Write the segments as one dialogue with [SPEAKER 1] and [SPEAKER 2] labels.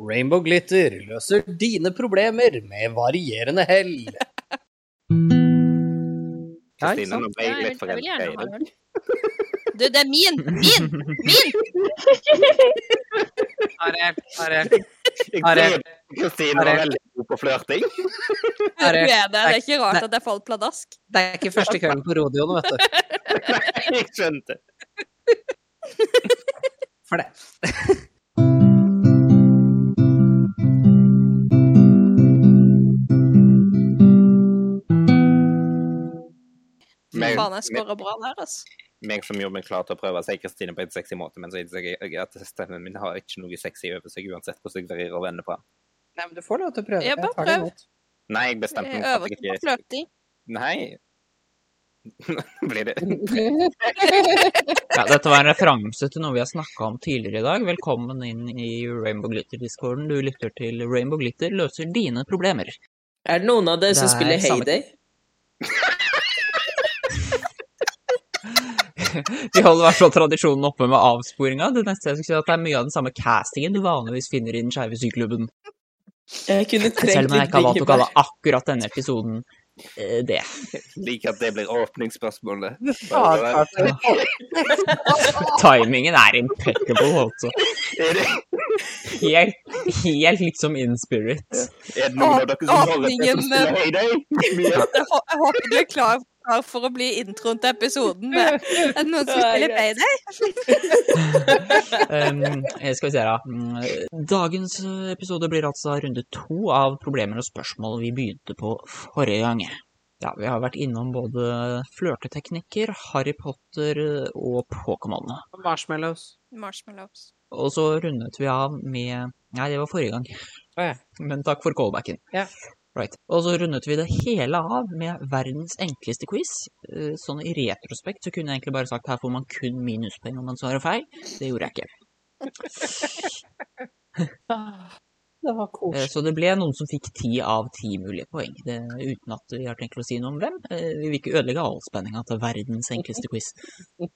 [SPEAKER 1] Rainbow Glitter løser dine problemer med varierende hell.
[SPEAKER 2] Ja,
[SPEAKER 3] Kristine, nå ble
[SPEAKER 4] Ja,
[SPEAKER 3] jeg
[SPEAKER 4] jeg, vil,
[SPEAKER 3] litt
[SPEAKER 4] jeg vil
[SPEAKER 3] forelska
[SPEAKER 4] gjerne
[SPEAKER 3] i
[SPEAKER 4] ha
[SPEAKER 3] deg.
[SPEAKER 4] den. Du, det er min! Min! Min!
[SPEAKER 2] Ariel, Ariel,
[SPEAKER 3] Jeg
[SPEAKER 2] Ariel.
[SPEAKER 3] tror Kristine var veldig god på flørting.
[SPEAKER 4] Du er det. Det er ikke
[SPEAKER 2] Nei.
[SPEAKER 4] rart at jeg falt pladask.
[SPEAKER 2] Det er ikke første kvelden på rodeoen, vet du.
[SPEAKER 3] Jeg skjønte.
[SPEAKER 2] For det.
[SPEAKER 3] Meg,
[SPEAKER 4] Faen, jeg skåra bra der, altså.
[SPEAKER 3] meg som gjorde meg klar til å prøve å si Kristine på en sexy måte, men så innså jeg at stemmen min har ikke noe sexy over seg uansett hvordan jeg vrir og vender på den.
[SPEAKER 2] Nei, men du får lov til å prøve.
[SPEAKER 4] Ja, bare
[SPEAKER 2] Jeg tar det
[SPEAKER 4] prøv.
[SPEAKER 2] imot.
[SPEAKER 3] Nei, jeg bestemte
[SPEAKER 4] Jeg
[SPEAKER 3] meg for
[SPEAKER 4] øver
[SPEAKER 3] at
[SPEAKER 4] ikke på
[SPEAKER 3] jeg ikke
[SPEAKER 4] flørting.
[SPEAKER 3] Nei. Blir det
[SPEAKER 5] Ja, dette var en referanse til noe vi har snakka om tidligere i dag. Velkommen inn i Rainbow Glitter-discorden. Du lytter til Rainbow Glitter løser dine problemer.
[SPEAKER 6] Er det noen av
[SPEAKER 5] Eh,
[SPEAKER 6] dere som
[SPEAKER 2] Det er
[SPEAKER 6] spiller
[SPEAKER 2] samme-
[SPEAKER 6] Heyday?
[SPEAKER 5] Vi holder i hvert fall tradisjonen oppe med avsporinga. Det neste jeg skulle si er at det er mye av den samme castingen du vanligvis finner i den skeive syklubben.
[SPEAKER 6] Jeg kunne
[SPEAKER 5] Selv
[SPEAKER 6] trengt
[SPEAKER 5] om jeg
[SPEAKER 6] litt
[SPEAKER 5] ikke har valgt å
[SPEAKER 6] bringebær.
[SPEAKER 5] kalle akkurat denne episoden eh, det.
[SPEAKER 3] Liker at det blir åpningsspørsmålet.
[SPEAKER 2] Faen, klart det.
[SPEAKER 5] Timingen er impeccable, altså.
[SPEAKER 3] Er det,
[SPEAKER 5] Helt, helt liksom in spirit.
[SPEAKER 3] er det noen av dere som holder til som
[SPEAKER 4] Åpningen-
[SPEAKER 3] spiller Heyday? Mye.
[SPEAKER 4] Jeg hå- jeg håper du er klar, klar for å bli introen til episoden. med- Er det noen som
[SPEAKER 6] Ja,
[SPEAKER 4] spiller
[SPEAKER 6] greit.
[SPEAKER 4] Payday?
[SPEAKER 5] Um, eh, skal vi se, da. Mm, Dagens eh, episode blir altså runde to av problemer og spørsmål vi begynte på forrige gang. Ja, vi har vært innom både flørteteknikker, Harry Potter eh, og Pokémon.
[SPEAKER 2] Marshmallows.
[SPEAKER 4] Marshmallows.
[SPEAKER 5] Og så rundet vi av med Nei, det var forrige gang.
[SPEAKER 2] Å ja.
[SPEAKER 5] Men takk for callbacken.
[SPEAKER 2] Ja.
[SPEAKER 5] Right. Og så rundet vi det hele av med verdens enkleste quiz. Eh, Sånn i retrospekt så kunne jeg egentlig bare sagt her får man kun minuspoeng om man svarer feil. Det gjorde jeg ikke.
[SPEAKER 2] Det var
[SPEAKER 5] Eh, Så det ble noen som fikk ti av ti mulige poeng, det, uten at vi har tenkt å si noe om hvem. Eh, Vi vil ikke ødelegge all spenninga til verdens enkleste quiz.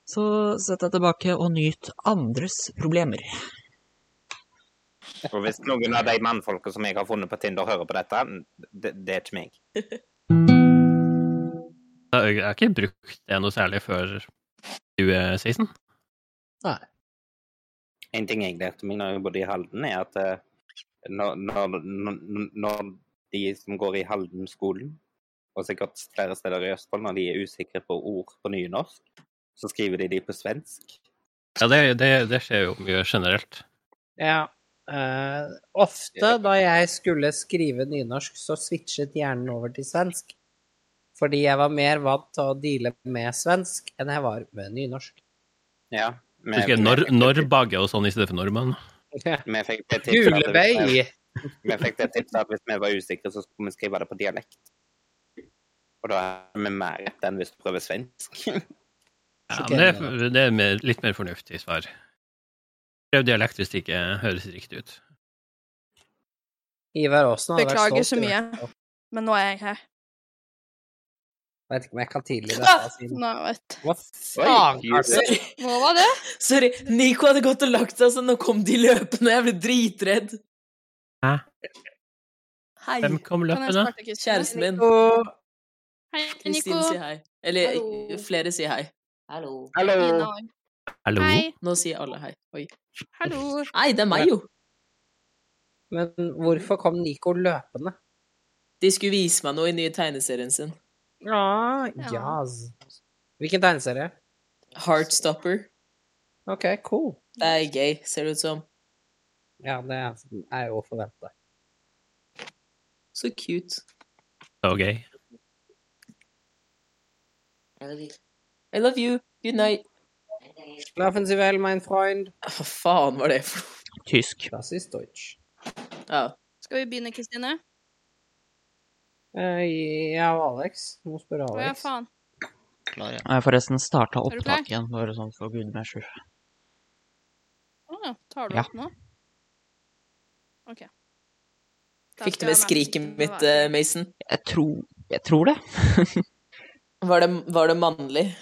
[SPEAKER 5] Så sett deg tilbake og nyt andres problemer.
[SPEAKER 3] Og hvis noen av de mannfolka som jeg har funnet på Tinder, hører på dette, det, det er ikke meg.
[SPEAKER 7] Da har Jeg har ikke brukt det noe særlig før 2016.
[SPEAKER 3] En ting jeg lærte meg når jeg bodde i Halden, er at eh, når, når, når- når de som går i Halden-skolen, og sikkert flere steder i Østfold, når de er usikre på ord på nynorsk, så skriver de de på svensk.
[SPEAKER 7] Ja, det, det, det skjer jo mye generelt.
[SPEAKER 2] Ja. eh, ofte da jeg skulle skrive nynorsk, så switchet hjernen over til svensk. Fordi jeg var mer vant til å deale med svensk enn jeg var med nynorsk.
[SPEAKER 3] Ja.
[SPEAKER 7] Du husker når, når bager og sånn i stedet for nordmenn?
[SPEAKER 3] Vi fikk det tipset at hvis
[SPEAKER 2] Julevei!
[SPEAKER 3] vi- vi fikk det tipset at hvis vi var usikre, så skulle vi skrive det på dialekt. Og da er vi mer rett enn hvis du prøver svensk.
[SPEAKER 7] Ja, men det, er- det er mer, litt mer fornuftig svar. Prøv dialekt hvis det ikke høres riktig ut.
[SPEAKER 2] Ivar Aasen hadde vært
[SPEAKER 4] Beklager
[SPEAKER 2] stolt.
[SPEAKER 4] så
[SPEAKER 2] i
[SPEAKER 4] mye.
[SPEAKER 2] dag.
[SPEAKER 4] Men nå er jeg her.
[SPEAKER 2] Jeg vet ikke om jeg kan tilgi dette. siden-
[SPEAKER 4] Nå, vet.
[SPEAKER 2] Hva faen,
[SPEAKER 3] Oi,
[SPEAKER 2] Karsten?
[SPEAKER 6] Sorry.
[SPEAKER 4] Nå var det.
[SPEAKER 6] Sorry. Nico hadde gått og lagt seg, så nå kom de løpende. Jeg ble dritredd.
[SPEAKER 7] Hæ?
[SPEAKER 6] Hei.
[SPEAKER 7] Hvem kom
[SPEAKER 4] Kan jeg
[SPEAKER 7] løpende?
[SPEAKER 4] starte, Kristin?
[SPEAKER 6] Kjæresten min.
[SPEAKER 4] Hei, Nico.
[SPEAKER 6] Kristin sier hei. Eller
[SPEAKER 4] Hallo.
[SPEAKER 6] flere sier hei. Hallo.
[SPEAKER 3] Hallo!
[SPEAKER 4] Nina.
[SPEAKER 7] Hallo?
[SPEAKER 4] Hei.
[SPEAKER 6] Nå sier alle hei. Oi.
[SPEAKER 4] Hallo.
[SPEAKER 6] Hei, det er meg, jo.
[SPEAKER 2] Men hvorfor kom Nico løpende?
[SPEAKER 6] De skulle vise meg noe i nye tegneserien sin.
[SPEAKER 2] Ja,
[SPEAKER 4] Ja.
[SPEAKER 2] jazz. Hvilken tegneserie?
[SPEAKER 6] Heartstopper.
[SPEAKER 2] OK, cool.
[SPEAKER 6] Det er gay, ser det ut som.
[SPEAKER 2] Ja, det er jo forventa.
[SPEAKER 6] Så cute.
[SPEAKER 7] Så gøy.
[SPEAKER 6] I love you. Good night. Ah,
[SPEAKER 2] Schlafen Sie well, mein Freund.
[SPEAKER 6] Hva faen var det for noe?
[SPEAKER 5] Tysk.
[SPEAKER 2] Das ist Deutsch.
[SPEAKER 6] Ja.
[SPEAKER 4] Skal vi begynne, Kristine?
[SPEAKER 2] Eh, jeg og Alex. Må spørre
[SPEAKER 4] Å ja,
[SPEAKER 2] Alex.
[SPEAKER 4] faen.
[SPEAKER 5] Jeg har forresten starta
[SPEAKER 4] du klar?
[SPEAKER 5] opptak igjen, bare sånn for gud meg skyld.
[SPEAKER 4] Å ja, tar du
[SPEAKER 5] Ja.
[SPEAKER 4] opp nå? OK. Da
[SPEAKER 6] Fikk du
[SPEAKER 4] skal
[SPEAKER 6] med
[SPEAKER 4] jeg
[SPEAKER 6] skriket
[SPEAKER 4] merke
[SPEAKER 6] mitt,
[SPEAKER 4] meg.
[SPEAKER 6] eh, Mason?
[SPEAKER 5] Jeg tror, jeg tror det.
[SPEAKER 6] Var det, var det mannlig?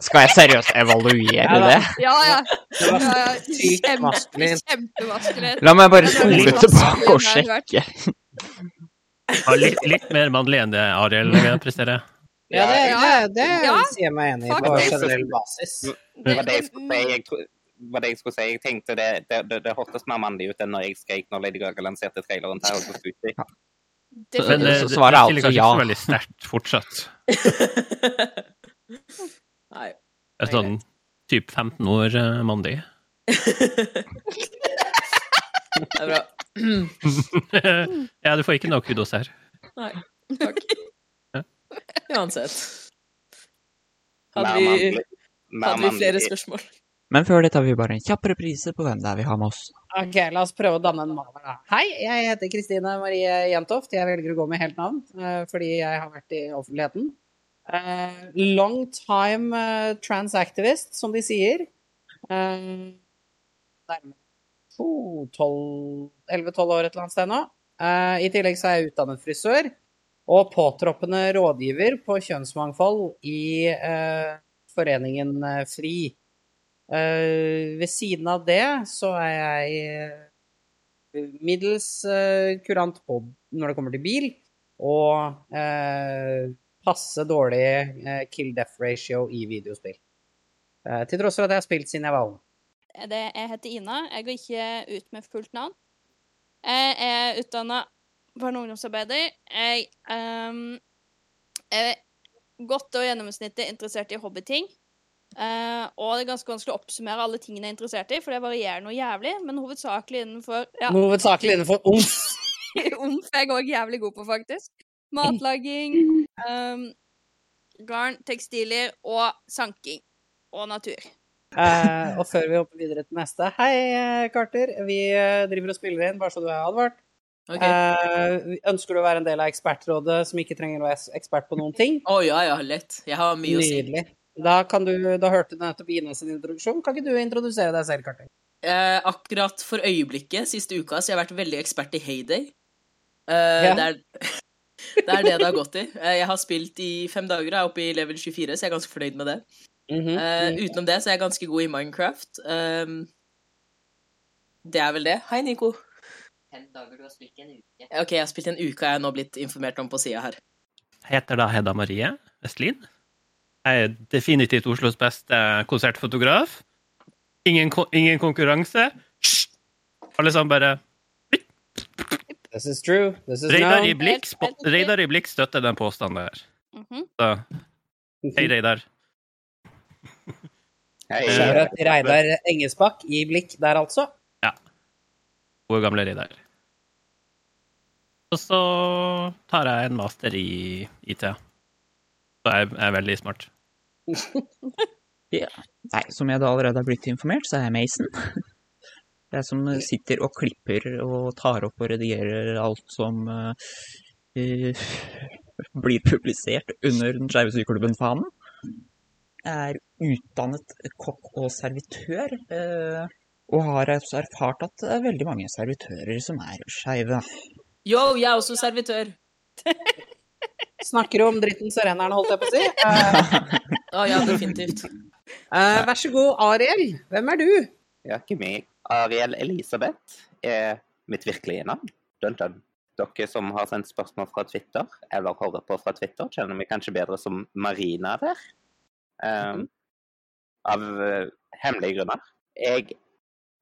[SPEAKER 5] Skal jeg seriøst evaluere det?
[SPEAKER 8] Ja, ja.
[SPEAKER 2] Det var
[SPEAKER 8] ja, ja.
[SPEAKER 2] sykt
[SPEAKER 8] Kjempe-
[SPEAKER 2] maskulint.
[SPEAKER 8] Kjempemaskulint.
[SPEAKER 5] La meg bare
[SPEAKER 8] Ja, det var
[SPEAKER 5] spole
[SPEAKER 8] litt
[SPEAKER 5] tilbake og
[SPEAKER 8] vanskelig, det har
[SPEAKER 5] sjekke.
[SPEAKER 7] Ja, litt, litt mer mannlig enn det Ariel presterer.
[SPEAKER 2] Ja, det, det, det
[SPEAKER 8] Ja,
[SPEAKER 2] sier jeg meg enig i på
[SPEAKER 8] faktisk.
[SPEAKER 2] generell basis. Mm.
[SPEAKER 3] Det var det jeg skulle si. Jeg, tro- var det jeg, skulle si. jeg tenkte det, det, det, det hørtes mer mannlig ut enn når jeg skrek når Lady Gaga lanserte traileren til Hogwarts Duty.
[SPEAKER 5] Men, eh,
[SPEAKER 8] Definitivt.
[SPEAKER 5] så svaret er
[SPEAKER 7] stiller
[SPEAKER 5] altså
[SPEAKER 7] kanskje
[SPEAKER 5] ja.
[SPEAKER 7] ikke så veldig sterkt fortsatt.
[SPEAKER 9] Nei.
[SPEAKER 7] Det er sånn typ 15 år eh, mandig.
[SPEAKER 9] Det er bra.
[SPEAKER 7] ja, du får ikke noe kudos her.
[SPEAKER 9] Nei. Takk.
[SPEAKER 7] Ja.
[SPEAKER 9] Uansett. Hadde
[SPEAKER 3] Mer
[SPEAKER 9] vi,
[SPEAKER 3] mannlig- mer
[SPEAKER 9] hadde vi
[SPEAKER 3] mannlig-
[SPEAKER 9] flere spørsmål?
[SPEAKER 5] Men før det tar vi bare en kjapp reprise på hvem det er vi har med oss.
[SPEAKER 2] Ok, la oss prøve å danne en mann. da. Hei, jeg heter Kristine Marie Jentoft. Jeg velger å gå med helt navn eh, fordi jeg har vært i offentligheten. Eh, long time eh, trans activist, som de sier. Uh, Nærmere 11-12 år et eller annet sted nå. Eh, I tillegg så er jeg utdannet frisør og påtroppende rådgiver på kjønnsmangfold i eh, foreningen eh, FRI. Eh, ved siden av det så er jeg eh, middels eh, kurant på når det kommer til bil, og eh, passe dårlig eh, kill-death ratio i videospill. Eh, til tross for at jeg har spilt siden jeg var ung.
[SPEAKER 4] Det, jeg heter Ina. Jeg går ikke ut med fullt navn. Jeg er utdanna barne- og ungdomsarbeider. Jeg ehm, er godt og gjennomsnittlig interessert i hobbyting. Eh, og det er ganske vanskelig å oppsummere alle tingene jeg er interessert i, for det varierer noe jævlig, men hovedsakelig innenfor ja,
[SPEAKER 2] Hovedsakelig innenfor ung.
[SPEAKER 4] Omf er jeg òg jævlig god på, faktisk. Matlaging, ehm, garn, tekstiler og sanking. Og natur.
[SPEAKER 2] Eh, og før vi hopper videre til neste Hei, eh, Carter. Vi eh, driver og spiller inn, bare så du er advart.
[SPEAKER 9] Ok.
[SPEAKER 2] Eh, ønsker du å være en del av ekspertrådet som ikke trenger å være ekspert på noen ting?
[SPEAKER 9] Å ja, ja, lett. Jeg har mye å si.
[SPEAKER 2] Nydelig. Da, kan du, da hørte du nettopp Ina sin introduksjon. Kan ikke du introdusere deg selv, Kartin?
[SPEAKER 9] Eh, akkurat for øyeblikket, siste uka, så jeg har vært veldig ekspert i Hayday. Eh,
[SPEAKER 2] Ja.
[SPEAKER 9] det, er, det er det det har gått i. Eh, jeg har spilt i fem dager og er oppe i level 24, så jeg er ganske fornøyd med det.
[SPEAKER 3] Mhm.
[SPEAKER 9] Eh,
[SPEAKER 6] Mm.
[SPEAKER 9] utenom det så er jeg ganske god i Minecraft. Ehm, det er vel det. Hei, Nico.
[SPEAKER 10] fem dager du har spilt i en uke.
[SPEAKER 9] Ok, jeg har spilt en uke, jeg er nå blitt informert om på sida her.
[SPEAKER 7] Heter da Hedda Marie Vestlin. Jeg er definitivt Oslos beste konsertfotograf. Ingen, ko ingen konkurranse. Hysj! Alle sammen bare
[SPEAKER 2] This is true. This is
[SPEAKER 7] Reidar
[SPEAKER 2] no.
[SPEAKER 7] i blikk, spo- Reidar i blikk støtter den påstanden der.
[SPEAKER 4] Mhm.
[SPEAKER 7] Så,
[SPEAKER 2] Mhm.
[SPEAKER 7] hei, Reidar.
[SPEAKER 3] Hei,
[SPEAKER 2] Skjæra til Reidar Engesbakk i blikk der, altså.
[SPEAKER 7] Gode, gamle Reidar. Og så tar jeg en master i IT. Så jeg er veldig smart.
[SPEAKER 5] Nei, som jeg da allerede har blitt informert, så er jeg Mason. Det er som sitter og klipper og tar opp og redigerer alt som eh, eh, blir publisert under den skeive syklubben-fanen. Jeg er utdannet kokk og servitør, eh, og har også erfart at det er veldig mange servitører som er skeive.
[SPEAKER 9] Yo, Oh, jeg er også servitør.
[SPEAKER 2] Snakker om dritten så renner den, holdt jeg på å si. Eh,
[SPEAKER 9] Å ja, definitivt.
[SPEAKER 2] eh, vær så god, Ariel. Hvem er du?
[SPEAKER 3] Ja, ikke meg. Ariel Elisabeth er mitt virkelige navn. Dun, dun. Dere som har sendt spørsmål fra Twitter, eller hører på fra Twitter, kjenner meg kanskje bedre som Marina der. Um, av eh, hemmelige grunner. Jeg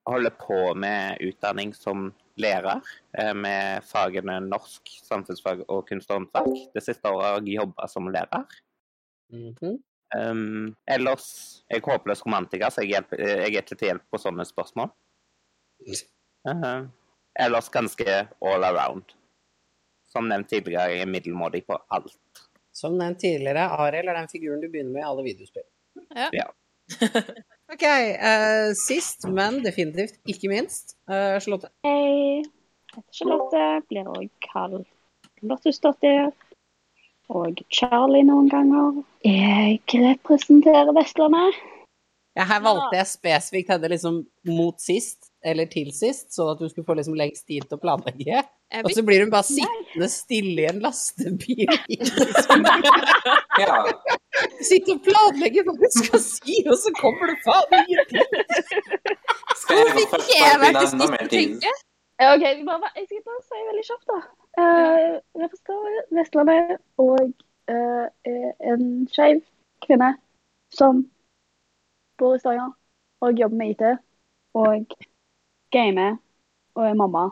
[SPEAKER 3] holder på med utdanning som lærer, eh, med fagene norsk, samfunnsfag og kunst og håndverk. Det siste året har jeg jobba som lærer. Um, ellers Jeg er håpløs romantiker, så jeg, hjelper, eh, jeg er ikke til hjelp på sånne spørsmål. Eh, ellers ganske all around. Som nevnt tidligere, jeg er middelmådig på alt.
[SPEAKER 2] Som nevnt tidligere, Ariel er den figuren du begynner med i alle videospill.
[SPEAKER 4] Ja.
[SPEAKER 3] Ja.
[SPEAKER 2] OK. eh, sist, men definitivt ikke minst, eh, Charlotte.
[SPEAKER 11] Hei. Jeg heter Charlotte. Blir også kalt Lottusdotter. Og Charlie noen ganger. Jeg representerer Vestlandet.
[SPEAKER 2] Ja, her valgte jeg spesifikt henne liksom mot sist, eller til sist, sånn at du skulle få liksom lengst tid til å planlegge.
[SPEAKER 4] Jeg
[SPEAKER 2] Og så blir hun bare sittende stille i en lastebil.
[SPEAKER 3] Ja.
[SPEAKER 2] Sitter og planlegger hva du skal si, og så kommer det faen ingenting!
[SPEAKER 12] Skal jeg få først bare finne enda mer ting?
[SPEAKER 11] Ja, OK, vi bare, jeg skal bare si veldig kjapt, da. Eh, jeg forstår Vestlandet og eh, er en skeiv kvinne som bor i Stavanger og jobber med IT og gamer og er mamma.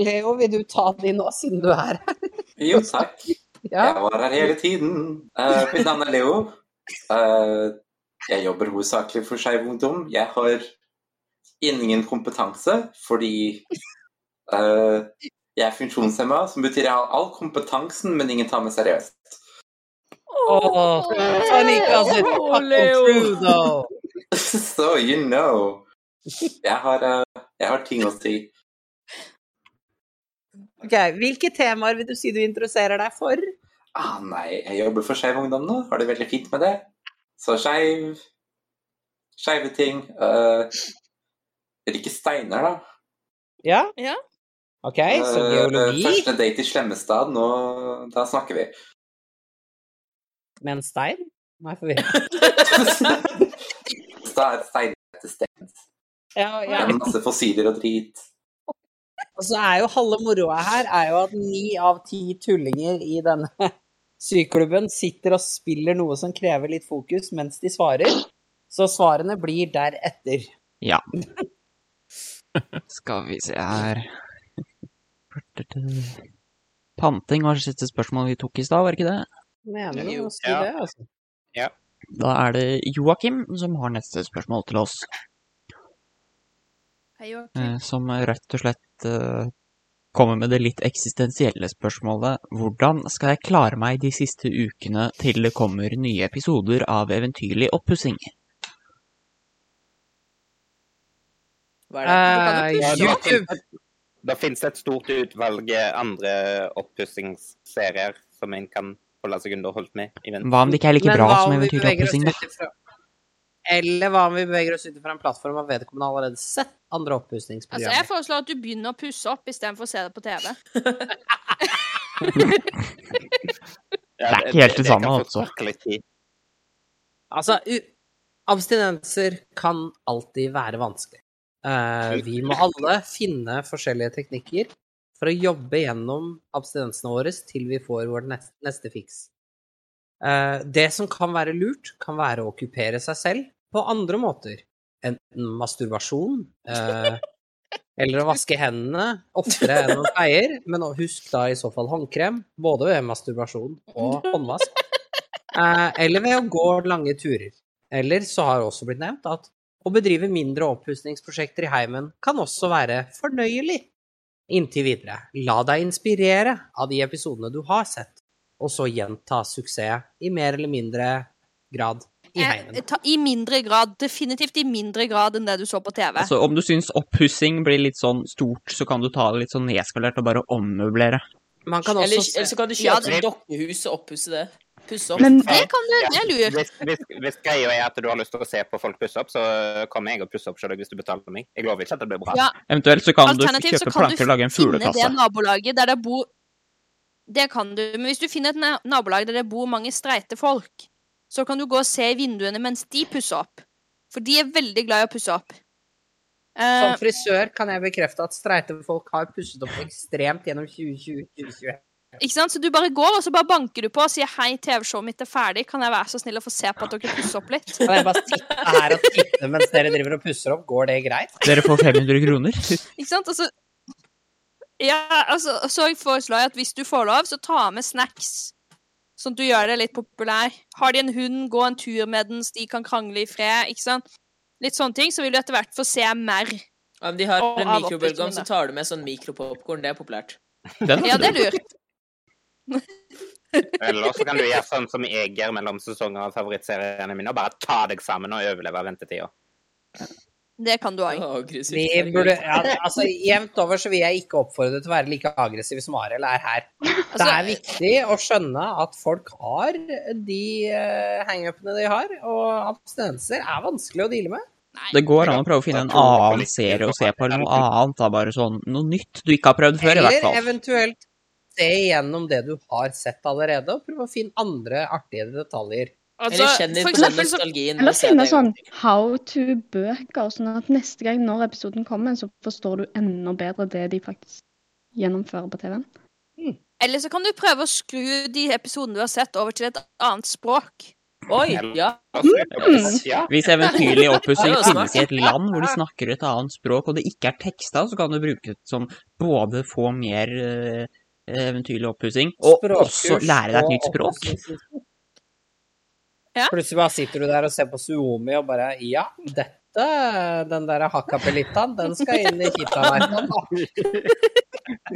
[SPEAKER 2] Leo, vil du ta de nå, siden du er her?
[SPEAKER 12] Jo, takk. Jeg var her hele tiden. Eh, mitt navn er Leo. Eh, jeg jobber hovedsakelig for Skeiv Ungdom. Jeg har ingen kompetanse fordi eh, jeg er funksjonshemma, som betyr jeg har all kompetansen, men ingen tar meg seriøst.
[SPEAKER 2] Åh, Sånn gikk det altså.
[SPEAKER 12] Leo.
[SPEAKER 2] True, though.
[SPEAKER 12] So you know. Jeg har, eh, jeg har ting å si.
[SPEAKER 2] Ok, Hvilke temaer vil du si du interesserer deg for?
[SPEAKER 12] Ah, nei, jeg jobber for Skeiv Ungdom nå. Har det veldig fint med det. Så skeiv Skeive ting. Uh, Rikke Steiner, da.
[SPEAKER 2] Ja?
[SPEAKER 9] ja.
[SPEAKER 2] OK, så
[SPEAKER 12] Eh,
[SPEAKER 2] geologi.
[SPEAKER 12] Første date i Slemmestad. Nå, da snakker vi.
[SPEAKER 2] Med en stein? Nei, forvirret.
[SPEAKER 12] Så Da er stein etter stein.
[SPEAKER 2] Ja,
[SPEAKER 12] Det
[SPEAKER 2] ja.
[SPEAKER 12] er Masse fossiler og drit.
[SPEAKER 2] Og så er jo halve moroa her er jo at ni av ti tullinger i denne syklubben sitter og spiller noe som krever litt fokus mens de svarer. Så svarene blir deretter.
[SPEAKER 5] Ja. Skal vi se her Panting var det siste spørsmålet vi tok i stad, var det ikke det?
[SPEAKER 2] Mener du
[SPEAKER 5] Jo.
[SPEAKER 2] å si
[SPEAKER 5] Ja.
[SPEAKER 2] det, altså?
[SPEAKER 5] Da er det Joakim som har neste spørsmål til oss.
[SPEAKER 4] Hei, Joakim.
[SPEAKER 5] eh, Som rett og slett eh, kommer med det litt eksistensielle spørsmålet Hvordan skal jeg klare meg de siste ukene til det kommer nye episoder av Eventyrlig oppussing?
[SPEAKER 9] Hva
[SPEAKER 3] Eh,
[SPEAKER 2] er Eh, det? sånn Du kan jo pusse
[SPEAKER 3] Ja,
[SPEAKER 2] opp.
[SPEAKER 3] da finnes et- Da finnes det et stort utvalg eh, andre oppussingsserier som en kan holde seg underholdt med. i vent.
[SPEAKER 5] Hva om det ikke er like
[SPEAKER 2] Men
[SPEAKER 5] bra
[SPEAKER 2] hva
[SPEAKER 5] som
[SPEAKER 2] om vi
[SPEAKER 5] Eventyrlig
[SPEAKER 2] beveger oss
[SPEAKER 5] oppussing, da?
[SPEAKER 2] ut ifra- Eller hva om vi beveger oss ut ifra en plattform av vedkommende har allerede sett andre
[SPEAKER 4] Altså, jeg
[SPEAKER 2] oppussingsprogrammer?
[SPEAKER 4] foreslår at du begynner å pusse opp istedenfor å se det på TV.
[SPEAKER 5] Det er ikke helt det samme, altså.
[SPEAKER 2] Altså, u abstinenser kan alltid være vanskelig. Eh, vi må alle finne forskjellige teknikker for å jobbe gjennom abstinensene våre til vi får vår neste, neste fiks. Eh, det som kan være lurt, kan være å okkupere seg selv på andre måter. Enten masturbasjon, eh, eller å vaske hendene oftere enn man pleier. Men husk da i så fall håndkrem, både ved masturbasjon og håndvask. Eh, eller ved å gå lange turer. Eller så har det også blitt nevnt at å bedrive mindre oppussingsprosjekter i heimen kan også være fornøyelig. Inntil videre, la deg inspirere av de episodene du har sett, og så gjenta suksess i mer eller mindre grad i heimen.
[SPEAKER 4] Eh, ta, I mindre grad. Definitivt i mindre grad enn det du så på TV.
[SPEAKER 5] Altså, om du syns oppussing blir litt sånn stort, så kan du ta det litt sånn nedskalert og bare ommøblere.
[SPEAKER 2] Man
[SPEAKER 5] kan også
[SPEAKER 9] eller,
[SPEAKER 5] se-
[SPEAKER 9] eller så kan du
[SPEAKER 5] Ja,
[SPEAKER 9] kjøpe
[SPEAKER 5] det-
[SPEAKER 9] et dokkehus og oppusse det. Pusse opp.
[SPEAKER 5] Men-
[SPEAKER 4] Det kan du, det er lurt.
[SPEAKER 3] Hvis, hvis, hvis greia er at du har lyst til å se på folk pusse opp, så kommer jeg og pusser opp selv hvis du betaler meg. Jeg lover ikke at det blir bra.
[SPEAKER 4] Ja.
[SPEAKER 5] Eventuelt så kan du
[SPEAKER 4] Alternativt så
[SPEAKER 5] kjøpe
[SPEAKER 4] kan du
[SPEAKER 5] planker og lage en
[SPEAKER 4] finne det
[SPEAKER 5] fuglekasse.
[SPEAKER 4] nabolaget der det bor Det kan du, men hvis du finner et na- nabolag der det bor mange streite folk, så kan du gå og se i vinduene mens de pusser opp. For de er veldig glad i å pusse opp. Eh,
[SPEAKER 11] Sånn
[SPEAKER 2] Som frisør kan jeg bekrefte at streite folk har pusset opp ekstremt gjennom 2020-2021.
[SPEAKER 4] ikke sant? Så du bare går, og så bare banker du på og sier 'Hei, TV-showet mitt er ferdig, kan jeg være så snill å få se på at dere pusser opp litt?'
[SPEAKER 2] Kan jeg bare sitte her og titte mens dere driver og pusser opp? Går det greit?
[SPEAKER 5] Dere får 500 kroner.
[SPEAKER 4] Ikke sant? Altså, ja, altså, så jeg foreslår jeg at hvis du får lov, så ta med snacks. Sånn at du gjør deg litt populær. Har de en hund, gå en tur med den, så de kan krangle i fred. ikke sant? Litt sånne ting, så vil du etter hvert få se mer.
[SPEAKER 9] Om de har
[SPEAKER 4] Og
[SPEAKER 9] en
[SPEAKER 4] av
[SPEAKER 9] mikrobølgeovn, så
[SPEAKER 4] oppussingen,
[SPEAKER 9] tar du med sånn mikropopkorn. Det er populært.
[SPEAKER 5] Den
[SPEAKER 4] Ja, det er lurt.
[SPEAKER 3] Eller så kan du gjøre sånn som jeg gjør mellom sesonger av favorittseriene mine, og bare ta deg sammen og overleve ventetida.
[SPEAKER 4] Det kan du òg.
[SPEAKER 2] Vi burde, ja, altså, jevnt over så vil jeg ikke oppfordre til å være like aggressiv som Arild er her. Det er viktig å skjønne at folk har de eh, hangupene de har, og abstinenser er vanskelig å deale med.
[SPEAKER 5] Det går an å prøve å finne en annen serie å se på, eller noe annet. da, Bare sånn noe nytt du ikke har prøvd før, i hvert
[SPEAKER 2] Eller
[SPEAKER 5] fall.
[SPEAKER 2] eventuelt se igjennom det du har sett allerede, og prøve å finne andre artige detaljer.
[SPEAKER 9] Altså, Eller kjenner på
[SPEAKER 8] for
[SPEAKER 9] den
[SPEAKER 8] eksempel så-
[SPEAKER 9] nostalgien.
[SPEAKER 8] Eller
[SPEAKER 9] og ser
[SPEAKER 8] finne
[SPEAKER 9] det.
[SPEAKER 8] sånn how to-bøker, sånn at neste gang når episoden kommer, så forstår du enda bedre det de faktisk gjennomfører på TV-en.
[SPEAKER 4] Eller så kan du prøve å skru de episodene du har sett, over til et annet språk.
[SPEAKER 9] Oi, ja.
[SPEAKER 5] Hvis eventyrlig oppussing
[SPEAKER 4] Det var smart.
[SPEAKER 5] finnes i et land hvor de snakker et annet språk og det ikke er teksta, så kan du bruke det som både få mer eh, eventyrlig oppussing og også lære deg et nytt språk.
[SPEAKER 2] Plutselig bare sitter du der og ser på Suomi og bare Ja, dette, den der hakapelittaen, den skal inn i kitaverket.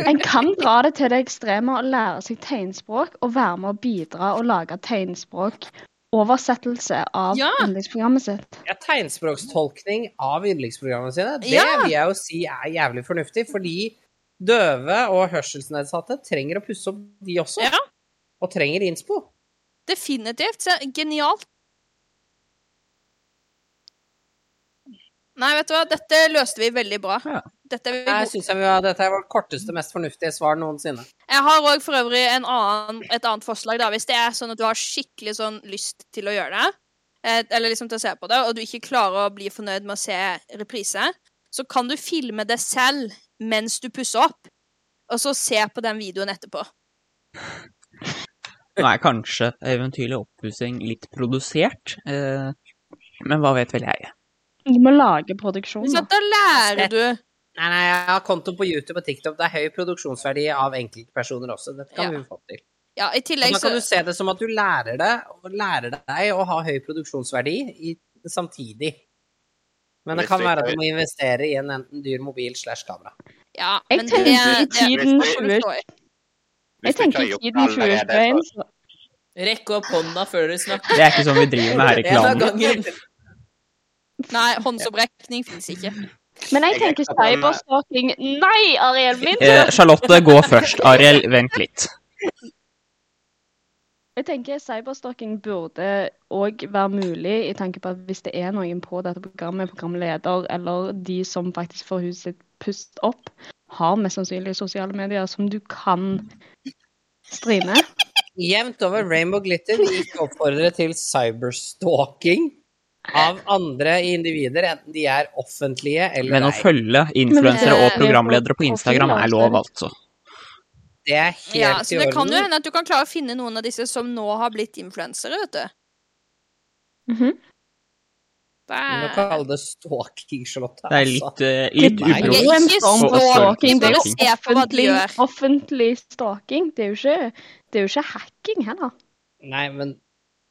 [SPEAKER 8] En kan dra det til det ekstreme og lære seg tegnspråk og være med å bidra og lage tegnspråk. Oversettelse av
[SPEAKER 2] Ja.
[SPEAKER 8] yndlingsprogrammet sitt.
[SPEAKER 2] Ja, tegnspråkstolkning av yndlingsprogrammene sine, det
[SPEAKER 8] Ja.
[SPEAKER 2] vil jeg jo si er jævlig fornuftig, fordi døve og hørselsnedsatte trenger å pusse opp, de også. Og trenger innspo.
[SPEAKER 4] Definitivt. Se, Genialt. Nei, vet du hva, dette løste vi veldig bra. Dette er vi
[SPEAKER 2] Jeg
[SPEAKER 4] gode.
[SPEAKER 2] synes jeg vi har, Dette er vårt korteste, mest fornuftige svar noensinne.
[SPEAKER 4] Jeg har òg for øvrig en annen, et annet forslag, da, hvis det er sånn at du har skikkelig sånn lyst til å gjøre det, eh, eller liksom til å se på det, og du ikke klarer å bli fornøyd med å se reprise, så kan du filme det selv mens du pusser opp, og så se på den videoen etterpå.
[SPEAKER 5] Nå er kanskje eventyrlig oppussing litt produsert, eh, men hva vet vel jeg?
[SPEAKER 8] Du må lage produksjoner.
[SPEAKER 4] da lærer du
[SPEAKER 2] Nei, nei, jeg har konto på YouTube og TikTok. Det er høy produksjonsverdi av enkeltpersoner også. Dette kan
[SPEAKER 4] Ja.
[SPEAKER 2] vi få til.
[SPEAKER 4] Ja, i tillegg
[SPEAKER 2] Og da
[SPEAKER 4] så
[SPEAKER 2] Altså, kan du se det som at du lærer det, og lærer deg å ha høy produksjonsverdi i, samtidig. Men det
[SPEAKER 13] Hvis
[SPEAKER 2] kan
[SPEAKER 13] vi
[SPEAKER 2] være at
[SPEAKER 13] tar-
[SPEAKER 2] du må investere i en enten dyr mobil slash kamera.
[SPEAKER 4] Ja,
[SPEAKER 8] Jeg
[SPEAKER 4] men det,
[SPEAKER 8] tenker i
[SPEAKER 4] det
[SPEAKER 8] tiden
[SPEAKER 4] det får du stå i.
[SPEAKER 8] Jeg tenker i tiden
[SPEAKER 9] allerede,
[SPEAKER 8] 2021, så
[SPEAKER 9] Rekk opp hånda før dere snakker.
[SPEAKER 5] Det er ikke sånn vi driver med her i klanen.
[SPEAKER 9] En av gangen.
[SPEAKER 4] Nei, håndsopprekning fins ikke.
[SPEAKER 8] Men jeg tenker cyberstalking Nei, Ariel! Min
[SPEAKER 5] Eh, Charlotte, gå først. Ariel, vent litt.
[SPEAKER 8] Jeg tenker cyberstalking burde òg være mulig, i tanke på at hvis det er noen på dette programmet, programleder eller de som faktisk får huset sitt pust opp, har mest sannsynlig sosiale medier som du kan strime.
[SPEAKER 2] Jevnt over Rainbow Glitter vil ikke oppfordre til cyberstalking av andre individer, enten de er offentlige eller
[SPEAKER 5] Men å
[SPEAKER 2] ei.
[SPEAKER 5] følge influensere og programledere på Instagram er lov, altså.
[SPEAKER 2] Det er helt
[SPEAKER 4] Ja, så
[SPEAKER 2] i
[SPEAKER 4] det kan jo
[SPEAKER 2] orden.
[SPEAKER 4] hende at du kan klare å finne noen av disse som nå har blitt influensere, vet du. Det
[SPEAKER 2] Men å
[SPEAKER 4] er
[SPEAKER 2] kalle det altså. stalking, Charlotte
[SPEAKER 5] Det er litt, eh, litt uproft.
[SPEAKER 2] Nei.
[SPEAKER 8] Det er ikke
[SPEAKER 5] Og- og
[SPEAKER 8] stalking, det er
[SPEAKER 5] stalking.
[SPEAKER 8] jo offentlig,
[SPEAKER 4] gjør.
[SPEAKER 8] offentlig stalking. Det er jo ikke, det er jo ikke hacking heller.
[SPEAKER 2] Nei, men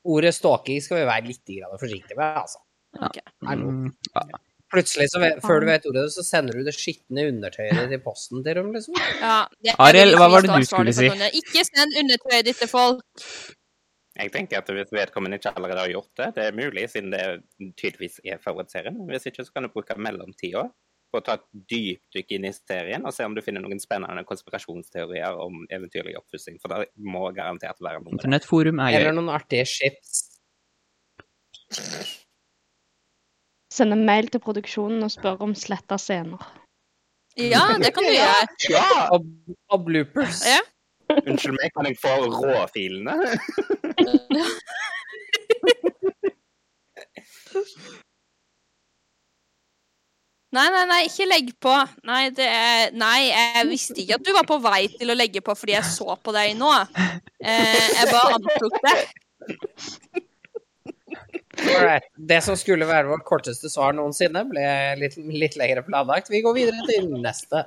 [SPEAKER 2] ordet stalking skal vi være litt grann forsiktige med, altså. Hallo.
[SPEAKER 5] Mm, ja.
[SPEAKER 2] Plutselig, så vet, før du vet ordet, så sender du det skitne undertøyet ditt i posten til dem, liksom.
[SPEAKER 4] Ja, det er
[SPEAKER 5] Ariel,
[SPEAKER 4] veldig
[SPEAKER 5] hva
[SPEAKER 4] mye
[SPEAKER 5] var det du
[SPEAKER 4] ansvarlig
[SPEAKER 5] skulle
[SPEAKER 4] for
[SPEAKER 5] si?
[SPEAKER 4] sånne. Ikke send undertøyet ditt til folk.
[SPEAKER 3] Jeg tenker at Hvis vedkommende ikke allerede har gjort det, det er mulig, siden det tydeligvis er favorittserien. Hvis ikke, så kan du bruke mellomtida på å ta et dypdykk inn i serien og se om du finner noen spennende konspirasjonsteorier om eventyrlig opppussing. For det må garantert være noe.
[SPEAKER 5] Internettforum er
[SPEAKER 2] Eller
[SPEAKER 5] gøy.
[SPEAKER 2] noen artige chips.
[SPEAKER 8] Sende mail til produksjonen og spørre om sletta scener.
[SPEAKER 4] Ja, det kan du gjøre.
[SPEAKER 2] Og, og bloopers.
[SPEAKER 4] Ja.
[SPEAKER 3] Unnskyld meg, kan jeg få råfilene?
[SPEAKER 4] Nei, nei, nei, ikke legg på. Nei, det er Nei, jeg visste ikke at du var på vei til å legge på fordi jeg så på deg nå. Eh, jeg bare antok det.
[SPEAKER 2] Alright. Det som skulle være vårt korteste svar noensinne, ble litt, litt lengre planlagt. Vi går videre til neste.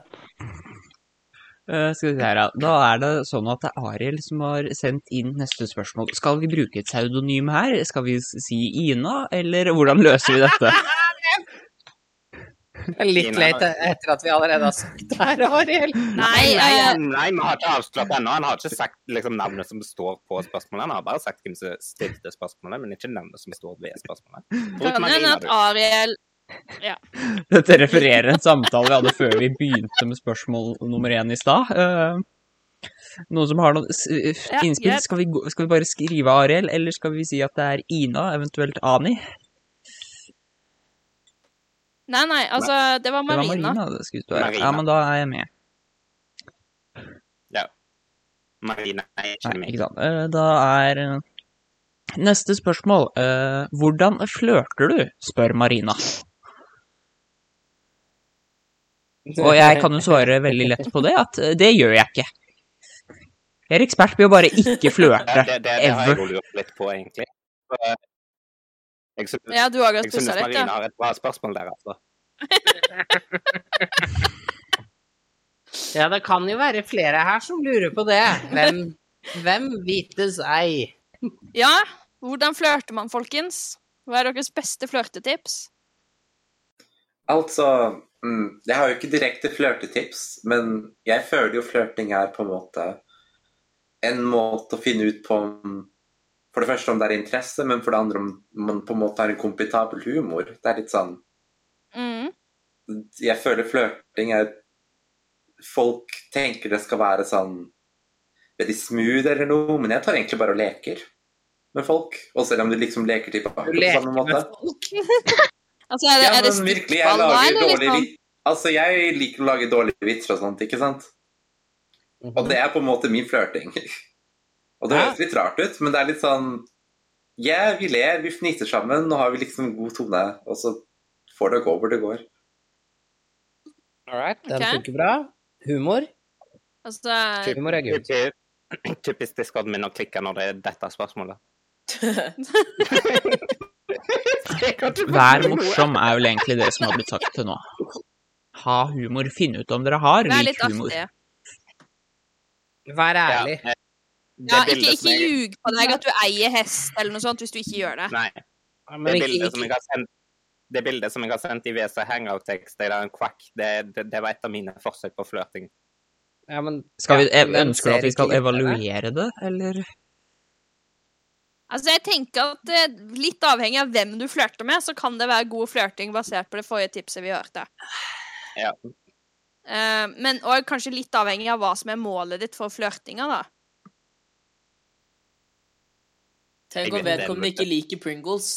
[SPEAKER 5] Eh, skal vi se her, ja. Da er det sånn at det er Ariel som har sendt inn neste spørsmål. Skal vi bruke et pseudonym her? Skal vi si Ina, eller hvordan løser vi dette?
[SPEAKER 4] eh.
[SPEAKER 2] Litt eh, late etter at vi allerede har sagt det her, Ariel.
[SPEAKER 3] Nei, nei,
[SPEAKER 4] eh,
[SPEAKER 3] nei, vi har ikke avslørt ennå. Han har ikke sagt liksom, navnet som står på spørsmålet. Han har bare sagt hvem som stilte spørsmålet, men ikke navnet som står ved spørsmålet.
[SPEAKER 4] Det kan hende at Ariel Ja.
[SPEAKER 5] Dette refererer en samtale vi hadde før vi begynte med spørsmål nummer én i stad. Eh, noen som har noen s- f-
[SPEAKER 4] Ja,
[SPEAKER 5] innspill?
[SPEAKER 4] jeg-
[SPEAKER 5] Skal vi, gå- skal vi bare skrive Ariel, eller skal vi si at det er Ina, eventuelt Ani?
[SPEAKER 4] Nei, nei, altså, det var
[SPEAKER 5] Det var
[SPEAKER 4] Marina.
[SPEAKER 5] Marina det skulle stå.
[SPEAKER 3] Marina.
[SPEAKER 5] Ja, men da er jeg med.
[SPEAKER 3] Ja. Marina er ikke
[SPEAKER 5] Nei,
[SPEAKER 3] med.
[SPEAKER 5] ikke sant. Eh, Da er eh, Neste spørsmål. Eh, hvordan flørter du, spør Marina. Og jeg kan jo svare veldig lett på det, at eh, det gjør jeg ikke. Jeg er ekspert på å bare ikke flørte.
[SPEAKER 3] Det, det, det, det har jeg jo
[SPEAKER 5] Ever.
[SPEAKER 3] lurt litt på, egentlig. Så, eh, Jeg synes,
[SPEAKER 4] Ja, du har akkurat
[SPEAKER 3] jeg synes
[SPEAKER 4] pusset litt, ja.
[SPEAKER 3] Marina har et bra spørsmål der, altså.
[SPEAKER 2] Ja, det kan jo være flere her som lurer på det. Hvem, hvem vites ei?
[SPEAKER 4] Ja, hvordan flørter man, folkens? Hva er deres beste flørtetips?
[SPEAKER 12] Altså mm, Jeg har jo ikke direkte flørtetips, men jeg føler jo flørting er på en måte en måte å finne ut på om For det første om det er interesse, men for det andre om man på en måte har en kompetabel humor. Det er litt sånn
[SPEAKER 4] Mm.
[SPEAKER 12] Jeg føler flørting er Folk tenker det skal være sånn veldig smooth eller noe, men jeg tar egentlig bare og leker med folk. Og selv om du liksom leker tilbake på samme måte.
[SPEAKER 4] altså, er det, er det
[SPEAKER 12] men virkelig, jeg
[SPEAKER 4] stikkball da,
[SPEAKER 12] lager
[SPEAKER 4] eller
[SPEAKER 12] dårlige
[SPEAKER 4] liksom?
[SPEAKER 12] vit- Altså, jeg liker å lage dårlige vitser og sånt, ikke sant?
[SPEAKER 4] Mhm.
[SPEAKER 12] Og det er på en måte min flørting. Og det høres litt rart ut, men det er litt sånn Ja, vi ler, vi fniser sammen, nå har vi liksom god tone, og så får det gå hvor det går.
[SPEAKER 2] All right, den
[SPEAKER 4] Ok.
[SPEAKER 2] funker bra. Humor.
[SPEAKER 4] Altså,
[SPEAKER 2] Humor er gøy.
[SPEAKER 3] Typisk- Typisk Discorden min å klikke når det er dette spørsmålet. Jeg kan ikke
[SPEAKER 5] Vær
[SPEAKER 3] forstå noe.
[SPEAKER 5] morsom er vel egentlig det som har blitt sagt til nå. Ha humor. Finn ut om dere har
[SPEAKER 4] vær
[SPEAKER 5] lik
[SPEAKER 4] litt
[SPEAKER 5] humor.
[SPEAKER 4] artig.
[SPEAKER 2] Vær ærlig.
[SPEAKER 4] Ja, ikke, ikke ljug på deg at du eier hest eller noe sånt, hvis du ikke gjør det.
[SPEAKER 3] Nei.
[SPEAKER 2] men
[SPEAKER 3] Det
[SPEAKER 2] ikke-
[SPEAKER 3] bildet, som
[SPEAKER 2] ikke-
[SPEAKER 3] jeg har sendt, det bildet som jeg har sendt i VC Hangout-tekst, det er en quack. Det, det, det var et av mine forsøk på flørting.
[SPEAKER 2] Ja, men,
[SPEAKER 5] Skal vi, eh,
[SPEAKER 2] ja, men
[SPEAKER 5] ønsker du at
[SPEAKER 2] ser
[SPEAKER 5] vi skal
[SPEAKER 2] ikke
[SPEAKER 5] evaluere det, eller?
[SPEAKER 4] Altså, jeg tenker at eh, Litt avhengig av hvem du flørter med, så kan det være god flørting basert på det forrige tipset vi hørte.
[SPEAKER 3] Ja.
[SPEAKER 4] Eh, men og kanskje litt avhengig av hva som er målet ditt for flørtinga, da.
[SPEAKER 9] Tenk
[SPEAKER 3] Jeg
[SPEAKER 9] om
[SPEAKER 3] vet
[SPEAKER 9] vedkommende
[SPEAKER 3] det,
[SPEAKER 9] ikke liker Pringles.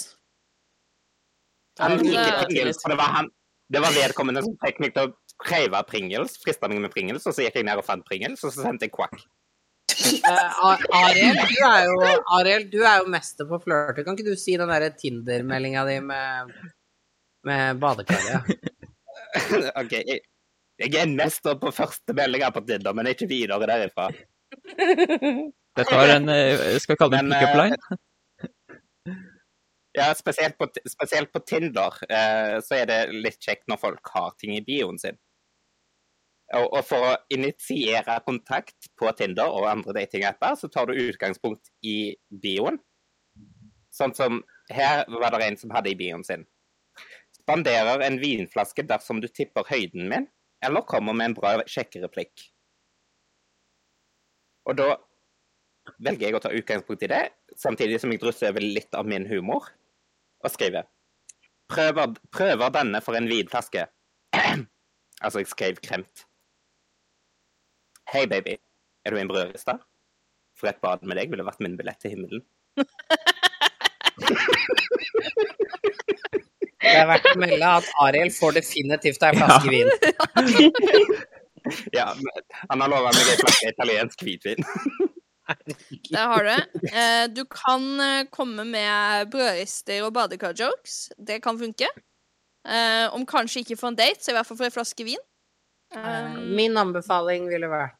[SPEAKER 3] Han
[SPEAKER 9] men,
[SPEAKER 3] liker
[SPEAKER 9] eh,
[SPEAKER 3] Pringles, for det var, han, det var vedkommende som fikk meg til å kreve Pringles, frista meg med Pringles, og så gikk jeg ned og fant Pringles, og så sendte jeg quack.
[SPEAKER 2] Eh, A- Ariel, du er jo, Ariel, du er jo mester på å flørte. Kan ikke du si den derre Tinder-meldinga di med, med badekaret?
[SPEAKER 3] OK, jeg, jeg er mester på første meldinger på Tinder, men ikke videre derifra.
[SPEAKER 5] Dette var en, eh, skal vi kalle det en
[SPEAKER 3] Men, eh,
[SPEAKER 5] pick-up line?
[SPEAKER 3] Ja, spesielt på, spesielt på Tinder eh, så er det litt kjekt når folk har ting i bioen sin. Og, og for å initiere kontakt på Tinder og andre datingapper, så tar du utgangspunkt i bioen. Sånn som her var det en som hadde i bioen sin. Spanderer en vinflaske dersom du tipper høyden min, eller kommer med en bra sjekkereplikk. Og da velger jeg å ta utgangspunkt i det, samtidig som jeg drysser over litt av min humor, og skriver prøver, prøver denne for en vinflaske. altså, jeg skrev kremt. Hei, baby. Er du min brødrista? For et bad med deg ville vært min billett til himmelen.
[SPEAKER 2] Det er verdt å melde at Ariel får definitivt ei flaske vin.
[SPEAKER 3] Ja, men han har lova meg en flaske italiensk hvitvin.
[SPEAKER 4] Der har du det. Eh, du kan eh, komme med brødrister og badekar-jokes. Det kan funke. Eh, om kanskje ikke for en date, så i hvert fall for en flaske vin. Um,
[SPEAKER 2] Min anbefaling ville vært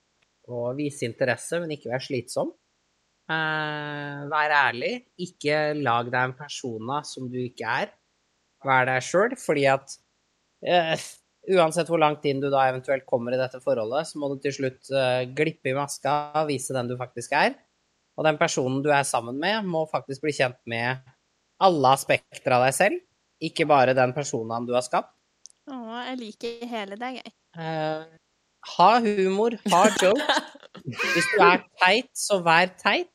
[SPEAKER 2] å vise interesse, men ikke være slitsom. Eh, vær ærlig. Ikke lag deg en persona som du ikke er. Vær deg sjøl, fordi at eh, uansett hvor langt inn du da eventuelt kommer i dette forholdet, så må du til slutt eh, glippe i maska og vise den du faktisk er. Og den personen du er sammen med, må faktisk bli kjent med alle aspekter av deg selv, ikke bare den personen du har skapt.
[SPEAKER 4] å, jeg liker hele deg, jeg.
[SPEAKER 2] Eh, ha humor, ha jokes. Hvis du er teit, så vær teit.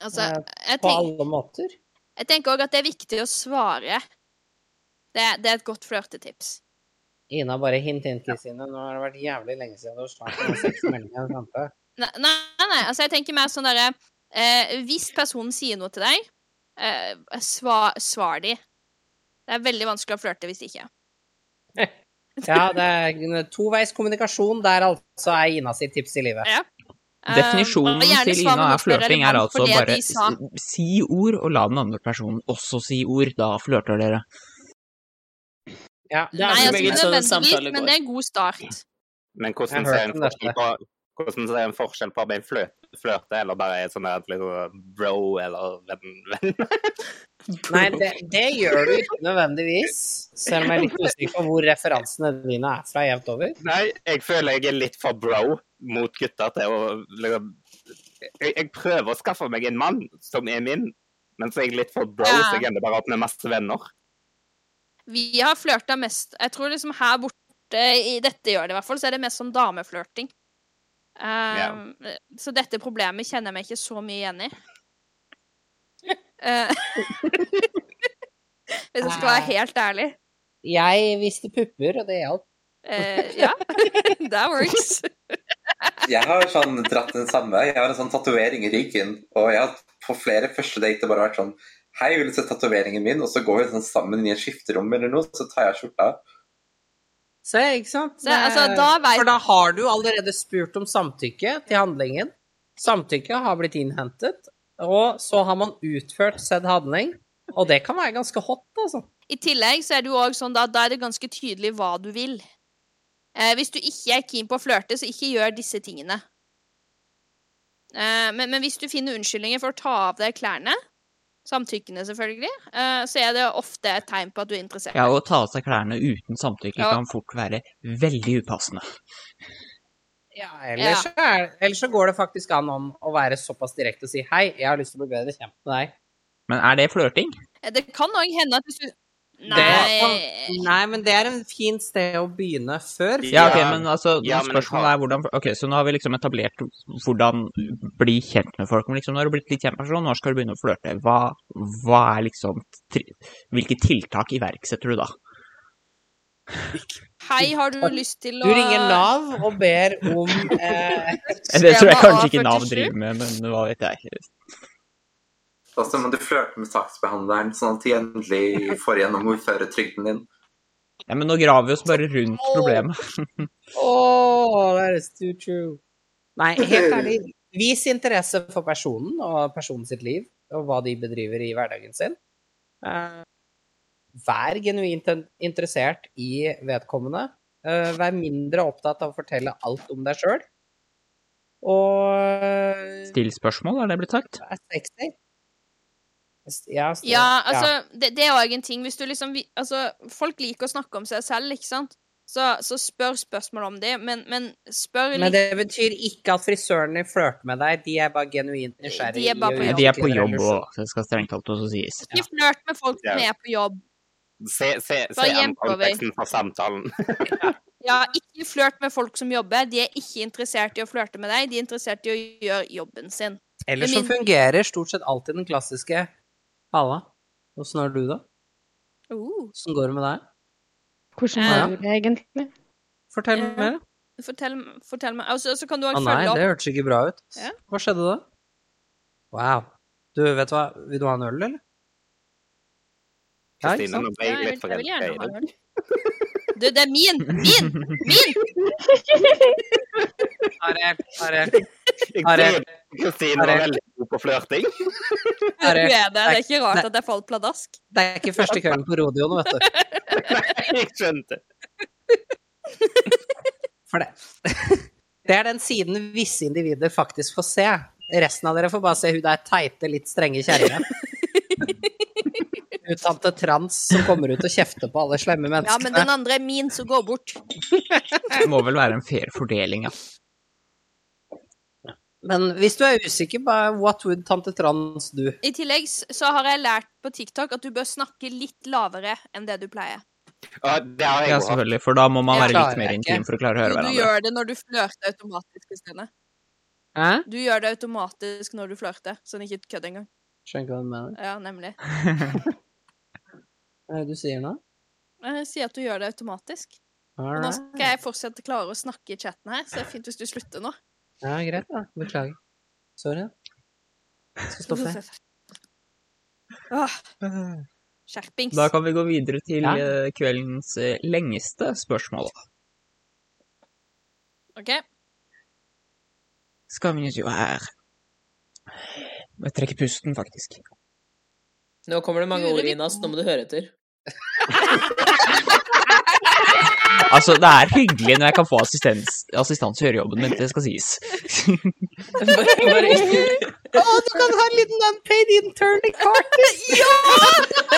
[SPEAKER 4] Altså,
[SPEAKER 2] eh,
[SPEAKER 4] jeg
[SPEAKER 2] på
[SPEAKER 4] tenker,
[SPEAKER 2] alle måter.
[SPEAKER 4] jeg tenker også at det er viktig å svare. Det, det er et godt flørtetips.
[SPEAKER 2] Ina, bare hint inn, Kristine. Nå har det vært jævlig lenge siden du har snakket om seks meldinger. sant det?
[SPEAKER 4] Nei, nei, nei, altså jeg tenker mer sånn derre eh, Hvis personen sier noe til deg, eh, sva, svar de. Det er veldig vanskelig å flørte hvis ikke.
[SPEAKER 2] Ja, det er toveis kommunikasjon der altså er Ina sitt tips i livet.
[SPEAKER 4] Ja. Eh,
[SPEAKER 5] Definisjonen
[SPEAKER 4] og gjerne
[SPEAKER 5] til
[SPEAKER 4] svar med
[SPEAKER 5] Ina er
[SPEAKER 4] noe som er
[SPEAKER 5] flørting er
[SPEAKER 4] relevant
[SPEAKER 5] altså
[SPEAKER 4] for det
[SPEAKER 5] bare
[SPEAKER 4] de sa.
[SPEAKER 5] s- si ord, og la den andre personen også si ord. Da flørter dere.
[SPEAKER 2] Ja,
[SPEAKER 9] det
[SPEAKER 4] Nei,
[SPEAKER 9] er som
[SPEAKER 4] altså,
[SPEAKER 9] regel
[SPEAKER 4] ikke
[SPEAKER 9] sånn en
[SPEAKER 4] nødvendigvis,
[SPEAKER 9] samtale
[SPEAKER 4] men
[SPEAKER 9] går.
[SPEAKER 4] det er en god start.
[SPEAKER 3] Men
[SPEAKER 2] Jeg
[SPEAKER 3] hvordan
[SPEAKER 2] hørte
[SPEAKER 3] ser en
[SPEAKER 2] om
[SPEAKER 3] forskjell på hvordan ser en forskjell på om en flø- flørter eller bare er sånn der liksom, bro eller venn? venn?
[SPEAKER 2] Nei, det, det gjør du ikke nødvendigvis. Selv om jeg er litt usikker på hvor referansene dine er fra jevnt over.
[SPEAKER 3] Nei, jeg føler jeg er litt for bro mot gutter til å liksom jeg, jeg prøver å skaffe meg en mann som er min, men så er jeg litt for bro,
[SPEAKER 4] Ja.
[SPEAKER 3] så jeg ender bare opp med masse venner.
[SPEAKER 4] Vi har flørta mest Jeg tror liksom her borte i dette gjør det i hvert fall, så er det mest sånn dameflørting. Eh, Så dette problemet kjenner jeg meg ikke så mye igjen i. Eh, Hvis jeg skal være helt ærlig.
[SPEAKER 2] Jeg viste pupper, og det hjalp.
[SPEAKER 4] Eh, ja. That works.
[SPEAKER 12] Jeg har sånn dratt den samme. Jeg har en sånn tatovering i ryggen. Og jeg har på flere første dater bare vært sånn Hei, vil du se tatoveringen min? Og så går vi sånn sammen i et skifterom eller noe, så tar jeg av skjorta.
[SPEAKER 2] Se, ikke sant?
[SPEAKER 4] Se, altså, da vet-
[SPEAKER 2] For da har du allerede spurt om samtykke til handlingen. Samtykket har blitt innhentet, og så har man utført said handling. Og det kan være ganske hot, altså.
[SPEAKER 4] I tillegg så er det jo også sånn da, da er det ganske tydelig hva du vil. Eh, hvis du ikke er keen på å flørte, så ikke gjør disse tingene. Eh, men, men hvis du finner unnskyldninger for å ta av deg klærne, samtykkene selvfølgelig, eh, så er det ofte et tegn på at du er interessert.
[SPEAKER 5] Ja, Å ta av seg klærne uten samtykke
[SPEAKER 4] Ja.
[SPEAKER 5] kan fort være veldig upassende.
[SPEAKER 2] Ja, ellers, så er, ellers så går det faktisk an om å være såpass direkte og si hei, jeg har lyst til å bli bedre kjent med deg.
[SPEAKER 5] Men er det flørting?
[SPEAKER 4] Eh, Det kan òg hende at hvis du
[SPEAKER 2] Det,
[SPEAKER 4] Nei.
[SPEAKER 2] nei, men det er en fin sted å begynne før.
[SPEAKER 5] Ja, ok, men altså,
[SPEAKER 2] Ja,
[SPEAKER 5] nå
[SPEAKER 2] men
[SPEAKER 5] spørsmålet er hvordan Ok, så nå har vi liksom etablert hvordan bli kjent med folk. Men liksom, når du har blitt litt kjent med en person, når skal du begynne å flørte? Hva, hva er liksom tri Hvilke tiltak iverksetter du da?
[SPEAKER 4] Hei, har du lyst til å
[SPEAKER 2] Du ringer Nav og ber om eh,
[SPEAKER 5] Det tror jeg kanskje ikke Nav driver med, men hva vet jeg.
[SPEAKER 12] Og så må du flørte med saksbehandleren, sånn at de endelig får igjennom ordførertrygden din.
[SPEAKER 5] Ja, men nå graver vi oss bare rundt problemet.
[SPEAKER 2] Åh, that is too true. Nei, helt ærlig, vis interesse for personen og personen sitt liv, og hva de bedriver i hverdagen sin. Eh, Vær genuint in- interessert i vedkommende. Eh, Vær mindre opptatt av å fortelle alt om deg sjøl. Og eh,
[SPEAKER 5] Still spørsmål, er det blitt sagt?
[SPEAKER 2] vær sexy. Ja, s-
[SPEAKER 4] Ja, altså, Det, det er òg en ting. Hvis du liksom vi- Altså, folk liker å snakke om seg selv, ikke sant? Så, så spør spørsmål om det, men, men spør
[SPEAKER 2] Men
[SPEAKER 4] litt
[SPEAKER 2] det betyr ikke at frisørene flirter med deg, de er bare genuint nysgjerrige.
[SPEAKER 4] De er bare
[SPEAKER 2] i å
[SPEAKER 4] på
[SPEAKER 5] Nei,
[SPEAKER 2] utvikle
[SPEAKER 5] de er på jobb
[SPEAKER 2] relasjoner.
[SPEAKER 5] og det skal strengt talt også sies.
[SPEAKER 4] Ikke flørt med folk som
[SPEAKER 3] Ja.
[SPEAKER 4] er på jobb.
[SPEAKER 3] Se, se, se
[SPEAKER 4] Bare
[SPEAKER 3] an
[SPEAKER 4] gjemt over.
[SPEAKER 3] konteksten for samtalen.
[SPEAKER 4] Ja, ikke flørt med folk som jobber. De er ikke interessert i å flørte med deg, de er interessert i å gjøre jobben sin.
[SPEAKER 2] Ellers så
[SPEAKER 4] Med min-
[SPEAKER 2] fungerer stort sett alltid den klassiske Halla, åssen har du det?
[SPEAKER 4] Oh.
[SPEAKER 2] Åssen går det med deg?
[SPEAKER 8] Hvordan
[SPEAKER 2] Ja.
[SPEAKER 8] var det egentlig?
[SPEAKER 2] Fortell
[SPEAKER 4] Ja.
[SPEAKER 2] mer.
[SPEAKER 4] Fortell, fortell meg Og så så kan du òg
[SPEAKER 2] Å nei,
[SPEAKER 4] følge
[SPEAKER 2] det
[SPEAKER 4] opp.
[SPEAKER 2] hørtes ikke bra ut.
[SPEAKER 4] Ja.
[SPEAKER 2] Hva skjedde da? Wow. Du, vet du hva, vil du ha en øl, eller? Ja, ikke
[SPEAKER 3] Kristine, nå
[SPEAKER 2] sant?
[SPEAKER 3] ble
[SPEAKER 4] Ja,
[SPEAKER 3] jeg
[SPEAKER 4] jeg,
[SPEAKER 3] litt
[SPEAKER 4] vil, jeg vil gjerne
[SPEAKER 3] forelsket i
[SPEAKER 4] ha
[SPEAKER 3] deg.
[SPEAKER 4] en øl. Du, det er min! Min! Min!
[SPEAKER 2] Ariel, Ariel,
[SPEAKER 3] Jeg tror Kristine var veldig god på flørting.
[SPEAKER 4] Du er det. Det er ikke rart at jeg falt pladask.
[SPEAKER 2] Det er ikke første kvelden på rodeoen, vet du.
[SPEAKER 3] Jeg skjønte.
[SPEAKER 2] For det. Det er den siden visse individer faktisk får se. Resten av dere får bare se hun der teite, litt strenge kjerringa. Hun tante Trans som kommer ut og kjefter på alle slemme
[SPEAKER 4] Ja,
[SPEAKER 2] menneskene.
[SPEAKER 4] men den andre er min, så gå bort.
[SPEAKER 5] Det må vel være en fair fordeling, ja.
[SPEAKER 2] Men hvis du er usikker, bare what would tante Trans do?
[SPEAKER 4] I tillegg s- så har jeg lært på TikTok at du bør snakke litt lavere enn det du pleier.
[SPEAKER 3] Ja, det har jeg
[SPEAKER 5] Ja,
[SPEAKER 3] også.
[SPEAKER 5] selvfølgelig, for da må man
[SPEAKER 4] Jeg
[SPEAKER 5] være litt
[SPEAKER 4] klarer
[SPEAKER 5] mer
[SPEAKER 4] ikke.
[SPEAKER 5] intim for å klare å
[SPEAKER 4] Du,
[SPEAKER 5] høre
[SPEAKER 4] du
[SPEAKER 5] hverandre.
[SPEAKER 4] gjør det når du flørter automatisk, Kristine.
[SPEAKER 2] Hæ?
[SPEAKER 4] Du gjør det automatisk når du flørter, så det ikke kødd engang.
[SPEAKER 2] Skjønner ikke hva du mener.
[SPEAKER 4] Ja, nemlig.
[SPEAKER 2] Hva er det du sier nå?
[SPEAKER 4] Jeg sier Eh, at du gjør det automatisk. Og nå
[SPEAKER 2] Alright.
[SPEAKER 4] skal jeg fortsette klare å snakke i chatten her, så det er fint hvis du slutter nå.
[SPEAKER 2] Ja, greit, da. Beklager. Sorry. Jeg skal stoppe.
[SPEAKER 4] Åh, Ah. skjerpings.
[SPEAKER 5] Da kan vi gå videre til
[SPEAKER 4] Ja.
[SPEAKER 5] eh, kveldens eh, lengste spørsmål.
[SPEAKER 4] OK.
[SPEAKER 5] Skammen jo her. Jeg trekker pusten, faktisk.
[SPEAKER 9] Nå kommer det mange ord, Inas. Nå må du høre etter.
[SPEAKER 5] Altså, det er hyggelig når jeg kan få assistans, assistanse i hørejobben min, det skal sies.
[SPEAKER 2] Å, du kan ha en liten unpaid intern i kartet!
[SPEAKER 13] Ja!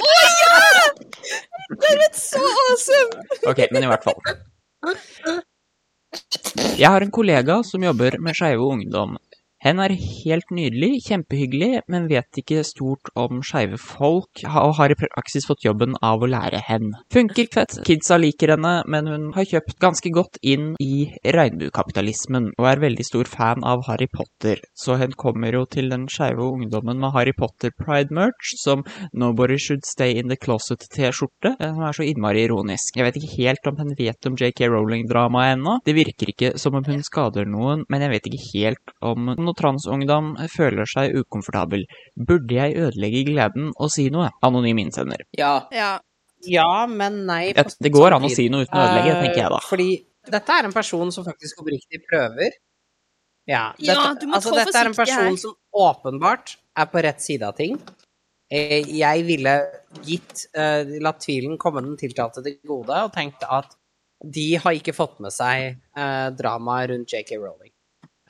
[SPEAKER 13] Å ja! Det er et så awesome!
[SPEAKER 5] Ok, men i hvert fall. Jeg har en kollega som jobber med skeive ungdom. Hen er helt nydelig, kjempehyggelig, men vet ikke stort om skeive folk, ha- og har i praksis fått jobben av å lære hen. Funker fett, kidsa liker henne, men hun har kjøpt ganske godt inn i regnbuekapitalismen, og er veldig stor fan av Harry Potter, så hen kommer jo til den skeive ungdommen med Harry Potter pride-merch, som Nobody Should Stay In The Closet-T-skjorte, eh, som er så innmari ironisk. Jeg vet ikke helt om hun vet om JK Rowling-dramaet ennå. Det virker ikke som om hun skader noen, men jeg vet ikke helt om noe transungdom føler seg ukomfortabel. Burde jeg ødelegge gleden og si noe? Anonym innsender.
[SPEAKER 2] Ja.
[SPEAKER 4] ja.
[SPEAKER 2] men nei.
[SPEAKER 5] Et- det går an å si noe uten å ødelegge, tenker jeg da.
[SPEAKER 2] Eh, Fordi dette er en person som faktisk oppriktig prøver. Ja,
[SPEAKER 4] Ja,
[SPEAKER 2] dette-
[SPEAKER 4] du må
[SPEAKER 2] altså,
[SPEAKER 4] trå
[SPEAKER 2] Dette er en
[SPEAKER 4] forsiktig her.
[SPEAKER 2] person som åpenbart er på rett side av ting. Eh, Jeg ville gitt, eh, latt tvilen komme den tiltalte til gode, og tenkte at de har ikke fått med seg eh, dramaet rundt JK Rowling.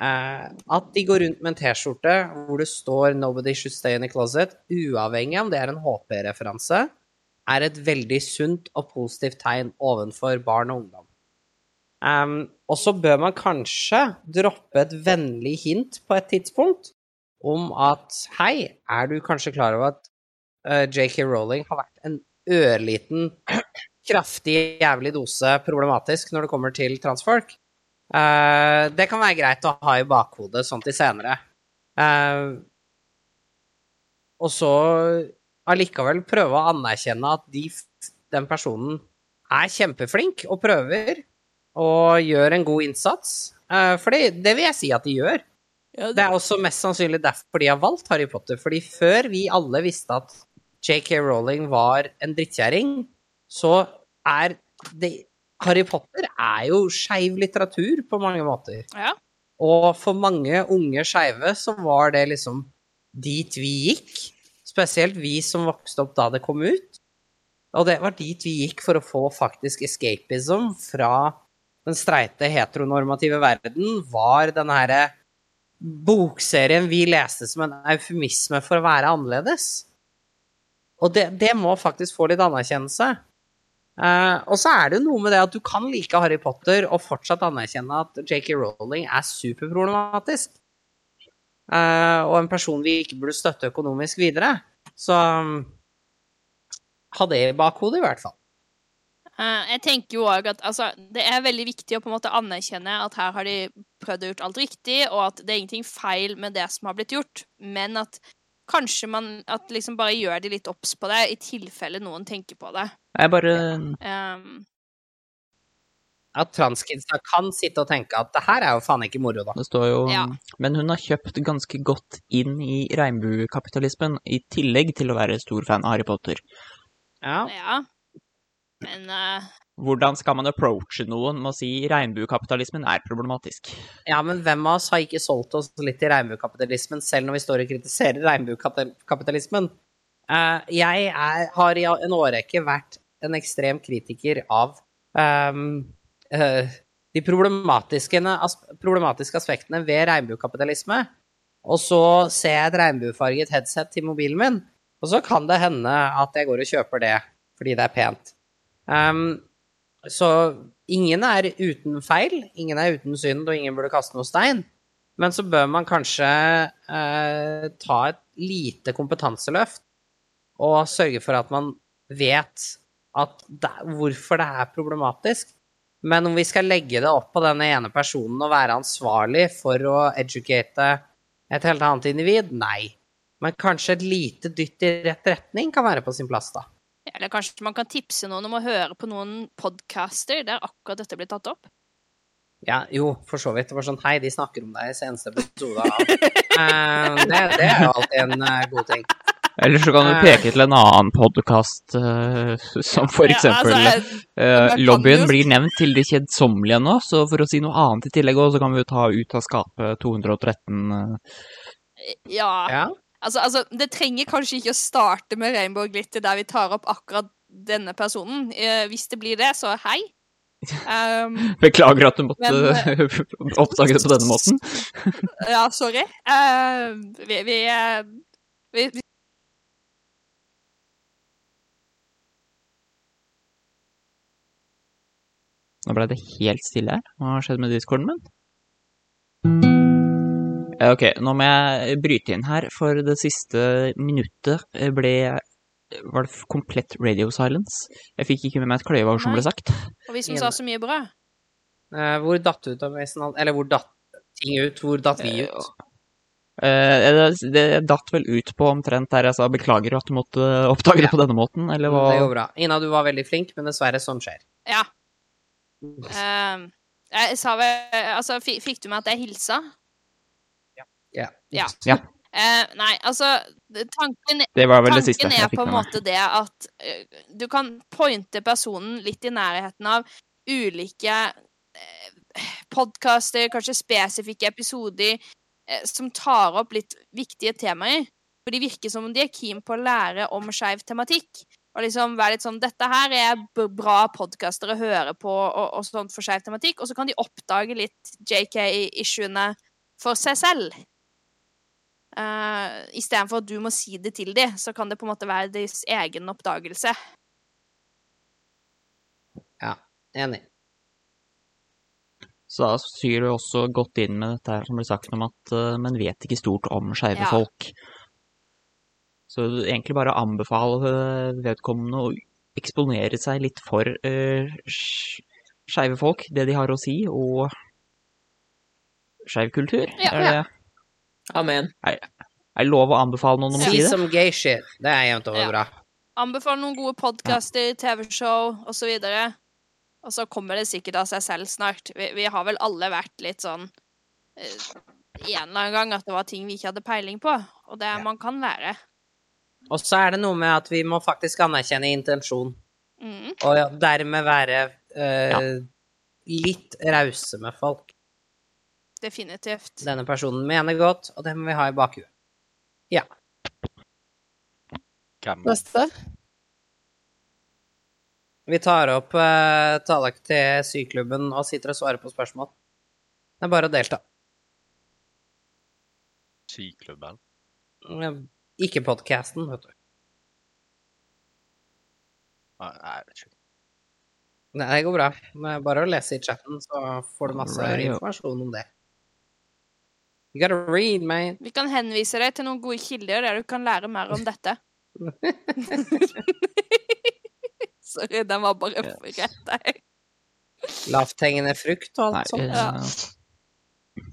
[SPEAKER 2] Eh, at de går rundt med en T-skjorte hvor det står 'Nobody should stay in the closet', uavhengig om det er en HP-referanse, er et veldig sunt og positivt tegn ovenfor barn og ungdom. Ehm, og så bør man kanskje droppe et vennlig hint på et tidspunkt om at hei, er du kanskje klar over at eh, JK Rowling har vært en ørliten, kraftig, jævlig dose problematisk når det kommer til transfolk? Eh, det kan være greit å ha i bakhodet sånn til senere. Eh, og så allikevel prøve å anerkjenne at de, f- den personen er kjempeflink og prøver og gjør en god innsats. Eh, For det, det vil jeg si at de gjør. Det er også mest sannsynlig derfor de har valgt Harry Potter. Fordi før vi alle visste at JK Rowling var en drittkjerring, så er det Harry Potter er jo skeiv litteratur på mange måter.
[SPEAKER 4] Ja.
[SPEAKER 2] Og for mange unge skeive så var det liksom dit vi gikk. Spesielt vi som vokste opp da det kom ut. Og det var dit vi gikk for å få faktisk escapism fra den streite heteronormative verden, var den herre bokserien vi leste som en eufemisme for å være annerledes. Og det, det må faktisk få litt anerkjennelse. Eh, og så er det jo noe med det at du kan like Harry Potter og fortsatt anerkjenne at JK Rowling er superproblematisk. Eh, og en person vi ikke burde støtte økonomisk videre. Så um, ha det i bakhodet, i hvert fall.
[SPEAKER 4] Eh, Jeg tenker jo òg at altså, det er veldig viktig å på en måte anerkjenne at her har de prøvd å gjort alt riktig, og at det er ingenting feil med det som har blitt gjort, men at kanskje man at liksom bare gjør de litt obs på det, i tilfelle noen tenker på det.
[SPEAKER 5] Jeg bare
[SPEAKER 4] Ehm,
[SPEAKER 2] At transkidsa kan sitte og tenke at det her er jo faen ikke moro, da.
[SPEAKER 5] Det står jo
[SPEAKER 4] Ja.
[SPEAKER 5] Men hun har kjøpt ganske godt inn i regnbuekapitalismen, i tillegg til å være stor fan av Harry Potter.
[SPEAKER 2] Ja.
[SPEAKER 4] Men eh,
[SPEAKER 5] Hvordan skal man approache noen med å si regnbuekapitalismen er problematisk?
[SPEAKER 2] Ja, men hvem av oss har ikke solgt oss litt i regnbuekapitalismen, selv når vi står og kritiserer regnbuekapitalismen? Eh, jeg er, har i en årrekke vært en ekstrem kritiker av ehm, eh, de problematiske, as, problematiske aspektene ved regnbuekapitalisme. Og så ser jeg et regnbuefarget headset til mobilen min, og så kan det hende at jeg går og kjøper det fordi det er pent. Ehm, så ingen er uten feil, ingen er uten synd, og ingen burde kaste noe stein. Men så bør man kanskje eh, ta et lite kompetanseløft og sørge for at man vet at det, hvorfor det er problematisk. Men om vi skal legge det opp på denne ene personen og være ansvarlig for å educate et helt annet individ, nei. Men kanskje et lite dytt i rett retning kan være på sin plass, da.
[SPEAKER 4] Eller kanskje man kan tipse noen om å høre på noen podcaster der akkurat dette blir tatt opp.
[SPEAKER 2] Ja, jo, for så vidt. Det var sånn Hei, de snakker om deg i seneste episode av Eh, det, det er jo alltid en eh, god ting.
[SPEAKER 5] Eller så kan du peke til en annen podkast, som for
[SPEAKER 13] Ja,
[SPEAKER 5] eksempel
[SPEAKER 13] altså,
[SPEAKER 5] eh,
[SPEAKER 13] man kan
[SPEAKER 5] Lobbyen
[SPEAKER 13] jo-
[SPEAKER 5] blir nevnt til det kjedsommelige nå, så for å si noe annet i tillegg òg, så kan vi jo ta ut av skapet 213 eh,
[SPEAKER 4] Ja.
[SPEAKER 5] Ja.
[SPEAKER 4] Altså, altså, det trenger kanskje ikke å starte med Rainbow Glitter der vi tar opp akkurat denne personen. Eh, hvis det blir det, så hei. Ehm,
[SPEAKER 5] Eh, Beklager at du måtte
[SPEAKER 4] Men,
[SPEAKER 13] eh,
[SPEAKER 5] oppdage det på denne måten.
[SPEAKER 4] ja, sorry. Ehm, vi, vi, eh, vi, vi
[SPEAKER 5] Nå ble det helt stille her. Hva har skjedd med discorden min? Eh, Ok, nå må jeg bryte inn her, for det siste minuttet eh, ble var det f- komplett radio silence. Jeg fikk ikke med meg et kløyevår som ble sagt.
[SPEAKER 4] Og vi som sa så mye bra.
[SPEAKER 2] Eh, hvor datt du ut av resten av Eller hvor datt ting ut? Hvor datt vi ut?
[SPEAKER 5] Eh, det, det datt vel ut på omtrent der jeg sa beklager at du måtte eh, oppdage det på denne måten, eller hva?
[SPEAKER 2] Mm, Det går bra. Ina, du var veldig flink, men dessverre, sånn skjer.
[SPEAKER 4] Ja. Ehm, jeg sa vel Altså, fi- fikk du med at jeg hilsa?
[SPEAKER 2] Ja.
[SPEAKER 4] Ja.
[SPEAKER 5] Ja.
[SPEAKER 4] Eh, nei, altså det- Tanken,
[SPEAKER 5] Det var vel det siste
[SPEAKER 4] tanken
[SPEAKER 5] jeg
[SPEAKER 4] er
[SPEAKER 5] fikk
[SPEAKER 4] på en
[SPEAKER 5] med meg.
[SPEAKER 4] måte det at eh, du kan pointe personen litt i nærheten av ulike podkaster, kanskje spesifikke episoder, eh, som tar opp litt viktige temaer. For de virker som om de er keen på å lære om skeiv tematikk. Og liksom være litt sånn Dette her er b- bra podkaster å høre på og, og sånt for skeiv tematikk. Og så kan de oppdage litt JK-issuene for seg selv. Uh, Istedenfor at du må si det til dem, så kan det på en måte være deres egen oppdagelse.
[SPEAKER 2] Ja, enig.
[SPEAKER 5] Så da syr du også godt inn med dette her som blir sagt om at eh, man vet ikke stort om skeive
[SPEAKER 4] Ja.
[SPEAKER 5] folk. Så du egentlig bare anbefale eh, vedkommende å eksponere seg litt for uh, skeive folk, det de har å si, og skeiv kultur.
[SPEAKER 9] Ja.
[SPEAKER 5] er det
[SPEAKER 9] Ja. Amen.
[SPEAKER 5] er, er det lov å anbefale noen om å
[SPEAKER 2] Si
[SPEAKER 5] si det?
[SPEAKER 2] som gay shit. Det er jevnt over bra.
[SPEAKER 4] Anbefal noen gode podkaster, TV-show osv. Og så kommer det sikkert av seg selv snart. Vi, vi har vel alle vært litt sånn eh, en eller annen gang at det var ting vi ikke hadde peiling på. Og det man kan lære.
[SPEAKER 2] Og så er det noe med at vi må faktisk anerkjenne intensjon,
[SPEAKER 4] Mm.
[SPEAKER 2] og ja, dermed være eh, litt rause med folk.
[SPEAKER 4] Definitivt.
[SPEAKER 2] Denne personen mener godt, og det må vi ha i bakhuet. Ja.
[SPEAKER 13] Neste.
[SPEAKER 2] Vi tar opp uh, Tallak til syklubben og sitter og svarer på spørsmål. Det er bare å delta.
[SPEAKER 14] Syklubben.
[SPEAKER 2] Ikke podcasten, vet du.
[SPEAKER 14] Nei, jeg vet ikke.
[SPEAKER 2] Nei, det går bra. Det er bare å lese i chatten, så får du masse
[SPEAKER 5] Alright.
[SPEAKER 2] informasjon om det. You gotta read, man.
[SPEAKER 4] Vi kan henvise deg til noen gode kilder der du kan lære mer om dette. Sorry, den var bare rett der.
[SPEAKER 2] Lavthengende frukt og alt
[SPEAKER 5] Nei,
[SPEAKER 2] sånt.
[SPEAKER 5] eh,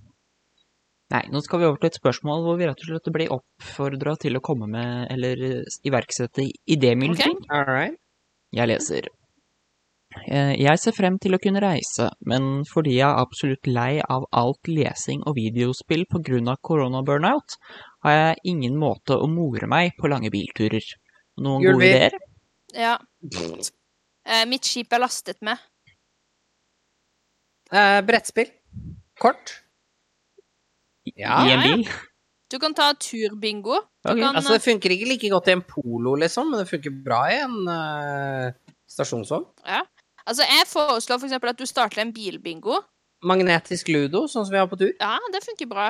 [SPEAKER 5] Nei, nå skal vi over til et spørsmål hvor vi rett og slett blir oppfordra til å komme med eller eh, iverksette idémyldring. Jeg leser. Eh, Jeg ser frem til å kunne reise, men fordi jeg er absolutt lei av alt lesing og videospill pga. koronaburnout, har jeg ingen måte å more meg på lange bilturer. Noen
[SPEAKER 4] Gul
[SPEAKER 5] gode
[SPEAKER 4] bil.
[SPEAKER 5] ideer?
[SPEAKER 4] Ja. Eh, mitt skip er lastet med.
[SPEAKER 2] Eh, brettspill. Kort. Ja.
[SPEAKER 5] I en bil?
[SPEAKER 4] Du kan ta turbingo. Du kan, eh,
[SPEAKER 2] Altså, det funker ikke like godt i en polo, liksom, men det funker bra i en eh, stasjonsvogn.
[SPEAKER 4] ja. altså, jeg foreslår for eksempel at du starter en bilbingo.
[SPEAKER 2] Magnetisk ludo, sånn som vi har på tur.
[SPEAKER 4] Ja, det funker bra.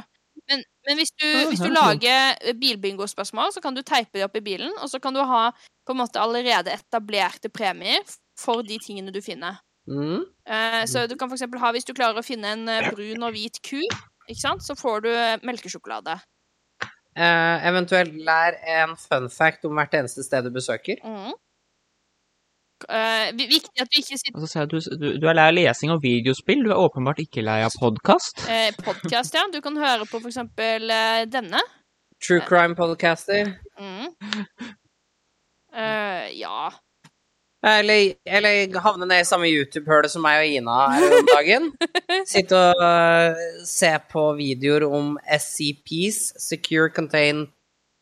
[SPEAKER 4] Men, men hvis, du,
[SPEAKER 5] Ah,
[SPEAKER 2] Ja,
[SPEAKER 4] hvis du
[SPEAKER 2] ja,
[SPEAKER 4] lager eh, bilbingospørsmål, så kan du teipe det opp i bilen, og så kan du ha på en måte allerede etablerte premier for de tingene du finner.
[SPEAKER 2] Mm.
[SPEAKER 4] Eh, så du kan for eksempel ha, hvis du klarer å finne en eh, brun og hvit ku, ikke sant, så får du eh, melkesjokolade.
[SPEAKER 2] Eh, eventuelt lær en fun fact om hvert eneste sted du besøker.
[SPEAKER 4] Mhm. Eh, vi- viktig at du ikke sitter
[SPEAKER 5] Og så ser jeg at du, du, du er lei av lesing og videospill, du er åpenbart ikke lei av podkast.
[SPEAKER 4] eh, podkast, ja. Du kan høre på for eksempel eh, denne. Eh,
[SPEAKER 2] True crime podcaster.
[SPEAKER 4] Mhm. Eh, ja.
[SPEAKER 2] Eller, eller havne ned i samme YouTube-hølet som meg og Ina er om dagen. Sitte og eh, øh, se på videoer om SCPs, Secure Contain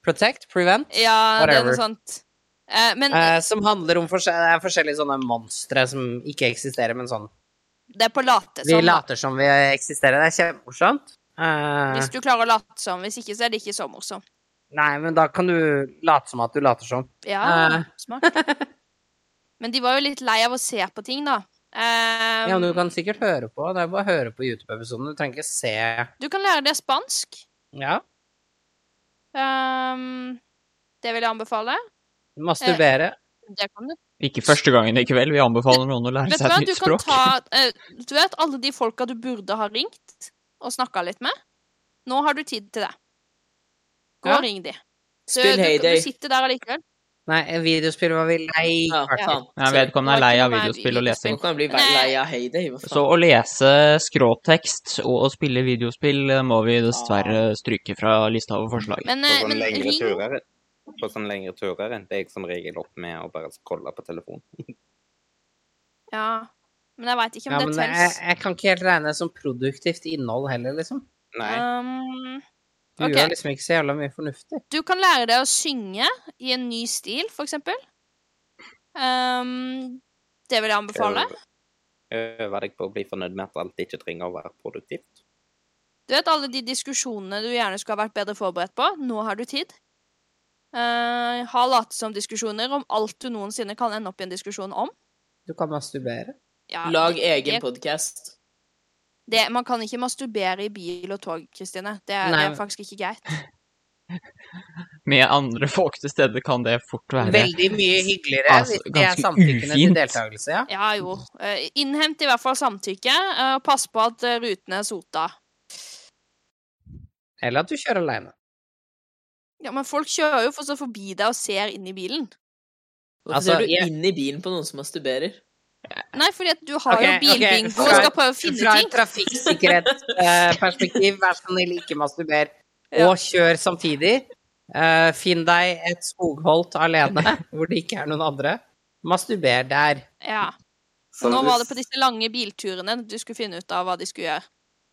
[SPEAKER 2] Protect? Prevent?
[SPEAKER 4] Ja, sånn det er noe sånt. Eh, men
[SPEAKER 2] Eh, som handler om forskjell det er forskjellige sånne monstre som ikke eksisterer, men sånn
[SPEAKER 4] det er på late
[SPEAKER 2] Vi
[SPEAKER 4] som. da.
[SPEAKER 2] later som vi eksisterer. Det er kjempemorsomt. Eh,
[SPEAKER 4] Hvis du klarer å late som. Hvis ikke, så er det ikke så morsomt.
[SPEAKER 2] Nei, men da kan du late som at du later som.
[SPEAKER 4] Ja,
[SPEAKER 2] Eh,
[SPEAKER 4] smart. Men de var jo litt lei av å se på ting, da. Eh,
[SPEAKER 2] ja, men du kan sikkert høre på. Det er bare å høre på YouTube-episoden. Du trenger ikke se.
[SPEAKER 4] du kan lære deg spansk.
[SPEAKER 2] Ja.
[SPEAKER 4] Ehm, det vil jeg anbefale.
[SPEAKER 5] Masturbere.
[SPEAKER 4] Eh, det kan du.
[SPEAKER 5] Ikke første gangen i kveld. Vi anbefaler noen å lære
[SPEAKER 4] Vet du
[SPEAKER 5] seg
[SPEAKER 4] hva,
[SPEAKER 5] et
[SPEAKER 4] du
[SPEAKER 5] nytt
[SPEAKER 4] kan
[SPEAKER 5] språk.
[SPEAKER 4] ta eh, Du vet alle de folka du burde ha ringt og snakka litt med? Nå har du tid til det. Gå
[SPEAKER 2] Ja.
[SPEAKER 4] og ring de. Du,
[SPEAKER 2] Spill
[SPEAKER 4] du,
[SPEAKER 2] Heyday.
[SPEAKER 4] du sitter der allikevel.
[SPEAKER 2] Nei, eh, videospill var vi lei.
[SPEAKER 4] faen.
[SPEAKER 5] Nei, vedkommende er lei av videospill og lesing.
[SPEAKER 6] Kan bli vei- lei av Heyday. hva faen?
[SPEAKER 5] Så å lese skråtekst og å spille videospill eh, må vi dessverre stryke fra lista over forslag.
[SPEAKER 4] Men,
[SPEAKER 3] på
[SPEAKER 4] eh,
[SPEAKER 3] sånne
[SPEAKER 4] men
[SPEAKER 3] lengre
[SPEAKER 4] ring-
[SPEAKER 3] turer På sånne lengre turer endte jeg som regel opp med å bare scrolle på telefonen.
[SPEAKER 4] Ja. Men jeg veit ikke om
[SPEAKER 2] Ja,
[SPEAKER 4] det
[SPEAKER 2] men jeg,
[SPEAKER 4] tels.
[SPEAKER 2] jeg kan ikke helt regne det som produktivt innhold heller, liksom.
[SPEAKER 4] Um,
[SPEAKER 2] Du
[SPEAKER 4] ok.
[SPEAKER 2] gjør liksom ikke så jævla mye fornuftig.
[SPEAKER 4] Du kan lære deg å synge i en ny stil, for eksempel. Um, det vil jeg anbefale.
[SPEAKER 3] Øve deg på å bli fornøyd med at alt ikke trenger å være produktivt.
[SPEAKER 4] Du vet alle de diskusjonene du gjerne skulle ha vært bedre forberedt på? Nå har du tid. Eh, ha latesomdiskusjoner om alt du noensinne kan ende opp i en diskusjon om.
[SPEAKER 2] Du kan masturbere.
[SPEAKER 4] Ja,
[SPEAKER 6] Lag
[SPEAKER 4] det-
[SPEAKER 6] egen
[SPEAKER 4] det-
[SPEAKER 6] podkast.
[SPEAKER 4] det- Man kan ikke masturbere i bil og tog, Kristine. Det, er-
[SPEAKER 5] Nei,
[SPEAKER 4] det er
[SPEAKER 5] men-
[SPEAKER 4] faktisk ikke greit.
[SPEAKER 5] Med andre folk til stede kan det fort være
[SPEAKER 2] Veldig mye hyggeligere
[SPEAKER 5] altså,
[SPEAKER 2] hvis det er
[SPEAKER 5] ganske
[SPEAKER 2] samtykkende til
[SPEAKER 5] ufint.
[SPEAKER 2] deltakelse, ja.
[SPEAKER 4] Ja, jo. Eh, innhent i hvert fall samtykke, eh, og pass på at eh, rutene er sota.
[SPEAKER 2] Eller at du kjører aleine.
[SPEAKER 4] Ja, men folk kjører jo for så forbi deg og ser inn i bilen.
[SPEAKER 6] Hvorfor
[SPEAKER 2] Altså,
[SPEAKER 6] ser du
[SPEAKER 2] jeg-
[SPEAKER 6] inn i bilen på noen som masturberer?
[SPEAKER 4] Nei, fordi at du har
[SPEAKER 2] Ok,
[SPEAKER 4] jo
[SPEAKER 2] ok,
[SPEAKER 4] bilbingo
[SPEAKER 2] fra-
[SPEAKER 4] og skal prøve å finne
[SPEAKER 2] Fra
[SPEAKER 4] ting.
[SPEAKER 2] et trafikksikkerhetsperspektiv, vær så snill, ikke masturber. Og kjør samtidig. Eh, finn deg et skogholt alene, hvor det ikke er noen andre. Masturber der.
[SPEAKER 4] Ja.
[SPEAKER 12] Som
[SPEAKER 4] nå
[SPEAKER 12] du-
[SPEAKER 4] var det på disse lange bilturene du skulle finne ut av hva de skulle gjøre.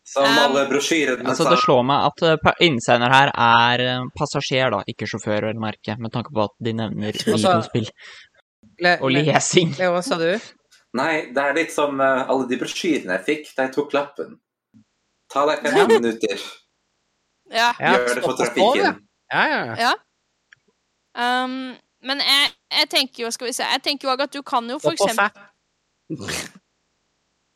[SPEAKER 12] Som
[SPEAKER 4] Um,
[SPEAKER 12] alle brosjyrene
[SPEAKER 5] Altså, det slår meg at eh, pa- innsender her er eh, passasjer, da, ikke sjåfør, vel å merke, med tanke på at de nevner
[SPEAKER 2] Altså-
[SPEAKER 5] videospill. Og lesing.
[SPEAKER 2] Hva sa du?
[SPEAKER 12] Nei, det er litt som eh, alle de brosjyrene jeg fikk da jeg tok lappen. Ta deg fem minutter.
[SPEAKER 4] Ja.
[SPEAKER 12] Gjør det for trafikken.
[SPEAKER 2] Ja, ja.
[SPEAKER 4] Ja. Um, men jeg, jeg tenker jo, skal vi se Jeg tenker jo også at du kan jo for
[SPEAKER 2] Stopp og
[SPEAKER 4] eksempel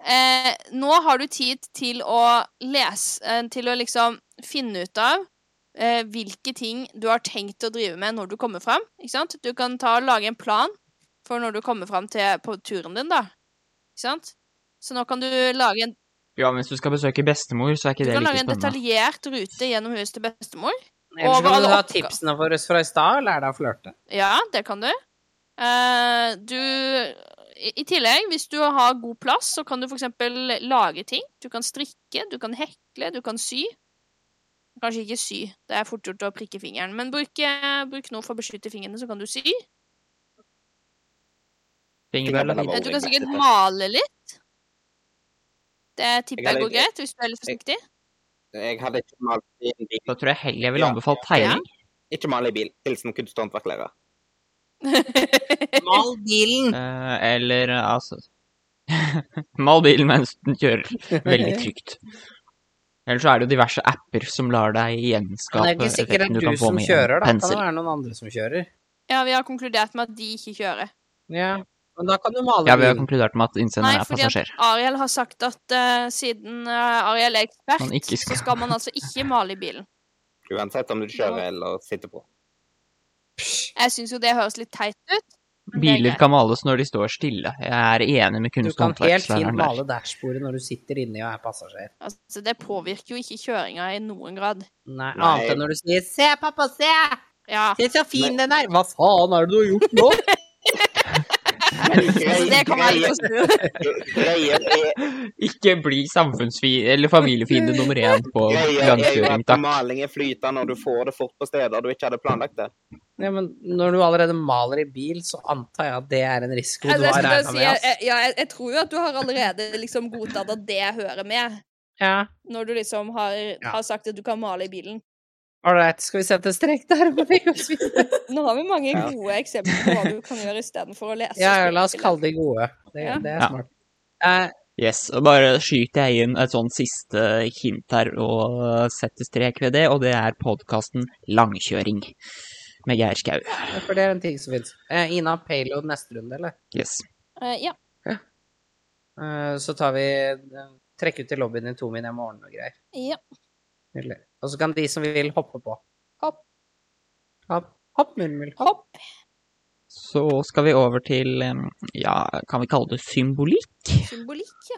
[SPEAKER 4] eh, Nå har du tid til å lese eh, Til å liksom finne ut av eh, hvilke ting du har tenkt å drive med når du kommer fram. Ikke sant? Du kan ta og lage en plan for når du kommer fram til, på turen din, da. Ikke sant? Så nå kan du lage en
[SPEAKER 5] Ja, men hvis du skal besøke bestemor, så er ikke
[SPEAKER 4] Du kan
[SPEAKER 5] det like
[SPEAKER 4] lage en
[SPEAKER 5] spennende.
[SPEAKER 4] detaljert rute gjennom huset til bestemor.
[SPEAKER 2] Ellers
[SPEAKER 4] Over
[SPEAKER 2] kan du
[SPEAKER 4] alle
[SPEAKER 2] ha
[SPEAKER 4] oppga-
[SPEAKER 2] tipsene våre fra i stad, og lære deg å flørte.
[SPEAKER 4] Ja, det kan du. Eh, du i, I tillegg, hvis du har god plass, så kan du f.eks. lage ting. Du kan strikke, du kan hekle, du kan sy. Kanskje ikke sy, det er fort gjort å prikke fingeren, men bruk, eh, bruk noe for å beskytte fingrene, så kan du sy.
[SPEAKER 5] Fingerbell er
[SPEAKER 4] Eh, Du kan sikkert
[SPEAKER 5] fint.
[SPEAKER 4] male litt. Det
[SPEAKER 3] Jeg
[SPEAKER 4] tipper
[SPEAKER 3] er
[SPEAKER 4] jeg går
[SPEAKER 3] litt-
[SPEAKER 4] greit, hvis du er litt forsiktig.
[SPEAKER 3] Jeg hadde ikke malt i en bil.
[SPEAKER 5] Da tror jeg heller jeg ville anbefalt tegning.
[SPEAKER 3] Ikke mal i bil. Hilsen kunsthåndverklærer.
[SPEAKER 2] Mal bilen!
[SPEAKER 5] Eh, eller eh, altså Mal bilen mens den kjører. Veldig trygt. Eller så er det jo diverse apper som lar deg
[SPEAKER 2] Men det er
[SPEAKER 5] gjenskape
[SPEAKER 2] ikke sikkert det
[SPEAKER 5] effekten du
[SPEAKER 2] er
[SPEAKER 5] kan
[SPEAKER 2] du
[SPEAKER 5] få
[SPEAKER 2] som
[SPEAKER 5] med en
[SPEAKER 2] kjører, da. Kan det
[SPEAKER 5] pensel.
[SPEAKER 2] være noen andre som kjører?
[SPEAKER 4] Ja, vi har konkludert med at de ikke kjører.
[SPEAKER 2] Ja. Men da kan du male
[SPEAKER 5] Ja, vi har
[SPEAKER 2] bilen.
[SPEAKER 5] konkludert med at
[SPEAKER 4] Nei,
[SPEAKER 5] innsenderen er
[SPEAKER 4] fordi at
[SPEAKER 5] passasjer.
[SPEAKER 4] Ariel har sagt at eh, siden eh, Ariel er ekspert,
[SPEAKER 5] Man ikke skal-
[SPEAKER 4] så skal man altså ikke male i bilen.
[SPEAKER 3] Uansett om du kjører eller sitter på.
[SPEAKER 4] Jeg syns jo det høres litt teit ut.
[SPEAKER 5] Biler kan males når de står stille. Jeg er enig med
[SPEAKER 2] Du
[SPEAKER 5] kunst- og
[SPEAKER 2] kan helt fint
[SPEAKER 5] håndverkslæreren der.
[SPEAKER 2] male dashbordet når du sitter inni og er passasjer.
[SPEAKER 4] Altså, det påvirker jo ikke kjøringa i noen grad.
[SPEAKER 2] Nei,
[SPEAKER 4] Nei.
[SPEAKER 2] annet enn når du sier 'se, pappa, se'!
[SPEAKER 4] Ja.
[SPEAKER 2] Se så fin den er! Hva faen er det du har gjort nå?
[SPEAKER 4] Altså, det kan man ikke forstå.
[SPEAKER 5] Ikke bli samfunnsfiende eller familiefiende nummer én på
[SPEAKER 3] Greia er jo
[SPEAKER 5] langkjøring,
[SPEAKER 3] at
[SPEAKER 5] takk.
[SPEAKER 3] maling er flytende, og du får det fort på steder du ikke hadde planlagt det.
[SPEAKER 2] Nei, men når du allerede maler i bil, så antar jeg at det er en risiko du
[SPEAKER 4] Altså, jeg,
[SPEAKER 2] har
[SPEAKER 4] skulle bare
[SPEAKER 2] regna
[SPEAKER 4] si,
[SPEAKER 2] med,
[SPEAKER 4] jeg,
[SPEAKER 2] ass.
[SPEAKER 4] jeg- ja, jeg, jeg tror jo at du har allerede liksom godtatt at det hører med,
[SPEAKER 2] Ja.
[SPEAKER 4] når du liksom har,
[SPEAKER 2] Ja.
[SPEAKER 4] har sagt at du kan male i bilen.
[SPEAKER 2] Ålreit, skal vi sette strek der? må vi gå videre?
[SPEAKER 4] Nå har vi mange
[SPEAKER 2] Ja.
[SPEAKER 4] gode eksempler på hva du kan gjøre istedenfor å lese.
[SPEAKER 2] Ja, ja, la oss kalle de gode. Det,
[SPEAKER 4] Ja.
[SPEAKER 2] det
[SPEAKER 5] Ja.
[SPEAKER 2] er smart. Eh,
[SPEAKER 5] Yes, og bare skyter jeg inn et sånn siste hint her og eh, setter strek ved det, og det er podkasten Langkjøring med Geir Skau.
[SPEAKER 2] for det er en ting som fins. Eh, Ina, payload neste runde, eller?
[SPEAKER 5] Yes.
[SPEAKER 4] Eh, ja.
[SPEAKER 2] Eh, så tar vi eh, Trekk ut i lobbyen i to min, jeg må ordne noe greier.
[SPEAKER 4] ja.
[SPEAKER 2] Nydelig. Og så kan de som vil, hoppe på.
[SPEAKER 4] Hopp.
[SPEAKER 2] Hopp, hopp murmel.
[SPEAKER 4] Hopp.
[SPEAKER 5] Så skal vi over til, em, ja, kan vi kalle det symbolikk?
[SPEAKER 4] Symbolikk, ja.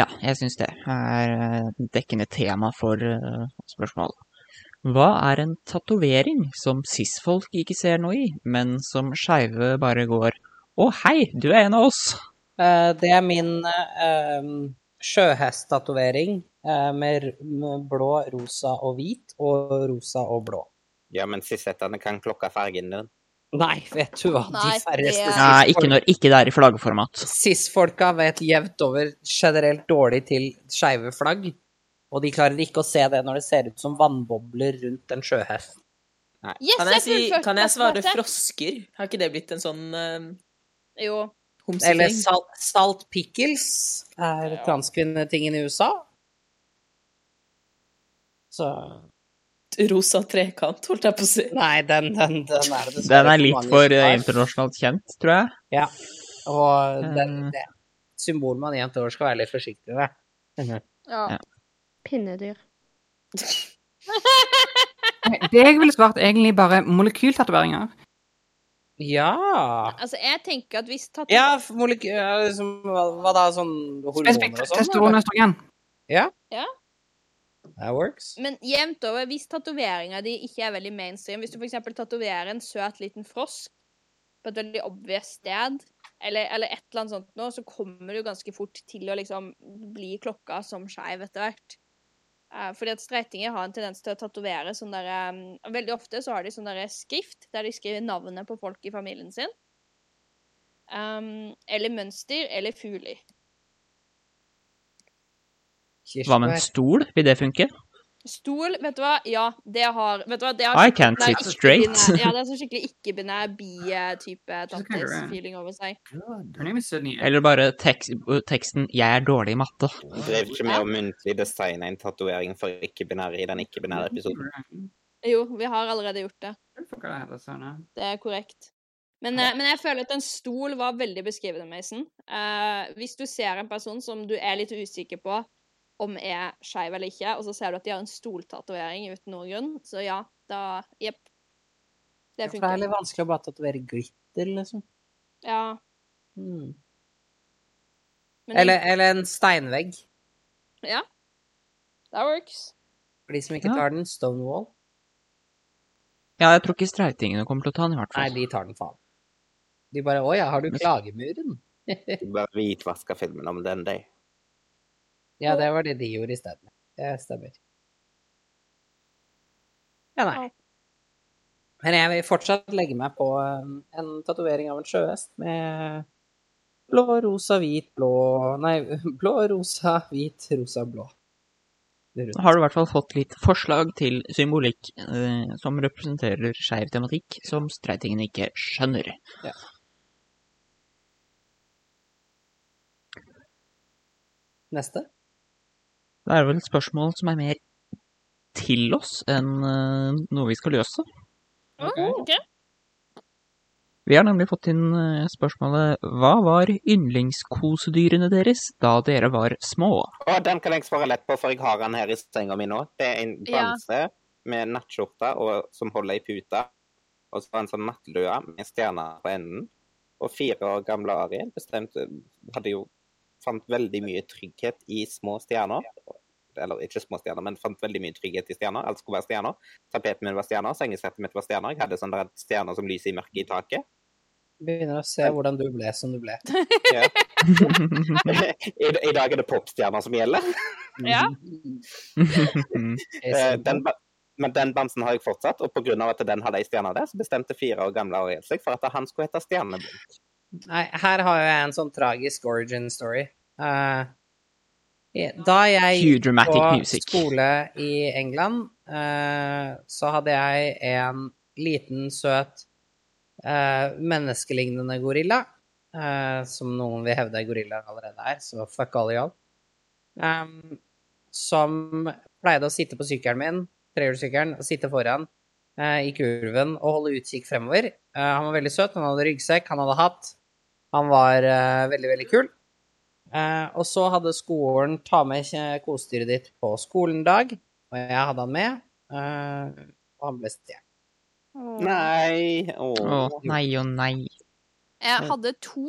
[SPEAKER 5] Ja, jeg syns det er eh, dekkende tema for eh, spørsmålet. Hva er en tatovering som cis-folk ikke ser noe i, men som skeive bare går 'Å, hei, du er en av oss'?
[SPEAKER 2] Eh, det er min uh, sjøhesttatovering eh, med, r- med blå, rosa og hvit, og rosa og blå.
[SPEAKER 3] Ja, men sissettene kan klokke fargen din.
[SPEAKER 2] Nei, vet du hva?
[SPEAKER 4] Nei,
[SPEAKER 2] de færreste
[SPEAKER 4] det-
[SPEAKER 5] Nei, ikke når ikke det er i flaggformat.
[SPEAKER 2] Cis-folka vet jevnt over generelt dårlig til skeive flagg, og de klarer ikke å se det når det ser ut som vannbobler rundt en sjøhest.
[SPEAKER 4] Yes,
[SPEAKER 6] kan, jeg si,
[SPEAKER 4] fullførte
[SPEAKER 6] kan jeg svare
[SPEAKER 4] spørsmålet.
[SPEAKER 6] frosker? Har ikke det blitt en sånn uh,
[SPEAKER 4] Jo.
[SPEAKER 2] Eller
[SPEAKER 6] homseting?
[SPEAKER 2] salt, salt pickles er transkvinnetingen i USA. Så
[SPEAKER 6] Rosa trekant, holdt jeg på å si.
[SPEAKER 2] Nei, den, den, den er det
[SPEAKER 5] Den
[SPEAKER 2] dessverre
[SPEAKER 5] er litt
[SPEAKER 2] mange
[SPEAKER 5] for
[SPEAKER 2] som
[SPEAKER 5] eh,
[SPEAKER 2] har.
[SPEAKER 5] internasjonalt kjent, tror jeg.
[SPEAKER 2] Ja. Og den,
[SPEAKER 6] Mm.
[SPEAKER 2] det symbolet man jevnt over skal være litt forsiktig med.
[SPEAKER 4] Ja.
[SPEAKER 8] Pinnedyr.
[SPEAKER 15] Det jeg ville svart, egentlig bare molekyltatoveringer.
[SPEAKER 2] Ja
[SPEAKER 4] Altså, jeg tenker at hvis tatt...
[SPEAKER 2] Ja, f- moleky- ja, liksom, hva, hva da? Sånn hormoner og sånn?
[SPEAKER 15] Testosteron og
[SPEAKER 2] eller?
[SPEAKER 15] østrogen.
[SPEAKER 2] Ja,
[SPEAKER 4] Ja.
[SPEAKER 2] that works.
[SPEAKER 4] Men jevnt over, hvis tatoveringa di ikke er veldig mainstream Hvis du f.eks. tatoverer en søt liten frosk på et veldig obvious sted, eller, eller et eller annet sånt noe, så kommer du ganske fort til å liksom bli klokka som skeiv etter hvert. Eh, fordi at streitinger har en tendens til å tatovere sånn derre eh, Veldig ofte så har de sånn derre skrift der de skriver navnet på folk i familien sin. Um, eller mønster eller fugler.
[SPEAKER 5] Hva med en stol? Vil det funke?
[SPEAKER 4] Stol, vet du hva? Ja, det har vet du hva? Det har
[SPEAKER 5] I
[SPEAKER 4] skikkelig
[SPEAKER 5] can't
[SPEAKER 4] binær-
[SPEAKER 5] sit
[SPEAKER 4] ikke
[SPEAKER 5] straight.
[SPEAKER 4] binær- Ja, det er sånn skikkelig ikke-binær bi-type
[SPEAKER 15] kan gjøre det.
[SPEAKER 4] tattis-feeling over seg.
[SPEAKER 15] Her name is Sydney.
[SPEAKER 5] Eller bare tekst, eh, teksten 'Jeg er dårlig i matte'.
[SPEAKER 3] Du drev ikke med å muntlig designe en tatovering for ikke-binære i den ikke-binære episoden.
[SPEAKER 4] Jo, vi har allerede gjort det.
[SPEAKER 2] altså.
[SPEAKER 6] Sånn,
[SPEAKER 4] Det er korrekt. Men, eh, men jeg føler at en stol var veldig beskrivende, Mason. Eh, hvis du ser en person som du er litt usikker på om er skeiv eller ikke, og så ser du at de har en stoltatovering uten noen grunn, så ja, da Jepp.
[SPEAKER 2] Ja,
[SPEAKER 4] Det
[SPEAKER 2] for det er litt
[SPEAKER 4] funker.
[SPEAKER 2] vanskelig å bare tatovere glitter, liksom.
[SPEAKER 4] Ja.
[SPEAKER 2] Hmm.
[SPEAKER 4] Men
[SPEAKER 2] Eller, eller en steinvegg,
[SPEAKER 4] Ja. That works.
[SPEAKER 2] for de som ikke tar den. Stonewall.
[SPEAKER 5] Ja, jeg tror ikke streitingene kommer til å ta den, i hvert
[SPEAKER 2] Nei,
[SPEAKER 5] fall.
[SPEAKER 2] de tar den faen. De bare 'Å ja, har du klagemuren?'
[SPEAKER 3] Du bare hvitvasker filmen om den day.
[SPEAKER 2] Ja, det var det de gjorde isteden. Det stemmer. Ja, nei. Men jeg vil fortsatt legge meg på um, en tatovering av en sjøhest med blå, rosa, hvit, blå Nei, blå, rosa, hvit, rosa, blå.
[SPEAKER 5] Nå har du i hvert fall fått litt forslag til symbolikk eh, som representerer skeiv tematikk som streitingene ikke skjønner.
[SPEAKER 2] Ja. Neste.
[SPEAKER 5] Det er vel et spørsmål som er mer til oss enn eh, noe vi skal løse. Vi har nemlig fått inn eh, spørsmålet Hva var yndlingskosedyrene deres da dere var små?
[SPEAKER 3] Å, den kan jeg svare lett på, for jeg har den her i senga mi nå. Det er en
[SPEAKER 4] Ja.
[SPEAKER 3] bamse med nattskjorte og, som holder i puta. Og så en sånn nattlue med stjerner på enden. Og fire år gamle Ariel bestemte Hadde jo Fant veldig mye trygghet i små stjerner. Eller ikke små stjerner, men fant veldig mye trygghet i stjerner. Alt skulle være stjerner. Tapetet mitt var stjerner, sengesettet mitt var stjerner. Jeg hadde sånn der stjerner som lyser i mørket i taket.
[SPEAKER 2] Begynner å se hvordan du ble som du ble.
[SPEAKER 3] Ja. I, I dag er det popstjerner som gjelder.
[SPEAKER 4] Ja.
[SPEAKER 3] Eh,
[SPEAKER 2] sånn,
[SPEAKER 3] den, ba- men den bamsen har jeg fortsatt, og pga. at den hadde ei stjerne der, så bestemte fire år gamle Ariel seg for at han skulle hete Stjerneblink.
[SPEAKER 2] Nei, her har jeg en sånn tragisk origin story. Eh, da jeg
[SPEAKER 5] Cue dramatic
[SPEAKER 2] på
[SPEAKER 5] music.
[SPEAKER 2] skole i England, eh, så hadde jeg en liten, søt, eh, menneskelignende gorilla, eh, som noen vil hevde er gorilla allerede er, så fuck alle y'all, em, som pleide å sitte på sykkelen min, trehjulssykkelen, og sitte foran eh, i kurven og holde utkikk fremover. Eh, han var veldig søt, han hadde ryggsekk, han hadde hatt, han var eh, veldig, veldig kul. Eh, og så hadde skolen ta med kje- kosedyret ditt på skolendag, og jeg hadde han med, eh, og han ble stjålet.
[SPEAKER 3] Nei!
[SPEAKER 5] Å, nei og nei.
[SPEAKER 4] Jeg hadde to.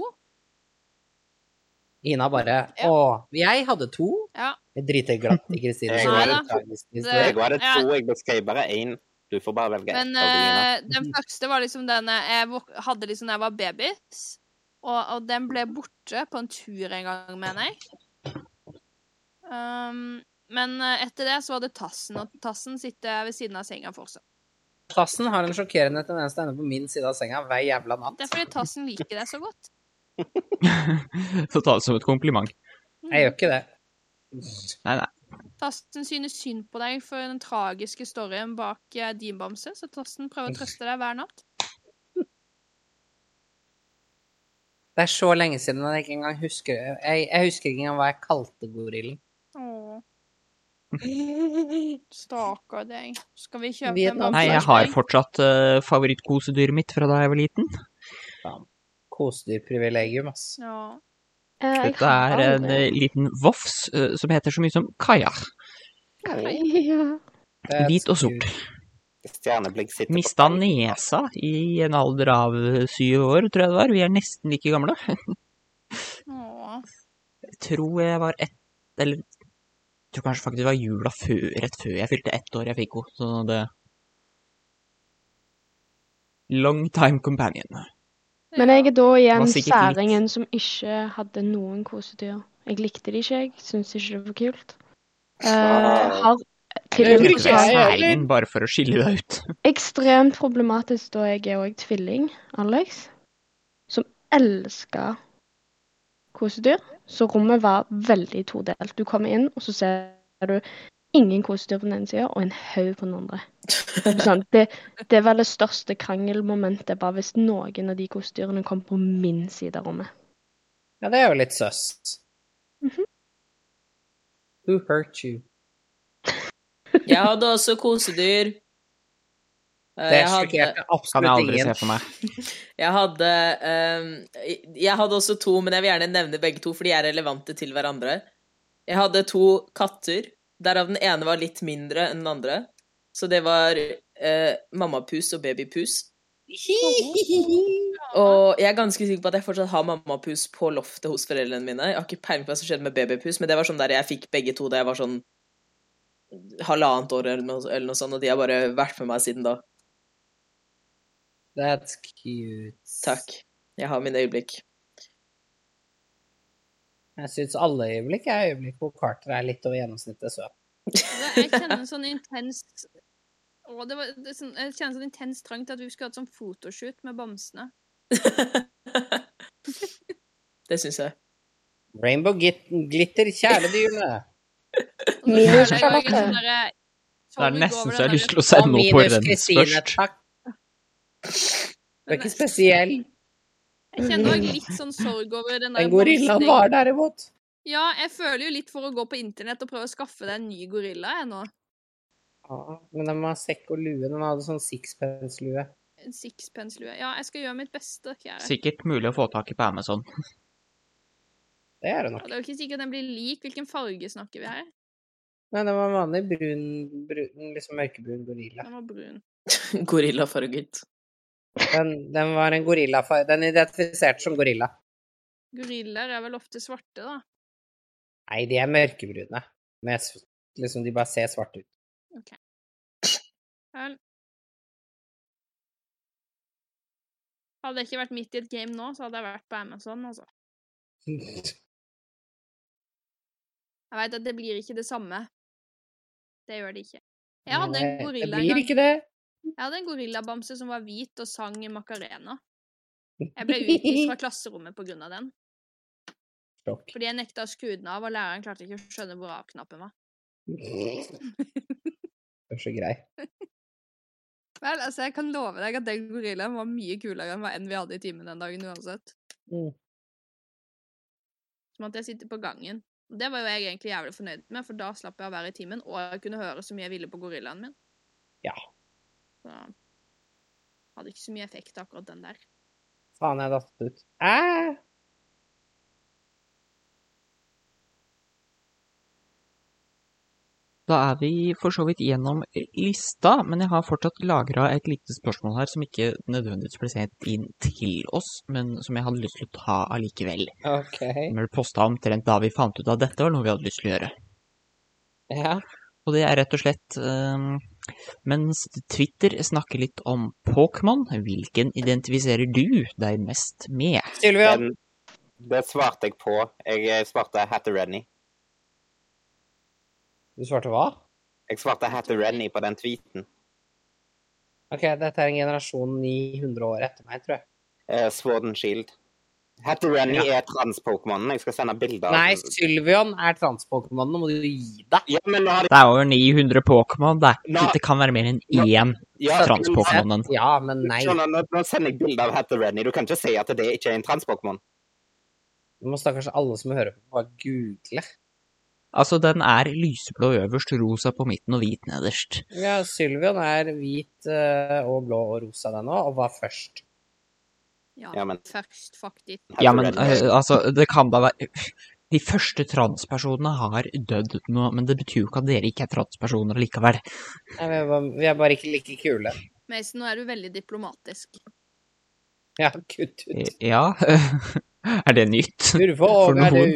[SPEAKER 2] Ina bare Å, jeg hadde to.
[SPEAKER 4] Ja.
[SPEAKER 2] Jeg driter glatt i Kristine.
[SPEAKER 3] Jeg
[SPEAKER 2] som
[SPEAKER 4] Nei
[SPEAKER 2] er
[SPEAKER 4] da.
[SPEAKER 2] en tragisk historie.
[SPEAKER 3] Jeg hadde
[SPEAKER 4] Ja.
[SPEAKER 3] to, jeg beskrev bare én. Du får bare velge
[SPEAKER 4] Men
[SPEAKER 3] ett av de. Ina.
[SPEAKER 4] eh, den første var liksom den jeg våk- hadde liksom da jeg var baby. Og, og den ble borte på en tur en gang, mener jeg. Um, men eh, etter det så var det Tassen, og Tassen sitter ved siden av senga fortsatt.
[SPEAKER 2] Tassen har en sjokkerende tendens til å ende på min side av senga hver jævla natt.
[SPEAKER 4] Det er fordi Tassen liker deg så godt.
[SPEAKER 5] Så ta det som et kompliment.
[SPEAKER 2] Jeg gjør ikke det.
[SPEAKER 5] Nei, nei.
[SPEAKER 4] Tassen synes synd på deg for den tragiske storyen bak eh, din bamse, så Tassen prøver å trøste deg hver natt.
[SPEAKER 2] Det er så lenge siden at jeg ikke engang husker Jeg, jeg husker ikke engang hva jeg kalte gorillen.
[SPEAKER 4] Åh. Stakkar deg. Skal vi kjøpe en
[SPEAKER 2] Vietnam.
[SPEAKER 4] bamse?
[SPEAKER 5] Nei, jeg har fortsatt uh, favorittkosedyret mitt fra da jeg var liten.
[SPEAKER 2] Kosedyrprivilegium, ass.
[SPEAKER 4] Ja.
[SPEAKER 5] Dette er en eh, liten vofs eh, som heter så mye som Kaja. eh, Hvit og sort.
[SPEAKER 3] Stjerneblikk sitter
[SPEAKER 5] Mista nesa i en alder av eh, syv år, tror jeg det var. Vi er nesten like gamle.
[SPEAKER 4] Åh.
[SPEAKER 5] Jeg tror jeg var ett Eller jeg tror kanskje faktisk det var jula før, rett før jeg fylte ett år jeg fikk henne. Så det Long time companion.
[SPEAKER 8] Men jeg er da igjen
[SPEAKER 5] Var sikkert litt-
[SPEAKER 8] særingen som ikke hadde noen kosedyr. Jeg likte de ikke, jeg syntes ikke det var kult. Eh, har til og
[SPEAKER 5] Jeg
[SPEAKER 8] med
[SPEAKER 5] trodde det var
[SPEAKER 8] forsvart-
[SPEAKER 5] særingen bare for å skille deg ut.
[SPEAKER 8] Ekstremt problematisk da jeg er òg tvilling, Alex, som elsker kosedyr. Så rommet var veldig todelt. Du kommer inn, og så ser du ingen kosedyr på den ene sida og en haug på den andre. Sånn, det, det var det største krangelmomentet, bare hvis noen av de kosedyrene kom på min side av rommet.
[SPEAKER 2] Ja, det er jo litt søst.
[SPEAKER 4] Mhm.
[SPEAKER 2] Who hurt you?
[SPEAKER 6] Jeg hadde også kosedyr. Eh,
[SPEAKER 2] Det
[SPEAKER 6] jeg hadde-
[SPEAKER 2] sjokkerte
[SPEAKER 5] Kan jeg
[SPEAKER 2] absolutt
[SPEAKER 5] aldri se
[SPEAKER 2] ingen.
[SPEAKER 5] for meg.
[SPEAKER 6] Jeg hadde ehm, Jeg hadde også to, men jeg vil gjerne nevne begge to, for de er relevante til hverandre. Jeg hadde to katter, derav den ene var litt mindre enn den andre. Så det var eh, mammapus og babypus. Og jeg er ganske sikker på at jeg fortsatt har mammapus på loftet hos foreldrene mine. Jeg har ikke peiling på hva som skjedde med babypus, men det var sånn der jeg fikk begge to da jeg var sånn halvannet år eller noe, eller noe sånt, og de har bare vært med meg siden da.
[SPEAKER 2] That's cute.
[SPEAKER 6] Takk. Jeg har mine øyeblikk.
[SPEAKER 2] Jeg syns alle øyeblikk er øyeblikk hvor Carter er litt over gjennomsnittet søt.
[SPEAKER 4] Jeg kjenner en sånn intens Å, det var, det, er sånn, Jeg kjenner en sånn intens trang til at vi skulle hatt sånn fotoshoot med bamsene.
[SPEAKER 6] Det syns jeg.
[SPEAKER 2] Rainbow git glitter, kjæledyrene.
[SPEAKER 4] Minus
[SPEAKER 2] Charlotte.
[SPEAKER 4] sånn eh,
[SPEAKER 5] Det er nesten så jeg har lyst til å sende noe på Reddit først.
[SPEAKER 2] Takk. Du er ikke spesiell.
[SPEAKER 4] Jeg kjenner også litt sånn sorg over den der
[SPEAKER 2] Den gorillaen
[SPEAKER 4] bamsen.
[SPEAKER 2] var derimot.
[SPEAKER 4] Ja, jeg føler jo litt for å gå på internett og prøve å skaffe deg en ny gorilla, jeg nå.
[SPEAKER 2] Ja, men den var sekk og lue. Den hadde sånn sixpence-lue.
[SPEAKER 4] En sixpence-lue. Ja, jeg skal gjøre mitt beste, kjære.
[SPEAKER 5] Sikkert mulig å få tak i på Amazon.
[SPEAKER 2] Det er det
[SPEAKER 4] Ja,
[SPEAKER 2] nok.
[SPEAKER 4] det er jo ikke sikkert den blir lik. Hvilken farge snakker vi her?
[SPEAKER 2] Nei, den var en vanlig brun, brun liksom mørkebrun gorilla.
[SPEAKER 4] Den var brun.
[SPEAKER 6] Gorillafarget.
[SPEAKER 2] Den, den var en gorillafar... Den er identifisert som gorilla.
[SPEAKER 4] Gorillaer er vel ofte svarte, da.
[SPEAKER 2] Nei, de er mørkebrune. Med, s- liksom, de bare ser svarte ut.
[SPEAKER 4] OK. Vel. Hadde jeg ikke vært midt i et game nå, så hadde jeg vært på Amazon, altså. Jeg veit at det blir ikke det samme. Det gjør det ikke. Jeg hadde en
[SPEAKER 2] Nei,
[SPEAKER 4] gorilla
[SPEAKER 2] Det
[SPEAKER 4] en
[SPEAKER 2] blir
[SPEAKER 4] gang.
[SPEAKER 2] ikke det.
[SPEAKER 4] Jeg hadde en gorillabamse som var hvit og sang Macarena. Jeg ble utvist fra klasserommet på grunn av den.
[SPEAKER 2] Sjokk.
[SPEAKER 4] Fordi jeg nekta å skru den av, og læreren klarte ikke å skjønne hvor av-knappen var.
[SPEAKER 2] Det er så grei.
[SPEAKER 4] Vel, altså, jeg kan love deg at den gorillaen var mye kulere enn hva enn vi hadde i timen den dagen uansett.
[SPEAKER 2] Mm.
[SPEAKER 4] Som at jeg sitter på gangen. Og Det var jo jeg egentlig jævlig fornøyd med, for da slapp jeg å være i timen, og jeg kunne høre så mye jeg ville på gorillaen min.
[SPEAKER 2] Ja.
[SPEAKER 4] Så hadde ikke så mye effekt akkurat den der.
[SPEAKER 2] Faen, jeg datt ut. Æ!
[SPEAKER 5] Da er vi for så vidt gjennom lista, men jeg har fortsatt lagra et lite spørsmål her som ikke nødvendigvis ble sendt inn til oss, men som jeg hadde lyst til å ta allikevel.
[SPEAKER 2] OK.
[SPEAKER 5] Som ble posta omtrent da vi fant ut at dette var noe vi hadde lyst til å gjøre.
[SPEAKER 2] Ja.
[SPEAKER 5] Og det er rett og slett ehm, Mens Twitter snakker litt om Pokémon, hvilken identifiserer du deg mest med?
[SPEAKER 3] Den, det svarte jeg på. Jeg eh, svarte Hatterenny.
[SPEAKER 2] Du svarte hva?
[SPEAKER 3] Jeg svarte Hatterenny på den tweeten.
[SPEAKER 2] OK, dette er en generasjon 900 år etter meg, tror jeg.
[SPEAKER 3] Eh, Sword and Shield. Hatterenny
[SPEAKER 2] Ja.
[SPEAKER 3] er trans-pokémonen. Jeg skal sende bilder. av-
[SPEAKER 2] Nei, Sylvian er transpokémon, nå må du gi deg.
[SPEAKER 3] Ja, men nå har
[SPEAKER 5] Det er over 900 Pokémon. Det, er-
[SPEAKER 3] Nå-
[SPEAKER 5] det kan være mer enn én
[SPEAKER 3] Ja,
[SPEAKER 5] trans-Pokémonen.
[SPEAKER 2] Ja, men nei.
[SPEAKER 3] Skjønner, nå, nå sender jeg bilder av Hatterenny. Du kan ikke si at det ikke er en trans-pokémon.
[SPEAKER 2] Nå må stakkars alle som hører på, bare google.
[SPEAKER 5] Altså, den er lyseblå øverst, rosa på midten og hvit nederst.
[SPEAKER 2] Ja, Sylvian er hvit eh, og blå og rosa, den òg, og var først.
[SPEAKER 4] Ja,
[SPEAKER 5] Ja, men-
[SPEAKER 4] først, faktisk.
[SPEAKER 5] Ja, men øh, altså, det kan da være De første transpersonene har dødd nå, men det betyr jo ikke at dere ikke er transpersoner likevel.
[SPEAKER 2] Nei, vi, er bare, vi er bare ikke like kule.
[SPEAKER 4] Mason, nå er du veldig diplomatisk.
[SPEAKER 2] Ja, kutt ut.
[SPEAKER 5] Eh, Ja Er det nytt?
[SPEAKER 2] Urvåg er du.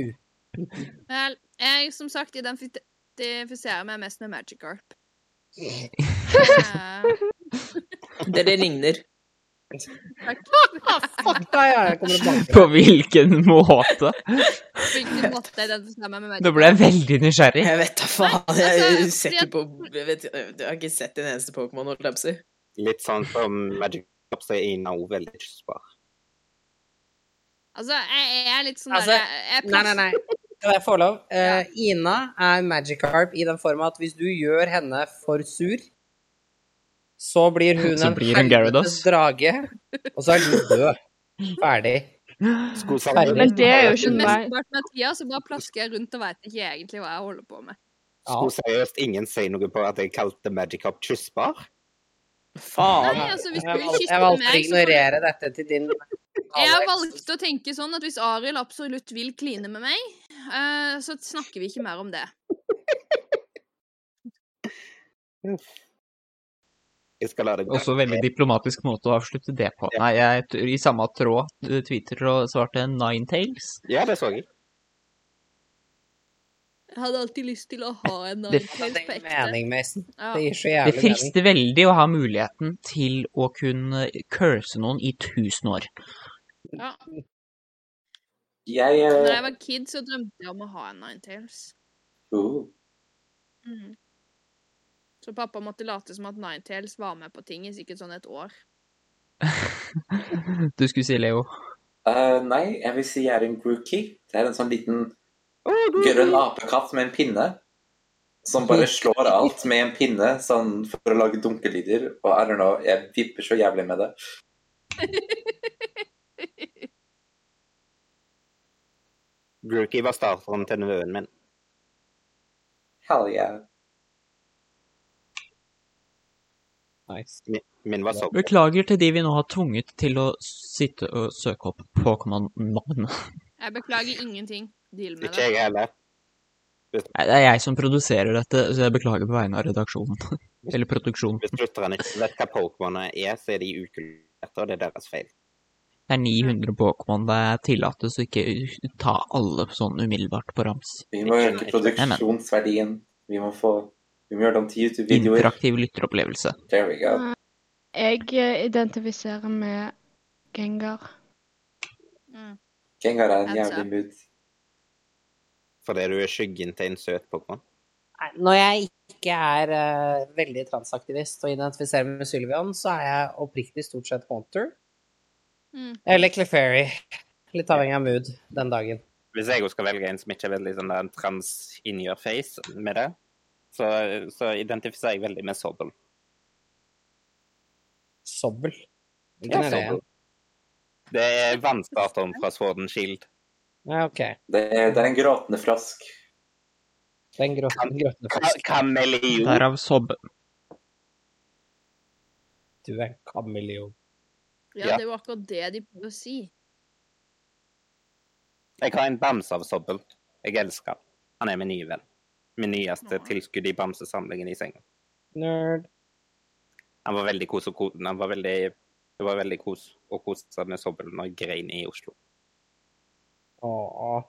[SPEAKER 4] Vel, jeg som sagt identifiserer meg mest med Magikarp.
[SPEAKER 6] Dere ligner.
[SPEAKER 4] Takk.
[SPEAKER 2] Fuck deg, jeg kommer til å banke.
[SPEAKER 5] På hvilken måte?
[SPEAKER 4] Hvilken måte jeg identifiserer meg med Magikarp?
[SPEAKER 5] Nå ble jeg veldig nysgjerrig.
[SPEAKER 6] Jeg vet da faen. Jeg
[SPEAKER 4] altså,
[SPEAKER 6] ser
[SPEAKER 4] fordi
[SPEAKER 6] ikke på jeg, vet, jeg har ikke sett en eneste Pokémon, holdt jeg på å si.
[SPEAKER 3] Litt sånn som Magic Ops er i Now Village Spar.
[SPEAKER 4] Altså, jeg er litt sånn
[SPEAKER 2] Altså,
[SPEAKER 4] der jeg, jeg
[SPEAKER 2] Nei, nei, nei. Kan jeg få lov? Eh, Ina er Magikarp i den forma at hvis du gjør henne for sur, så blir hun
[SPEAKER 5] Så blir hun Gyarados.
[SPEAKER 2] helvetes drage, og så er du død. Ferdig. Ferdig.
[SPEAKER 8] Men det er jo ikke meg.
[SPEAKER 4] Mesteparten av tida så bare plasker jeg rundt og veit ikke egentlig hva jeg holder på med.
[SPEAKER 3] Skulle seriøst ingen si noe på at jeg kalte Magic Up kyssbar?
[SPEAKER 6] Faen.
[SPEAKER 4] Nei, altså, hvis du
[SPEAKER 2] Jeg valg-
[SPEAKER 4] kysser
[SPEAKER 2] jeg
[SPEAKER 4] meg,
[SPEAKER 2] valgte å
[SPEAKER 4] så får du-
[SPEAKER 2] ignorere dette til din
[SPEAKER 4] Jeg valgte å tenke sånn at hvis Arild absolutt vil kline med meg, eh, så snakker vi ikke mer om det.
[SPEAKER 3] Jeg skal la deg
[SPEAKER 5] Også veldig diplomatisk måte å avslutte det på. Nei, jeg, t- I samme tråd eh, Twitter og svarte Ninetales.
[SPEAKER 3] Ja, det så jeg.
[SPEAKER 4] Jeg hadde alltid lyst til å ha en
[SPEAKER 5] Det-
[SPEAKER 4] Ninetales på ekte.
[SPEAKER 2] mening, Mason.
[SPEAKER 4] Ja.
[SPEAKER 2] Det gir så
[SPEAKER 5] Det
[SPEAKER 2] jævlig mening.
[SPEAKER 5] frister veldig å ha muligheten til å kunne curse noen i tusen år.
[SPEAKER 4] Ja.
[SPEAKER 12] Jeg
[SPEAKER 4] Når
[SPEAKER 12] eh,
[SPEAKER 4] jeg var kid, så drømte jeg om å ha en Ninetales.
[SPEAKER 12] oh,
[SPEAKER 4] Mm. Så pappa måtte late som at Ninetales var med på ting i sikkert sånn et år.
[SPEAKER 5] Du skulle si, Leo.
[SPEAKER 12] eh, Nei, jeg vil si jeg er en Grookey. Det er en sånn liten grønn apekatt med en pinne. Som bare slår alt med en pinne sånn for å lage dunkelyder. Og I don't know, jeg vipper så jævlig med det.
[SPEAKER 3] Grookey var starteren til nevøen min.
[SPEAKER 12] Hell yeah.
[SPEAKER 3] Min, min var
[SPEAKER 2] Altså-
[SPEAKER 3] sånn.
[SPEAKER 5] Beklager til de vi nå har tvunget til å sitte og søke opp Pokémon-navn.
[SPEAKER 4] Jeg beklager ingenting. Deal med
[SPEAKER 3] Ikke jeg
[SPEAKER 4] det.
[SPEAKER 3] heller.
[SPEAKER 5] Nei, Det er jeg som produserer dette, så jeg beklager på vegne av redaksjonen. Eller produksjonen.
[SPEAKER 3] Hvis lytterne ikke vet hva Pokémon er, så er de ukulerte, og det er deres feil.
[SPEAKER 5] Det er 900 Pokémon det er tillatt, så ikke ta alle sånn umiddelbart på rams.
[SPEAKER 12] Vi må øke produksjonsverdien. Vi må få Vi må gjøre det om til YouTube-videoer.
[SPEAKER 5] Interaktiv lytteropplevelse.
[SPEAKER 12] There we
[SPEAKER 8] Mm.
[SPEAKER 12] go.
[SPEAKER 8] Jeg eh, identifiserer med Gengar.
[SPEAKER 12] Gengar er en
[SPEAKER 8] Altså.
[SPEAKER 12] jævlig mood.
[SPEAKER 3] Fordi du er skyggen til en søt Pokémon.
[SPEAKER 2] Nei, Når jeg ikke er eh, veldig transaktivist og identifiserer meg med Sylvian, så er jeg oppriktig stort sett Haunter.
[SPEAKER 4] Mm.
[SPEAKER 2] Eller Clefairy. Litt avhengig av mood den dagen.
[SPEAKER 3] Hvis jeg også skal velge en som ikke er veldig sånn der trans in your face med det, så, så identifiserer jeg veldig med sobbel.
[SPEAKER 2] Sobbel?
[SPEAKER 3] Ja,
[SPEAKER 2] Hvilken er det igjen?
[SPEAKER 3] sobbel. Det er vannstarteren fra Sworden Shield.
[SPEAKER 2] Ja, OK.
[SPEAKER 12] Det er, det er en gråtende frosk.
[SPEAKER 2] Den gråtende
[SPEAKER 3] grøtne Kameleon.
[SPEAKER 5] Derav sobb.
[SPEAKER 2] Du er en kameleon.
[SPEAKER 4] Ja,
[SPEAKER 3] Ja.
[SPEAKER 4] det er jo akkurat det de prøver å si.
[SPEAKER 3] Jeg har en bamse av sobbel. Jeg elsker han. Han er min nye venn. Min nyeste tilskudd i bamsesamlingen i senga.
[SPEAKER 2] Nerd.
[SPEAKER 3] Han var veldig kos og kos. Han var veldig, det var veldig kos å kose seg med sobbel når jeg grein i Oslo.
[SPEAKER 2] Åh.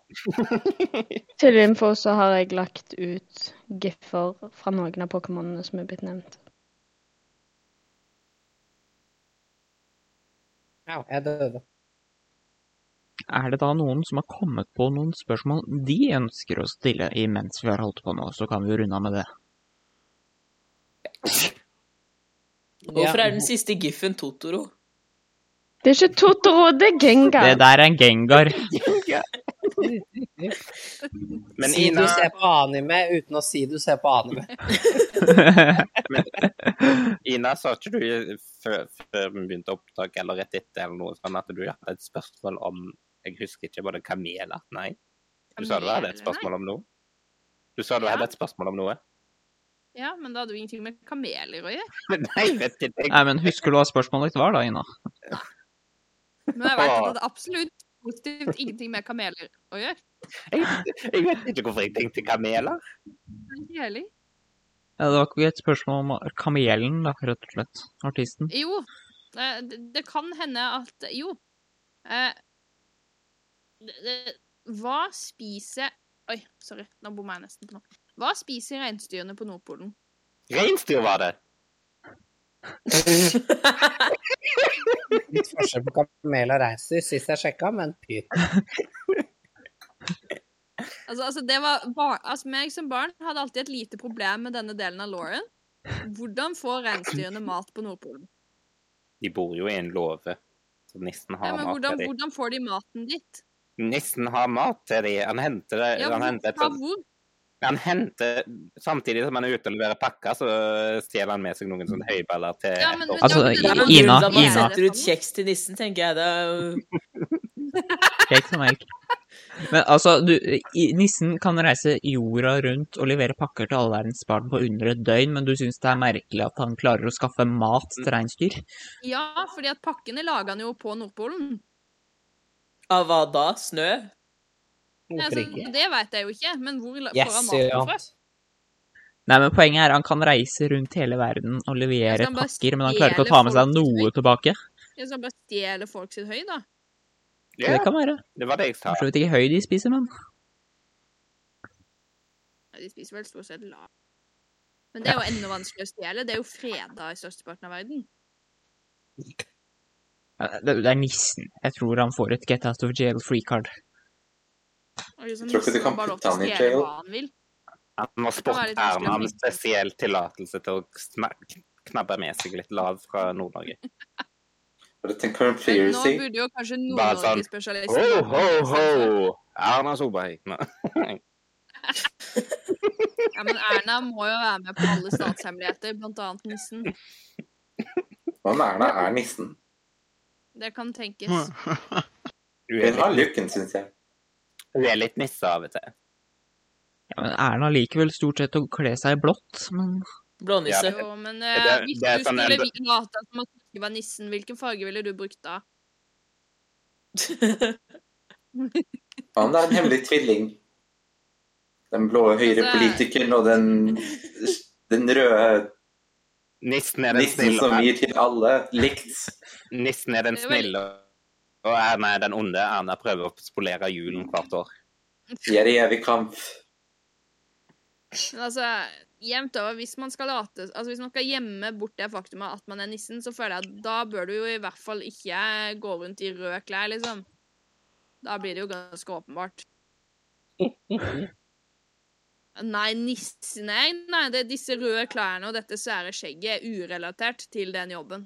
[SPEAKER 8] Til info så har jeg lagt ut giffer fra noen av pokémonene som er blitt nevnt.
[SPEAKER 2] Au, jeg døde.
[SPEAKER 5] Er det da noen som har kommet på noen spørsmål de ønsker å stille imens vi har holdt på nå, så kan vi jo runde av med det.
[SPEAKER 6] Hvorfor er den siste giffen Totoro?
[SPEAKER 8] Det er ikke Totoro, det er Gengar.
[SPEAKER 5] Det der er en gengar.
[SPEAKER 3] Men
[SPEAKER 2] si
[SPEAKER 3] Ina-
[SPEAKER 2] du ser på anime uten å si du ser på anime.
[SPEAKER 3] Ina, sa ikke du før, før vi begynte opptak eller rett etter eller noe sånn at du hadde et spørsmål om Jeg husker ikke, var det kameler? Nei? Du sa du hadde et spørsmål om noe? Du sa du hadde et spørsmål om noe?
[SPEAKER 4] Ja, men da hadde jo ingenting med kameler å gjøre.
[SPEAKER 3] Nei, vet ikke.
[SPEAKER 5] Nei, men husker du hva spørsmålet ditt var da, Ina?
[SPEAKER 4] Men jeg vet at det hadde absolutt positivt ingenting med kameler å gjøre.
[SPEAKER 3] Jeg vet ikke hvorfor jeg tenkte kameler.
[SPEAKER 4] Det er ikke heller.
[SPEAKER 5] Ja, det var ikke et spørsmål om kamelen, da, rett og slett. Artisten.
[SPEAKER 4] Jo, eh, det, det kan hende at Jo. Eh, det, det, hva spiser Oi, sorry. Nå bomma jeg nesten på noe. Hva spiser reinsdyrene på Nordpolen?
[SPEAKER 3] Reinsdyr var det!
[SPEAKER 2] Litt forskjell på kamel og reinsdyr sist jeg sjekka, men pyt.
[SPEAKER 4] Altså, altså, det var bar altså, meg som barn hadde alltid et lite problem med denne delen av Lauren. Hvordan får reinsdyrene mat på Nordpolen?
[SPEAKER 3] De bor jo i en låve. Så nissen
[SPEAKER 4] Ja,
[SPEAKER 3] har
[SPEAKER 4] men
[SPEAKER 3] mat
[SPEAKER 4] hvordan,
[SPEAKER 3] til dem.
[SPEAKER 4] hvordan får de maten dit?
[SPEAKER 3] Nissen har mat til dem. Han henter det
[SPEAKER 4] Ja, hvor,
[SPEAKER 3] han Eh, henter et
[SPEAKER 4] fra
[SPEAKER 3] sånt-
[SPEAKER 4] hvor?
[SPEAKER 3] Han henter, Samtidig som han er ute og leverer pakker, så stjeler han med seg noen sånne høyballer til
[SPEAKER 4] Ja, men- men
[SPEAKER 5] Altså,
[SPEAKER 4] da-
[SPEAKER 5] I-
[SPEAKER 6] Det er noen
[SPEAKER 5] Ina,
[SPEAKER 6] grunn til at man
[SPEAKER 5] Ina.
[SPEAKER 6] setter ut kjeks
[SPEAKER 4] sånn.
[SPEAKER 6] til nissen, tenker jeg. Det er jo...
[SPEAKER 5] Kjeks og melk. Men altså, du, i- nissen kan reise jorda rundt og levere pakker til alle verdens barn på under et døgn, men du syns det er merkelig at han klarer å skaffe mat til reinsdyr?
[SPEAKER 4] Ja, fordi at pakkene lager han jo på Nordpolen.
[SPEAKER 6] Av hva da? Snø?
[SPEAKER 4] Nei, Altså, det vet jeg jo ikke, men hvor la-
[SPEAKER 5] Yes,
[SPEAKER 4] får han maten
[SPEAKER 5] ja.
[SPEAKER 4] fra?
[SPEAKER 5] Nei, men poenget er han kan reise rundt hele verden og
[SPEAKER 4] Altså,
[SPEAKER 5] levere
[SPEAKER 4] han bare
[SPEAKER 5] pakker, men han klarer ikke å
[SPEAKER 4] stjeler
[SPEAKER 5] ta med seg
[SPEAKER 4] folk
[SPEAKER 5] noe tilbake.
[SPEAKER 4] Ja, så han bare stjeler folk sitt høy, da.
[SPEAKER 5] Så det kan være.
[SPEAKER 3] Det var det jeg sa.
[SPEAKER 5] For så vidt ikke høy de spiser, men
[SPEAKER 4] Ja, de spiser vel stort sett lav. Men det er jo enda vanskeligere å stjele. Det er jo freda i størsteparten av verden.
[SPEAKER 5] Ja, det, det er nissen. Jeg tror han får et get out of jail free card.
[SPEAKER 4] Og liksom,
[SPEAKER 3] Tror ikke du
[SPEAKER 4] nissen
[SPEAKER 3] kan
[SPEAKER 4] har bare lov til
[SPEAKER 3] putte
[SPEAKER 4] å
[SPEAKER 3] han i
[SPEAKER 4] stjele
[SPEAKER 3] jail.
[SPEAKER 4] hva han vil.
[SPEAKER 3] Han
[SPEAKER 4] kan være
[SPEAKER 3] må
[SPEAKER 4] litt
[SPEAKER 3] sporterne
[SPEAKER 4] vanskelig å
[SPEAKER 3] om spesiell tillatelse til å smak- knabbe med seg litt lav fra Nord-Norge.
[SPEAKER 12] Var det en
[SPEAKER 4] Men nå
[SPEAKER 12] conspiracy?
[SPEAKER 4] burde jo kanskje
[SPEAKER 3] Bare sånn
[SPEAKER 4] Nord-Norge-spesialisten
[SPEAKER 3] Ho, ho, ho! Erna Solberg. Nå.
[SPEAKER 4] sånn, Ja, men Erna må jo være med på alle statshemmeligheter, blant annet nissen.
[SPEAKER 12] Hva med Erna er nissen?
[SPEAKER 4] Det kan tenkes.
[SPEAKER 12] Hun har looken, syns jeg.
[SPEAKER 3] Hun er litt nisse av og til.
[SPEAKER 5] Ja, men Erna liker vel stort sett å kle seg i blått, men
[SPEAKER 6] Blånisse.
[SPEAKER 4] Jo, men
[SPEAKER 5] Ja,
[SPEAKER 4] eh,
[SPEAKER 5] det-
[SPEAKER 4] hvis
[SPEAKER 5] det er
[SPEAKER 4] du
[SPEAKER 5] sånn
[SPEAKER 4] skulle
[SPEAKER 5] en-
[SPEAKER 4] vi- late som at du ikke var nissen, hvilken farge ville du brukt da?
[SPEAKER 12] Han er en hemmelig tvilling. Den blå høyrepolitikeren og den, den røde
[SPEAKER 3] Nissen er den
[SPEAKER 12] nissen
[SPEAKER 3] snille.
[SPEAKER 12] som gir til alle likt.
[SPEAKER 3] Nissen er den
[SPEAKER 12] Det er vel-
[SPEAKER 3] snille, og Erna er den onde. Erna prøver å spolere julen hvert år.
[SPEAKER 12] De er i evig kamp.
[SPEAKER 4] Men altså, jevnt over, hvis man skal late Altså, hvis man skal gjemme bort det faktumet at man er nissen, så føler jeg at da bør du jo i hvert fall ikke gå rundt i røde klær, liksom. Da blir det jo ganske åpenbart. Nei, nissen Nei, nei det er disse røde klærne og dette svære skjegget er urelatert til den jobben.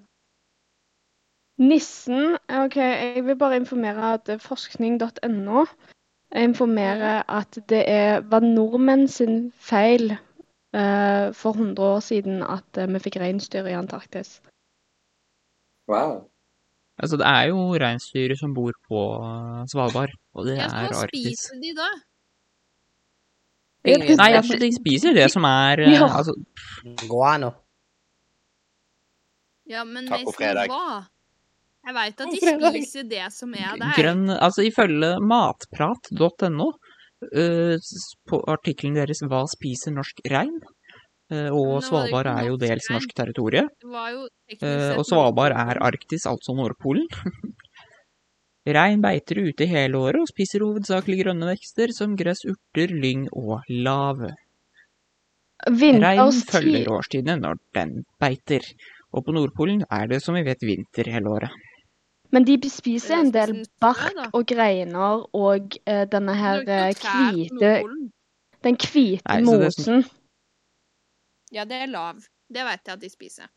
[SPEAKER 8] Nissen OK, jeg vil bare informere at forskning.no informerer at det er, var nordmenn sin feil eh, for 100 år siden at eh, vi fikk reinsdyr i Antarktis.
[SPEAKER 12] Wow.
[SPEAKER 5] Altså, det er jo reinsdyr som bor på Svalbard, og det
[SPEAKER 13] Ja, så
[SPEAKER 5] er
[SPEAKER 13] hva
[SPEAKER 5] Arktis.
[SPEAKER 13] spiser de da?
[SPEAKER 5] Ingen- Nei, altså, de spiser det som er eh,
[SPEAKER 13] Ja.
[SPEAKER 5] altså,
[SPEAKER 2] Guano.
[SPEAKER 13] Ja, men
[SPEAKER 5] Taco
[SPEAKER 13] Mason,
[SPEAKER 5] fredag.
[SPEAKER 13] hva? Jeg veit at de
[SPEAKER 2] fredag.
[SPEAKER 13] spiser det som er der.
[SPEAKER 5] grønn Altså, ifølge matprat.no, eh, s- på artikkelen deres 'Hva spiser norsk rein?', eh, og
[SPEAKER 13] Men nå var det
[SPEAKER 5] Svalbard
[SPEAKER 13] ikke
[SPEAKER 5] er jo
[SPEAKER 13] norsk
[SPEAKER 5] dels
[SPEAKER 13] rein.
[SPEAKER 5] norsk territorium,
[SPEAKER 13] Det var jo teknisk
[SPEAKER 5] eh,
[SPEAKER 13] sett
[SPEAKER 5] og Svalbard er Arktis, altså Nordpolen. Rein beiter ute hele året og spiser hovedsakelig grønne vekster som gress, urter, lyng og lave. Reinen
[SPEAKER 8] Vinterstid
[SPEAKER 5] følger årstidene når den beiter, og på Nordpolen er det som vi vet vinter hele året.
[SPEAKER 8] Men de spiser en del bark og greiner og eh, denne her eh, hvite Den hvite
[SPEAKER 5] Nei, så det er
[SPEAKER 8] mosen.
[SPEAKER 13] Ja, det er lav. Det veit jeg at de spiser.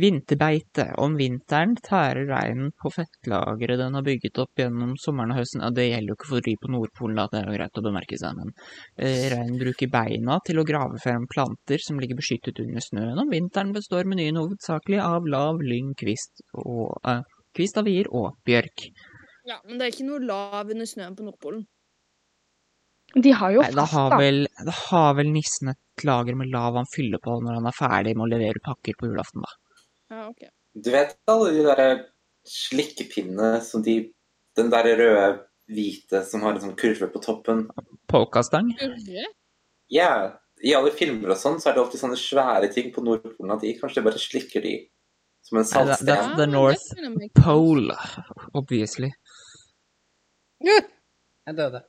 [SPEAKER 5] Vinterbeite. Om vinteren tærer reinen på fettlageret den har bygget opp gjennom sommeren og høsten. Ja, det gjelder jo ikke for de på Nordpolen, da, det er jo greit å bemerke seg, men eh, reinen bruker beina til å grave frem planter som ligger beskyttet under snøen. Om vinteren består menyen hovedsakelig av lav lyng, kvist, og, eh, kvist av vier og bjørk.
[SPEAKER 13] Ja, men det er ikke noe lav under snøen på Nordpolen.
[SPEAKER 8] De har jo
[SPEAKER 5] Nei, da har vel, da har vel nissen et lager med lava han fyller på når han er ferdig med å levere pakker på julaften, da.
[SPEAKER 13] Ja, ok.
[SPEAKER 12] Du vet alle de derre slikkepinnene som de Den derre røde, hvite som har en sånn kurve på toppen?
[SPEAKER 5] Polkastang?
[SPEAKER 12] Ja. I alle filmer og sånn så er det alltid sånne svære ting på Nordpolen at de kanskje de bare slikker de som en
[SPEAKER 5] Nei, that-
[SPEAKER 12] saltsten.
[SPEAKER 5] That's the North Pole, obviously.
[SPEAKER 2] Jeg døde.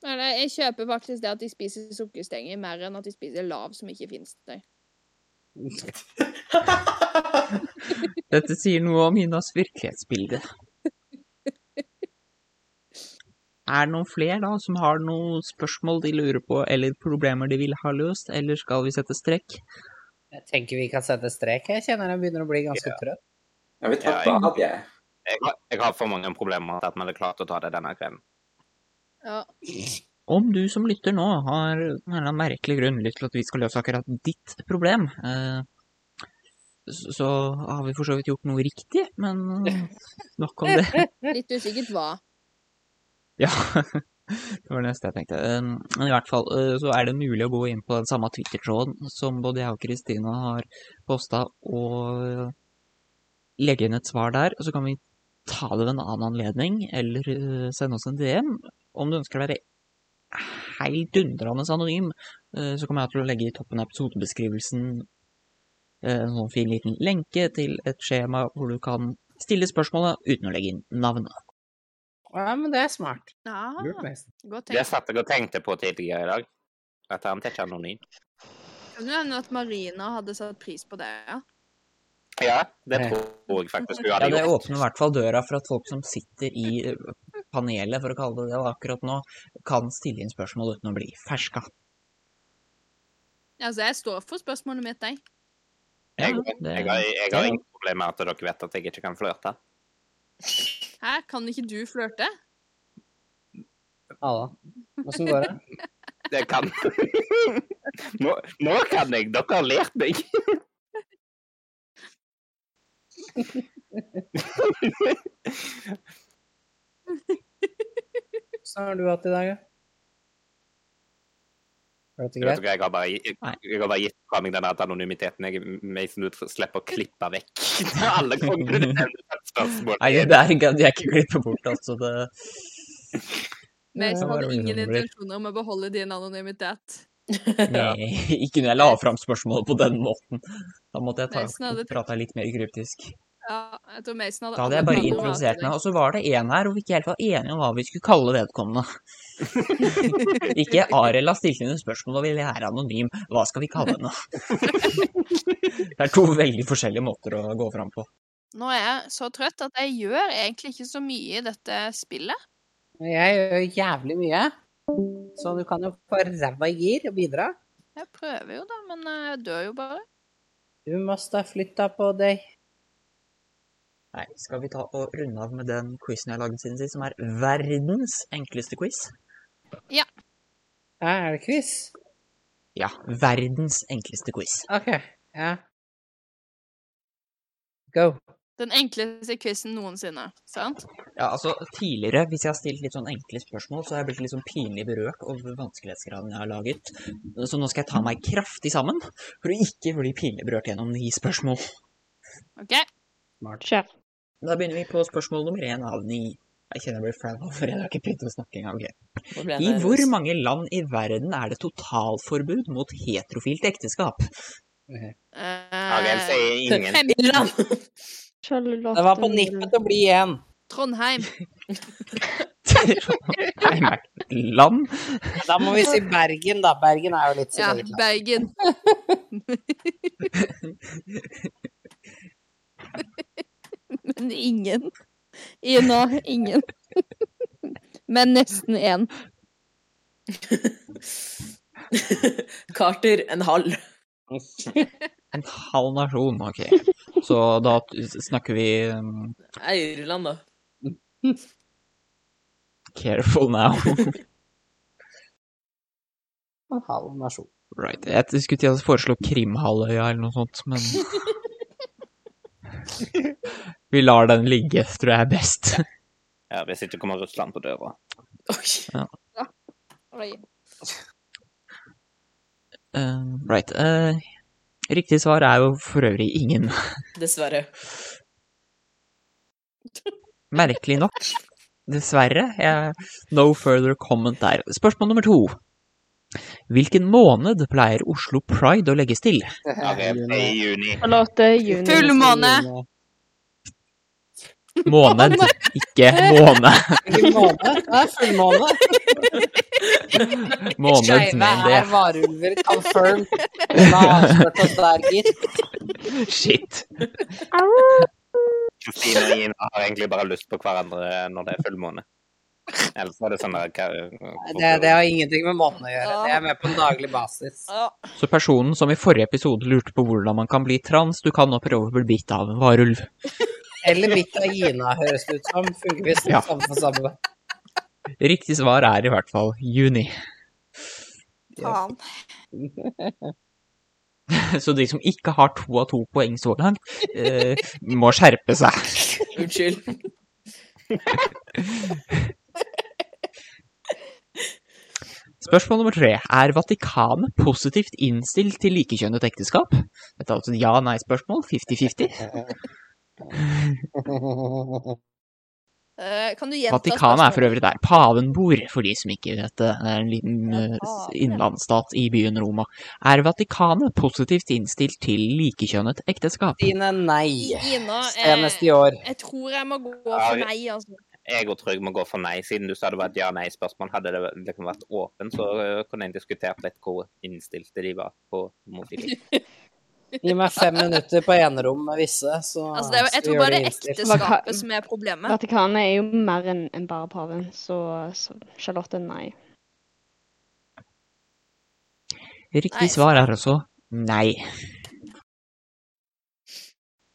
[SPEAKER 13] Nei, nei, jeg kjøper faktisk det at de spiser sukkerstenger, mer enn at de spiser lav som ikke fins der.
[SPEAKER 5] Dette sier noe om Inas virkelighetsbilde. Er det noen flere da som har noen spørsmål de lurer på, eller problemer de vil ha løst, eller skal vi sette strekk?
[SPEAKER 2] Jeg tenker vi kan sette strek. Jeg kjenner jeg begynner å bli ganske trøtt.
[SPEAKER 12] Jeg vil ta
[SPEAKER 3] Ja,
[SPEAKER 12] et
[SPEAKER 3] jeg-
[SPEAKER 12] bad, jeg.
[SPEAKER 3] Jeg har, jeg har for mange problemer til at vi hadde klart å ta det denne kvelden.
[SPEAKER 13] Ja.
[SPEAKER 5] Om du som lytter nå har en eller annen merkelig grunn lyst til at vi skal løse akkurat ditt problem, eh, så så har vi for så vidt gjort noe riktig, men eh, nok om det.
[SPEAKER 13] Litt usikkert hva.
[SPEAKER 5] Ja, det var det neste jeg tenkte. Um, Men i hvert fall uh, så er det mulig å gå inn på den samme Twitter-tråden som både jeg og Kristina har posta, og uh, legge inn et svar der. Og så kan vi ta det ved en annen anledning, eller uh, sende oss en DM. Om du ønsker å være helt dundrende anonym, uh, så kommer jeg til å legge i toppen av episodebeskrivelsen eh, en sånn fin liten lenke til et skjema hvor du kan stille spørsmålet uten å legge inn navnet.
[SPEAKER 2] Ja, men det er smart.
[SPEAKER 13] Ja.
[SPEAKER 2] Lurt, Mason.
[SPEAKER 13] Godt
[SPEAKER 3] Det
[SPEAKER 13] tenkt.
[SPEAKER 3] satt jeg og tenkte på tidligere i dag. At han ikke er anonym.
[SPEAKER 13] Kan du nevne at Marina hadde satt pris på det? ja?
[SPEAKER 3] Ja, det tror jeg faktisk hun
[SPEAKER 5] Ja,
[SPEAKER 3] hadde
[SPEAKER 5] det
[SPEAKER 3] gjort.
[SPEAKER 5] åpner i hvert fall døra for at folk som sitter i eh, panelet, for å kalle det det akkurat nå, kan stille inn spørsmål uten å bli ferska.
[SPEAKER 13] Altså, jeg står for spørsmålet mitt, jeg.
[SPEAKER 3] Jeg, jeg, har, jeg har ingen problemer med at dere vet at jeg ikke kan flørte.
[SPEAKER 13] Hæ, kan ikke du flørte?
[SPEAKER 2] Halla. Åssen går det?
[SPEAKER 3] Det kan nå, nå kan jeg! Dere har lært meg!
[SPEAKER 2] Hvordan har du hatt det i dag, da? Har du hatt det
[SPEAKER 3] Vet
[SPEAKER 2] greit?
[SPEAKER 3] dere, jeg har bare, jeg, jeg har bare gitt fra meg den at anonymiteten. Jeg, meg som du slipper å klippe vekk alle gangene du nevner et spørsmål.
[SPEAKER 5] Nei, det er ikke, de er ikke klippet bort, altså. Det,
[SPEAKER 13] Men
[SPEAKER 5] Det
[SPEAKER 13] jeg
[SPEAKER 5] var
[SPEAKER 13] hadde
[SPEAKER 5] vel
[SPEAKER 13] ingen
[SPEAKER 5] noe blir.
[SPEAKER 13] intensjoner om å beholde din anonymitet.
[SPEAKER 5] Nei, ikke når jeg la fram spørsmålet på den måten. Da måtte jeg
[SPEAKER 13] Mason hadde-
[SPEAKER 5] ta- prate litt mer kryptisk.
[SPEAKER 13] Ja, jeg tror Mason hadde
[SPEAKER 5] Da hadde jeg
[SPEAKER 13] alle planer
[SPEAKER 5] bare
[SPEAKER 13] om å
[SPEAKER 5] introdusert
[SPEAKER 13] avsløre
[SPEAKER 5] meg,
[SPEAKER 13] deg.
[SPEAKER 5] og så var det en her hvor vi ikke helt var enige om hva vi skulle kalle vedkommende. ikke Arild har stilt inn et spørsmål og vil være anonym, hva skal vi kalle henne? det er to veldig forskjellige måter å gå fram på.
[SPEAKER 13] Nå er jeg så trøtt at jeg gjør egentlig ikke så mye i dette spillet.
[SPEAKER 2] Jeg gjør jævlig mye, så du kan jo få ræva i gir og bidra.
[SPEAKER 13] Jeg prøver jo, da, men eh, jeg dør jo bare.
[SPEAKER 2] Du måste ha flytta på deg.
[SPEAKER 5] Nei, skal vi ta og runde av med den quizen jeg har laget siden sist, som er verdens enkleste quiz?
[SPEAKER 13] Ja.
[SPEAKER 2] Her er det quiz.
[SPEAKER 5] Ja, verdens enkleste quiz.
[SPEAKER 2] OK. Ja. Go.
[SPEAKER 13] Den enkleste quizen noensinne, sant?
[SPEAKER 5] Ja, altså, tidligere, hvis jeg har stilt litt sånn enkle spørsmål, så har jeg blitt litt sånn pinlig berørt over vanskelighetsgraden jeg har laget. Så nå skal jeg ta meg kraftig sammen for å ikke bli pinlig berørt gjennom ni spørsmål.
[SPEAKER 13] OK?
[SPEAKER 5] Smart.
[SPEAKER 13] Kjør.
[SPEAKER 5] Da begynner vi på spørsmål nummer én av ni. Jeg kjenner jeg blir flau nå, for jeg har ikke begynt å snakke engang. ok.
[SPEAKER 6] Nå ble jeg
[SPEAKER 5] I hvor
[SPEAKER 6] nervøs.
[SPEAKER 5] mange land i verden er det totalforbud mot heterofilt ekkeskap?
[SPEAKER 13] Eh, Hagen
[SPEAKER 5] sier ingen.
[SPEAKER 2] Det var på nippet til å bli én.
[SPEAKER 13] Trondheim.
[SPEAKER 5] Land?
[SPEAKER 2] Da må vi si Bergen, da. Bergen er jo litt sånn- sitt
[SPEAKER 13] Ja,
[SPEAKER 2] eget land.
[SPEAKER 13] Bergen.
[SPEAKER 4] Men ingen. Ina, ingen. Men nesten én.
[SPEAKER 6] Carter, en halv.
[SPEAKER 5] En halv nasjon, ok. Så da t- snakker vi um,
[SPEAKER 6] Eirland, da.
[SPEAKER 5] careful now.
[SPEAKER 2] En halv nasjon.
[SPEAKER 5] Right. Jeg skulle til å foreslå Krimhalvøya eller noe sånt, men vi lar den ligge, tror jeg er best.
[SPEAKER 3] Ja, hvis ikke kommer Russland på døra.
[SPEAKER 5] Ja.
[SPEAKER 4] Oi.
[SPEAKER 5] Eh, right. eh, riktig svar er jo for øvrig ingen.
[SPEAKER 6] Dessverre.
[SPEAKER 5] Merkelig nok. Dessverre. Jeg, no further comment der. Spørsmål nummer to. Hvilken måned pleier Oslo Pride å legges til?
[SPEAKER 3] Ok, det er i juni.
[SPEAKER 8] juni.
[SPEAKER 13] Full måned.
[SPEAKER 5] Måned, ikke måne.
[SPEAKER 2] Hvilken måned? Det er fullmåne.
[SPEAKER 5] Måned,
[SPEAKER 2] Skeive
[SPEAKER 5] men det-
[SPEAKER 2] er varulver confirmed. Hun har avslørt oss der, gitt.
[SPEAKER 5] Shit.
[SPEAKER 3] Kristine og Ina har egentlig bare lyst på hverandre når det er fullmåne. Ellers var det sånn der
[SPEAKER 2] Det, det har ingenting med måneden å gjøre. Det er med på en daglig basis.
[SPEAKER 5] Så personen som i forrige episode lurte på hvordan man kan bli trans, du kan nå prøve å bli bitt av en varulv.
[SPEAKER 2] Eller bitt av Gina, høres det ut som. Funker visst
[SPEAKER 5] Ja.
[SPEAKER 2] samme for samme.
[SPEAKER 5] Riktig svar er i hvert fall juni.
[SPEAKER 4] Faen.
[SPEAKER 5] Så de som ikke har to av to poeng så langt, eh, må skjerpe seg.
[SPEAKER 6] Unnskyld.
[SPEAKER 5] Spørsmål nummer tre. Er Vatikanet positivt innstilt til likekjønnet ekteskap? Dette er altså et ja-nei-spørsmål. 50-50.
[SPEAKER 4] Eh, kan du gjenta
[SPEAKER 5] Vatikanet er for
[SPEAKER 4] spørsmålet?
[SPEAKER 5] øvrig der paven bor, for de som ikke vet det. Det er en liten eh, s- innlandsstat i byen Roma. Er Vatikanet positivt innstilt til likekjønnet ekteskap?
[SPEAKER 2] Dine nei.
[SPEAKER 4] Ina,
[SPEAKER 2] Senest i år.
[SPEAKER 4] eh, Jeg tror jeg må gå for
[SPEAKER 3] Ja,
[SPEAKER 4] nei, altså.
[SPEAKER 3] Jeg og Trygg må gå for nei, siden du sa det var et ja-nei-spørsmål. Hadde det liksom vært åpen, så eh, kunne jeg diskutert litt hvor innstilte de var på homofili.
[SPEAKER 2] Gi meg fem minutter på enerom med visse, så
[SPEAKER 13] Altså, det er, jo- jeg
[SPEAKER 2] skal vi
[SPEAKER 13] tror
[SPEAKER 2] gjøre
[SPEAKER 13] bare det er
[SPEAKER 2] innstilt.
[SPEAKER 13] ekteskapet som er problemet.
[SPEAKER 8] Vatikanet er jo mer enn enn bare paven, så, så Charlotte, nei.
[SPEAKER 5] Riktig svar er altså nei.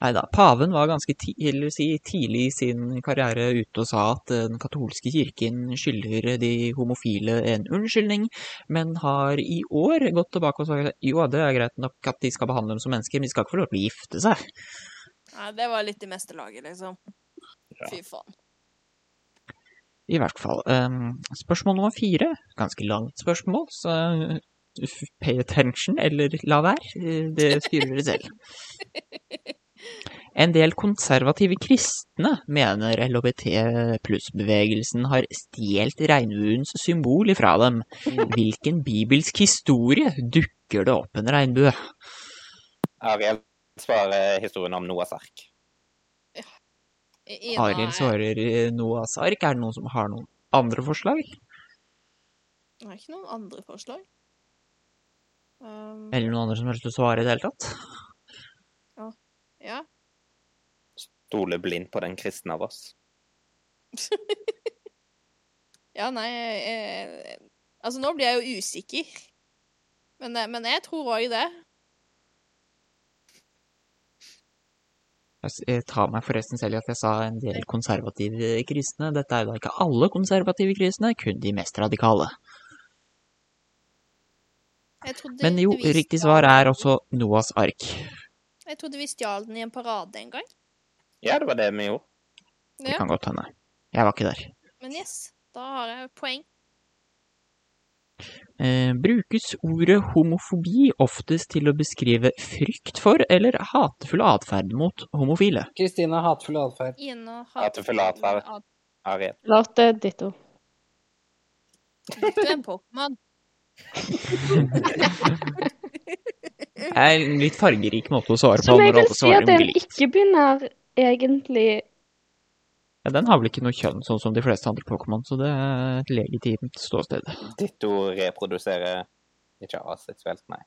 [SPEAKER 5] Nei da. Paven var ganske ti eller si, tidlig i sin karriere ute og sa at eh, den katolske kirken skylder de homofile en unnskyldning, men har i år gått tilbake og sagt jo, det er greit nok at de skal behandle dem som mennesker, men de skal ikke få lov til å gifte seg.
[SPEAKER 13] Ja, det var litt i meste laget, liksom. Fy faen.
[SPEAKER 5] I hvert fall. Ehm, spørsmål nummer fire. Ganske langt spørsmål, så eh, f- pay attention, eller la være. Eh, Det styrer dere selv. En del konservative kristne mener LHBT pluss-bevegelsen har stjålet regnbuens symbol ifra dem. Hvilken bibelsk historie dukker det opp en regnbue?
[SPEAKER 3] Ariel svarer historien om Noahs ark.
[SPEAKER 13] Ina
[SPEAKER 5] Arild svarer eh, Noahs ark. Er det noen som har noen andre forslag?
[SPEAKER 13] Jeg har ikke noen andre forslag. Um,
[SPEAKER 5] Eller noen andre som har lyst til å svare i det hele tatt?
[SPEAKER 13] ja. ja.
[SPEAKER 3] Stoler blindt på den kristne av oss.
[SPEAKER 13] Ja, nei eh, Altså, nå blir jeg jo usikker. Men, eh, men jeg tror òg det.
[SPEAKER 5] Jeg s- Jeg tar meg forresten selv i at jeg sa en del konservative kristne. Dette er jo da ikke alle konservative kristne, kun de mest radikale.
[SPEAKER 4] Jeg trodde
[SPEAKER 5] Men jo,
[SPEAKER 4] vi stjal-
[SPEAKER 5] riktig svar er også Noas ark.
[SPEAKER 4] Jeg trodde vi stjal den i en parade en gang.
[SPEAKER 3] Ja, det var det vi gjorde.
[SPEAKER 5] Det
[SPEAKER 4] Ja,
[SPEAKER 5] kan godt hende. Jeg var ikke der.
[SPEAKER 4] Men yes, da har jeg et poeng.
[SPEAKER 5] Eh, brukes ordet homofobi oftest til å beskrive frykt for eller hatefull atferd mot homofile?
[SPEAKER 2] Kristine, hatefull atferd.
[SPEAKER 4] Ine har
[SPEAKER 3] Hatefull atferd. Ariel.
[SPEAKER 8] Latte ditto.
[SPEAKER 13] Du er en Pokémon.
[SPEAKER 5] Det er en litt fargerik måte å svare på
[SPEAKER 8] Eh. Som jeg
[SPEAKER 5] når
[SPEAKER 8] vil
[SPEAKER 5] alle
[SPEAKER 8] si
[SPEAKER 5] svarer
[SPEAKER 8] at
[SPEAKER 5] noe
[SPEAKER 8] en
[SPEAKER 5] likt.
[SPEAKER 8] ikke-binær egentlig
[SPEAKER 5] Ja, den har vel ikke noe kjønn, sånn som de fleste andre Pokémon, så det er et legitimt ståsted.
[SPEAKER 3] Ditto reproduserer ikke aseksuelt, nei.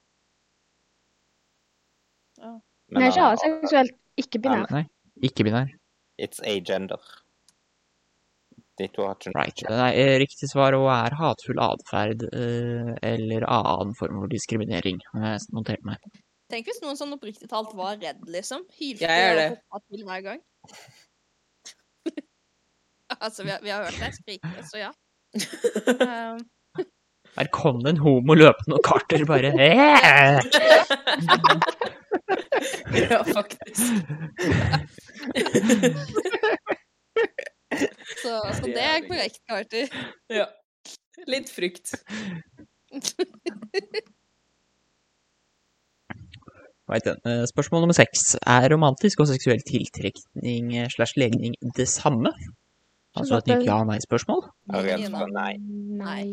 [SPEAKER 3] Men
[SPEAKER 8] Nei, ikke
[SPEAKER 3] han-
[SPEAKER 8] aseksuelt. Ikke-binær.
[SPEAKER 5] Nei, ikke-binær.
[SPEAKER 3] It's agender. Ditto har ikke
[SPEAKER 5] Right. Nei, eh, riktig svar og er hatefull atferd eh, eller annen form for diskriminering. Det har jeg notert meg.
[SPEAKER 4] Tenk hvis noen sånn oppriktig talt var redd, liksom. Hylte
[SPEAKER 6] Jeg er det.
[SPEAKER 4] og hoppa til hver gang. altså, vi har, vi har hørt deg skrike, så ja. Um,
[SPEAKER 5] Der kom det en homo løpende og karter bare «Eh!»
[SPEAKER 6] Ja, faktisk.
[SPEAKER 4] så, så det er korrekt, Carter.
[SPEAKER 6] Ja. Litt frykt.
[SPEAKER 5] Right then. Eh, Spørsmål nummer seks. Er romantisk og seksuell tiltrekning eh, slash legning det samme? Altså et nytt
[SPEAKER 8] Charlotte.
[SPEAKER 5] ja-nei-spørsmål?
[SPEAKER 3] Ariel svarer nei.
[SPEAKER 8] Nei.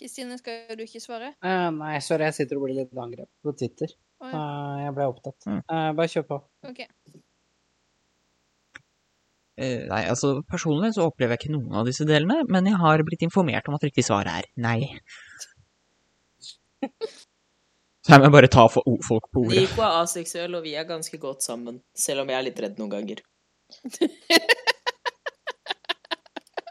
[SPEAKER 4] Kristine, skal du ikke svare?
[SPEAKER 2] Eh, nei, sorry, jeg sitter og blir litt angrepet på Twitter.
[SPEAKER 4] Å, ja.
[SPEAKER 2] Eh, jeg ble opptatt. Eh, bare kjør på.
[SPEAKER 4] OK.
[SPEAKER 5] Eh, Nei, altså personlig så opplever jeg ikke noen av disse delene, men jeg har blitt informert om at riktig svar er nei. Så her må jeg bare ta fo- o- folk på ordet.
[SPEAKER 6] Nico er aseksuell, og vi er ganske godt sammen. Selv om jeg er litt redd noen ganger.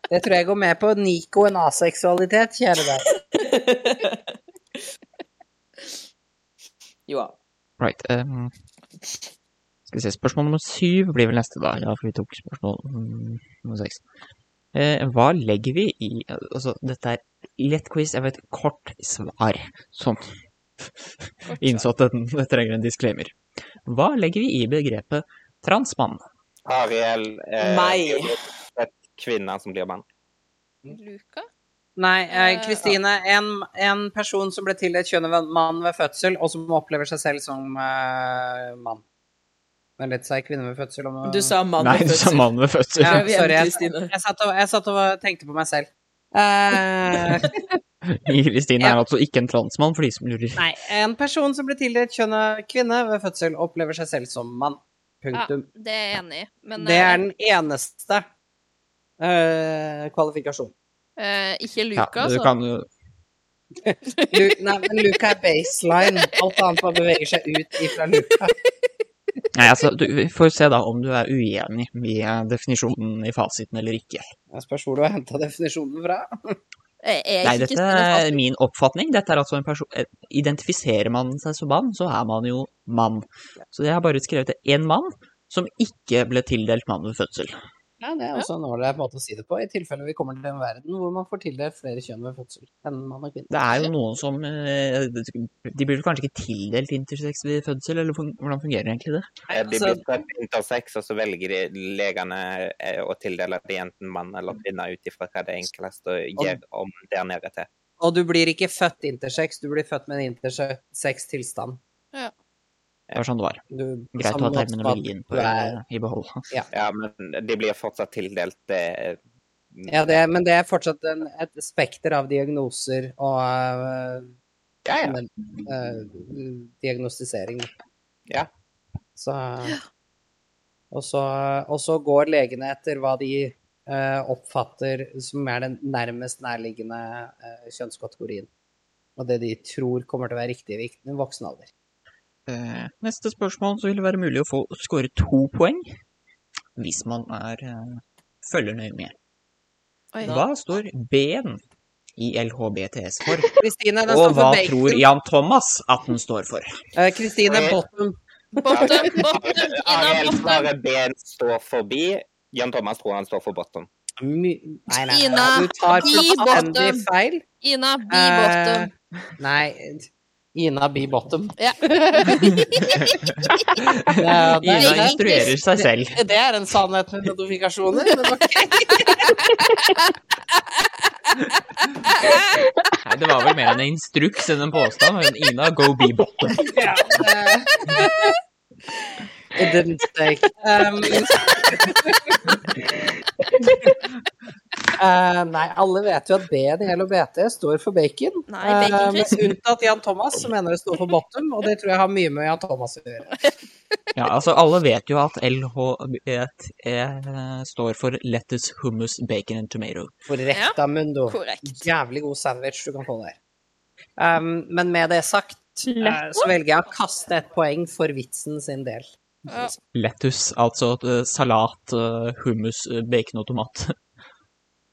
[SPEAKER 2] Det tror jeg går med på Nico en aseksualitet, kjære deg.
[SPEAKER 6] Jo da.
[SPEAKER 5] Right. ehm, skal vi se, spørsmål nummer syv blir vel neste, da. Ja, for vi tok spørsmål mm, nummer seks. Eh, hva legger vi i Altså, dette er lett quiz, jeg vet kort svar. Sånn. Innsatt at den det trenger en disclaimer. Hva legger vi i begrepet transmann?
[SPEAKER 3] Ariel eh,
[SPEAKER 5] Nei.
[SPEAKER 3] er jo Et kvinne som blir mann.
[SPEAKER 4] Luka?
[SPEAKER 2] Nei, eh, Kristine, en, en person som ble tildelt kjønnet ved- mann ved fødsel, og som opplever seg selv som eh, mann. Men lett seg kvinne ved fødsel om å-
[SPEAKER 6] Du sa mann
[SPEAKER 5] Nei, du sa mann ved fødsel.
[SPEAKER 2] Ja,
[SPEAKER 6] Prøv igjen,
[SPEAKER 2] sorry, jeg,
[SPEAKER 6] Kristine.
[SPEAKER 2] jeg, satt og, jeg satt og tenkte på meg selv. Eh,
[SPEAKER 5] Kristine er altså ikke en transmann, for de som lurer.
[SPEAKER 2] nei, en person som ble tildelt kjønnet kvinne ved fødsel, opplever seg selv som mann.
[SPEAKER 4] Ja,
[SPEAKER 2] Punktum.
[SPEAKER 4] det er jeg enig i. Men
[SPEAKER 2] Det
[SPEAKER 4] eh,
[SPEAKER 2] er den eneste eh, kvalifikasjonen.
[SPEAKER 4] eh, ikke Luka,
[SPEAKER 5] du
[SPEAKER 4] altså.
[SPEAKER 5] kan jo
[SPEAKER 2] Du, nei, men Luka er baseline. Alt annet bare beveger seg ut ifra Luka.
[SPEAKER 5] Nei, altså, du vi får se da om du er uenig i eh, definisjonen i fasiten eller ikke.
[SPEAKER 2] Jeg spørs hvor du har henta definisjonen fra.
[SPEAKER 4] Eh,
[SPEAKER 5] Nei, dette
[SPEAKER 4] altså.
[SPEAKER 5] er min oppfatning. Dette er altså en person eh, Identifiserer man seg som mann, så er man jo mann. Så jeg har bare skrevet én mann som ikke ble tildelt mann ved fødsel.
[SPEAKER 2] Ja, det er også en ålreit måte å si det på, i tilfelle vi kommer til en verden hvor man får tildelt flere kjønn ved fødsel enn mann og kvinne.
[SPEAKER 5] Det er jo noen som eh, De blir vel kanskje ikke tildelt intersex ved fødsel, eller fun- hvordan fungerer egentlig det?
[SPEAKER 3] Eh, De
[SPEAKER 5] altså-
[SPEAKER 3] blir født intersex, og så velger de legene eh, å tildele det enten mann eller kvinne ut ifra hva det er enklest å gjøre om der nede til.
[SPEAKER 2] Og du blir ikke født intersex, du blir født med en intersex tilstand.
[SPEAKER 5] Det var sånn det var. Greit
[SPEAKER 2] Du-
[SPEAKER 5] å ha
[SPEAKER 2] samme måte som at
[SPEAKER 5] terminologien
[SPEAKER 2] du
[SPEAKER 5] på,
[SPEAKER 2] er-
[SPEAKER 5] i behold.
[SPEAKER 2] Ja.
[SPEAKER 3] men de blir fortsatt tildelt eh,
[SPEAKER 2] Ja, det, men det er fortsatt en, et spekter av diagnoser og eh, men, eh, diagnostisering.
[SPEAKER 3] Ja.
[SPEAKER 2] Så, og, så, og så går legene etter hva de eh, oppfatter som er den nærmest nærliggende eh, kjønnskategorien. Og det de tror kommer til å være riktig i vik- voksen alder.
[SPEAKER 5] Eh, Neste spørsmål så vil det være mulig å få skåre to poeng hvis man er, eh, følger nøye med.
[SPEAKER 2] Oi.
[SPEAKER 5] Hva står B-en i LHBTS for?
[SPEAKER 2] Kristine, den
[SPEAKER 5] Og
[SPEAKER 2] står for
[SPEAKER 5] hva
[SPEAKER 2] bacon.
[SPEAKER 5] tror Jan Thomas at den står for?
[SPEAKER 2] Eh, Kristine
[SPEAKER 3] Oi.
[SPEAKER 2] Bottom.
[SPEAKER 3] Ariel svarer B-en står forbi. Jan Thomas tror han står for bottom.
[SPEAKER 2] my... Nei, nei, nei,
[SPEAKER 4] Ina,
[SPEAKER 2] du tar
[SPEAKER 4] be
[SPEAKER 2] fullstendig
[SPEAKER 4] bottom.
[SPEAKER 2] feil.
[SPEAKER 4] Ina, be
[SPEAKER 2] Eh,
[SPEAKER 4] bottom.
[SPEAKER 2] Nei, Ina be bottom.
[SPEAKER 4] Ja.
[SPEAKER 2] Ja, det er-
[SPEAKER 5] Ina instruerer seg selv.
[SPEAKER 2] Det, det er en sannhet med modifikasjoner. Men ok.
[SPEAKER 5] Nei, det var vel mer en instruks enn en påstand. Men Ina, go be bottom.
[SPEAKER 2] It didn't take. Um, Eh, nei, alle vet jo at B-en i LO BT står for bacon.
[SPEAKER 1] Nei, bacon
[SPEAKER 2] Eh, mens
[SPEAKER 1] crisp.
[SPEAKER 2] unntatt Jan Thomas, som mener det står for bottom, og det tror jeg har mye med Jan Thomas å gjøre.
[SPEAKER 5] Ja, altså Alle vet jo at LHBTE står for lettuce, hummus, bacon and tomato.
[SPEAKER 2] Korrekt, Amundo. Jævlig god sandwich du kan få der. Um, men med det sagt, eh, så velger jeg å kaste et poeng for vitsen sin del.
[SPEAKER 5] Lettuce, altså eh, salat, eh, hummus, eh, bacon og tomat.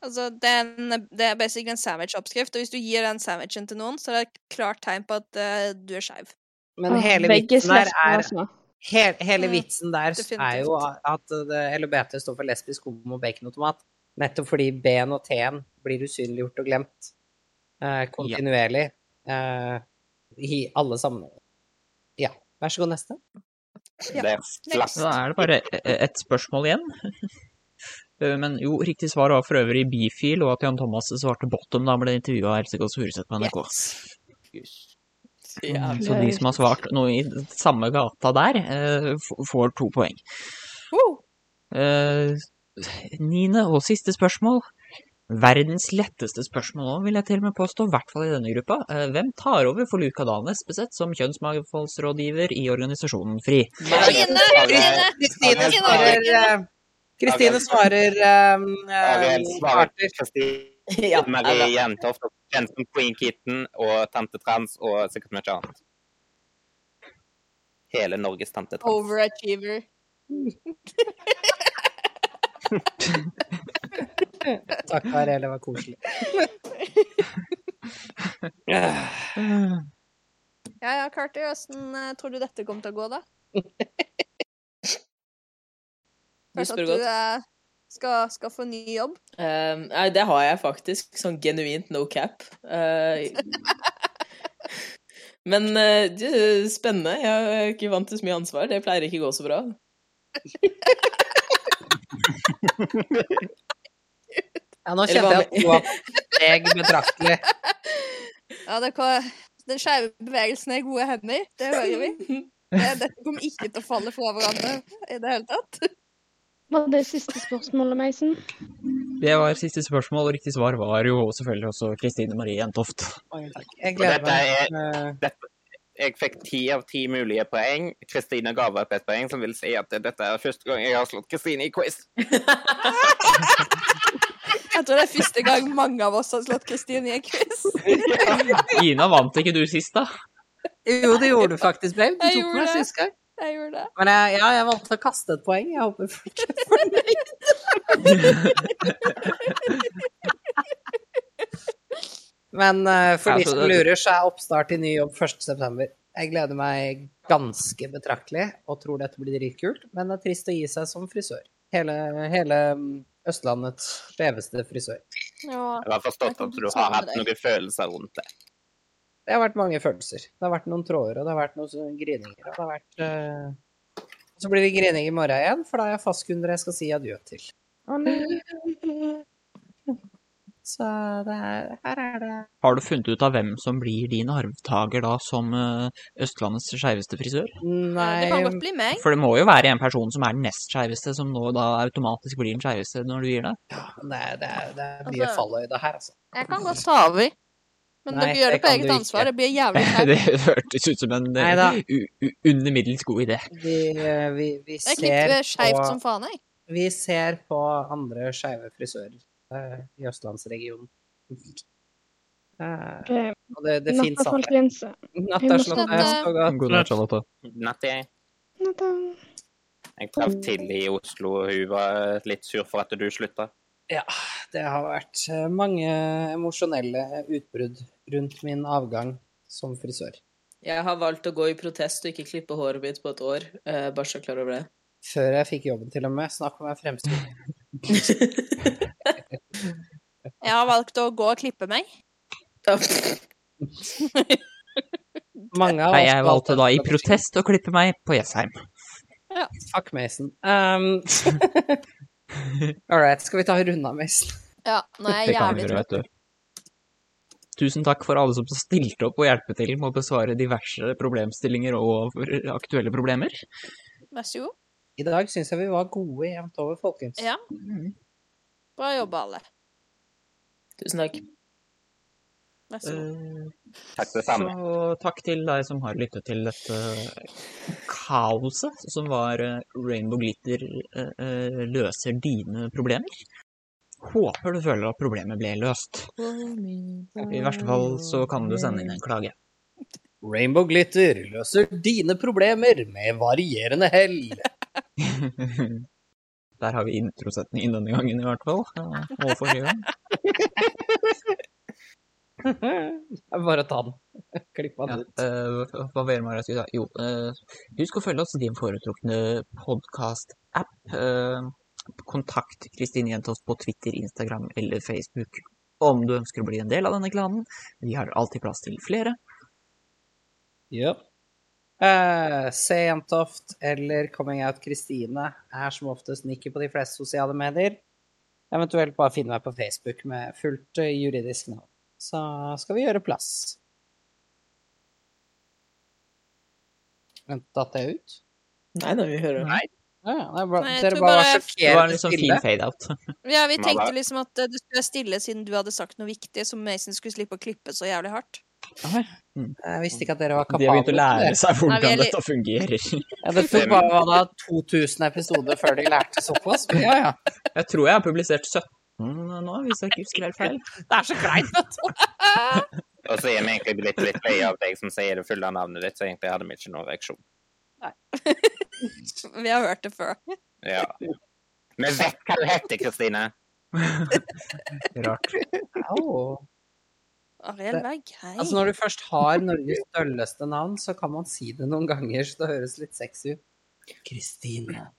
[SPEAKER 4] Altså, det er, en, det er basically en sandwich-oppskrift, og hvis du gir den sandwichen til noen, så er det et klart tegn på at eh, du er skeiv.
[SPEAKER 2] Men hele vitsen der er Hele, hele vitsen der er jo at eh, det, LHBT står for lesbisk, homo, bacon og tomat. Nettopp fordi B-en og T-en blir usynliggjort og glemt eh, kontinuerlig eh, i alle sammenhenger. Ja. Vær så god, neste.
[SPEAKER 5] Ja. Da er det bare e- e- ett spørsmål igjen. Eh, Men jo, riktig svar var for øvrig bifil, og at Jan Thomas svarte bottom da han ble intervjua av Else Kåss Furuseth på NRK. Mm, Så de som har svart noe i samme gata der, eh, f- får to poeng. Eh, Niende og siste spørsmål. Verdens letteste spørsmål òg, vil jeg til og med påstå, i hvert fall i denne gruppa. Eh, Hvem tar over for Luka Dahl Espeseth som kjønnsmangfoldsrådgiver i organisasjonen FRI?
[SPEAKER 2] Kristine svarer eh, Kristine svarer um,
[SPEAKER 3] Kristine Marie Jentoft, kjent som Queen Kitten og Tante Trans og sikkert mye annet. Hele Norges Tante Trans.
[SPEAKER 4] Overachiever.
[SPEAKER 2] Takk, Ariel, det var koselig.
[SPEAKER 4] Ja ja, Carter, åssen eh, tror du dette kommer til å gå, da?
[SPEAKER 6] Du
[SPEAKER 4] Kanskje
[SPEAKER 6] spør
[SPEAKER 4] at du
[SPEAKER 6] godt.
[SPEAKER 4] eh, skal, skal få ny jobb?
[SPEAKER 6] Ehm, nei, det har jeg faktisk. Sånn genuint no cap. Eh, men eh, det er spennende. Jeg er ikke vant til så mye ansvar. Det pleier ikke å gå så bra.
[SPEAKER 2] Ja, nå
[SPEAKER 6] Eller
[SPEAKER 2] kjente jeg
[SPEAKER 6] hva
[SPEAKER 2] at Joa steg betraktelig.
[SPEAKER 4] Ja, det kan, den skeive bevegelsen er i gode hender, det hører vi. Det, dette kommer ikke til å falle fra hverandre i det hele tatt.
[SPEAKER 8] Var det siste spørsmålet, Meisen?
[SPEAKER 5] Det var siste spørsmål, og riktig svar var jo selvfølgelig også Kristine Marie Jentoft.
[SPEAKER 2] Jeg Eh,
[SPEAKER 5] gleder
[SPEAKER 3] meg. dette, jeg fikk ti av ti mulige poeng. Kristine ga opp et poeng, som vil si at dette er første gang jeg har slått Kristine i quiz.
[SPEAKER 4] Jeg tror det er første gang mange av oss har slått Kristin i en quiz.
[SPEAKER 5] Ina, vant ikke du sist, da?
[SPEAKER 2] Jo, det gjorde du faktisk, Brave. Du
[SPEAKER 4] Jeg
[SPEAKER 2] tok
[SPEAKER 4] gjorde
[SPEAKER 2] meg
[SPEAKER 4] det.
[SPEAKER 2] sist gang.
[SPEAKER 4] Jeg gjorde det.
[SPEAKER 2] Men jeg, ja, jeg valgte å kaste et poeng. Jeg håper folk er fornøyd. Men eh, for
[SPEAKER 5] Ja,
[SPEAKER 2] de
[SPEAKER 5] så
[SPEAKER 2] som
[SPEAKER 5] det-
[SPEAKER 2] lurer, så er oppstart i ny jobb 1.9. Jeg gleder meg ganske betraktelig og tror dette blir dritkult, men det er trist å gi seg som frisør. Hele, hele mm, Østlandets skjeveste frisør.
[SPEAKER 3] Jeg har forstått at du har hatt noen følelser rundt det.
[SPEAKER 2] Det har vært mange følelser. Det har vært noen tråder, og det har vært noen sånne grininger. Og det har vært eh, Så blir det grining i morgen igjen, for da er jeg fastkunder jeg skal si adjø til. Så det er, her er det
[SPEAKER 5] Har du funnet ut av hvem som blir din arvtaker da som eh, Østlandets skeiveste frisør?
[SPEAKER 2] Nei
[SPEAKER 4] Det kan godt bli meg.
[SPEAKER 5] For det må jo være en person som er den nest skeiveste, som nå da automatisk blir den skeiveste når du gir deg.
[SPEAKER 2] Det, det, det er mye
[SPEAKER 4] Altså-
[SPEAKER 2] falløyde her, altså.
[SPEAKER 4] Jeg kan godt ta over. Men
[SPEAKER 5] Nei,
[SPEAKER 4] dere gjør
[SPEAKER 5] det
[SPEAKER 4] det på
[SPEAKER 5] kan
[SPEAKER 4] eget
[SPEAKER 5] du ikke.
[SPEAKER 4] ansvar. Det blir jævlig flaut.
[SPEAKER 5] Det hørtes ut som en
[SPEAKER 2] Neida.
[SPEAKER 5] eh, u- u- under middels god idé.
[SPEAKER 2] Vi, eh, vi, vi
[SPEAKER 4] Jeg klipper
[SPEAKER 2] ser
[SPEAKER 4] eh, skeivt som
[SPEAKER 2] på
[SPEAKER 4] faen, jeg.
[SPEAKER 2] Vi ser på andre skeive frisører eh, i østlandsregionen. Eh, og det, det fins
[SPEAKER 8] Natta,
[SPEAKER 2] andre.
[SPEAKER 8] folkens.
[SPEAKER 2] Natta, Charlotte. Sov godt.
[SPEAKER 5] God natt, Charlotte.
[SPEAKER 3] Natt, jeg. Jeg traff tidlig i Oslo, og hun var litt sur for at du slutta.
[SPEAKER 2] Ja, det har vært eh, mange emosjonelle utbrudd rundt min avgang som frisør.
[SPEAKER 6] Jeg har valgt å gå i protest og ikke klippe håret mitt på et år. eh, bare så klar over det.
[SPEAKER 2] Før jeg fikk jobben, til og med. Snakk om jeg fremstår.
[SPEAKER 4] Jeg har valgt å gå og klippe meg.
[SPEAKER 2] Mange av
[SPEAKER 5] Nei,
[SPEAKER 2] oss
[SPEAKER 5] jeg valgte da i protest å klippe meg på Jessheim.
[SPEAKER 2] Ja. Fuck Mason. Um, All right, skal vi ta runda, Mason?
[SPEAKER 4] Ja, nå er jeg
[SPEAKER 5] Det kan
[SPEAKER 4] jævlig
[SPEAKER 5] vi gjøre,
[SPEAKER 4] trøtt.
[SPEAKER 5] vet du. Tusen takk for alle som stilte opp og hjelpet til med å besvare diverse problemstillinger og aktuelle problemer.
[SPEAKER 4] Vær så god.
[SPEAKER 2] I dag syns jeg vi var gode jevnt over, folkens.
[SPEAKER 4] Ja. Bra jobba, alle.
[SPEAKER 6] Tusen takk.
[SPEAKER 4] Vær så
[SPEAKER 5] Mm.
[SPEAKER 4] god.
[SPEAKER 3] Takk det samme.
[SPEAKER 5] Så takk til deg som har lyttet til dette kaoset som var eh, Rainbow Glitter eh, eh, løser dine problemer. Håper du føler at problemet ble løst. I verste fall så kan du sende inn en klage.
[SPEAKER 1] Rainbow Glitter løser dine problemer med varierende hell.
[SPEAKER 5] Der har vi introsetningen denne gangen i hvert fall. eh, Og forrige gang.
[SPEAKER 2] Det er Bare å ta den. Klipp
[SPEAKER 5] Ja,
[SPEAKER 2] den ut.
[SPEAKER 5] eh, hva- hva var det Mara skulle si? Jo, eh, husk å følge oss i din foretrukne podkast-app. Eh, kontakt Kristin Jentoft på Twitter, Instagram eller Facebook om du ønsker å bli en del av denne klanen. Vi har alltid plass til flere.
[SPEAKER 2] Ja. Eh, Se Jentoft eller Coming Out Kristine er som oftest Nikki på de fleste sosiale medier. Eventuelt bare finne meg på Facebook med fullt eh, juridisk navn. Så skal vi gjøre plass. Vent, datt det ut?
[SPEAKER 6] Nei, nei, vi hører
[SPEAKER 2] Nei. Ja, ja, det er bare,
[SPEAKER 4] Nei, jeg
[SPEAKER 2] Mm. dere
[SPEAKER 4] tror
[SPEAKER 2] bare var
[SPEAKER 4] bare-
[SPEAKER 5] Det var en
[SPEAKER 2] sjokkerende
[SPEAKER 5] liksom
[SPEAKER 2] stille.
[SPEAKER 5] fin fade-out.
[SPEAKER 4] Ja, vi tenkte liksom at eh, du skulle være stille siden du hadde sagt noe viktig, så Mason skulle slippe å klippe så jævlig hardt.
[SPEAKER 2] Jeg visste ikke at dere var
[SPEAKER 5] Mm. De har
[SPEAKER 2] kapable
[SPEAKER 5] begynt å lære seg
[SPEAKER 4] Nei, vi er
[SPEAKER 5] hvordan
[SPEAKER 4] litt-
[SPEAKER 5] dette fungerer.
[SPEAKER 2] Ja, det tok bare hva da, 2000 episoder før de lærte såpass. Men ja, ja.
[SPEAKER 5] Jeg tror jeg har publisert 17 nå, hvis jeg ikke husker helt feil.
[SPEAKER 2] Det er så kleint, vet du.
[SPEAKER 3] Og så er vi egentlig blitt litt lei av deg som sier det fulle navnet ditt, så egentlig hadde vi ikke noen reaksjon.
[SPEAKER 4] Vi har hørt det før.
[SPEAKER 3] Ja. Vi vet hva du heter, Kristine!
[SPEAKER 5] Rart.
[SPEAKER 2] Au.
[SPEAKER 4] Ariel Berg, hei.
[SPEAKER 2] Altså, når du først har Norges dølleste navn, så kan man si det noen ganger, så det høres litt sexy ut. Kristine.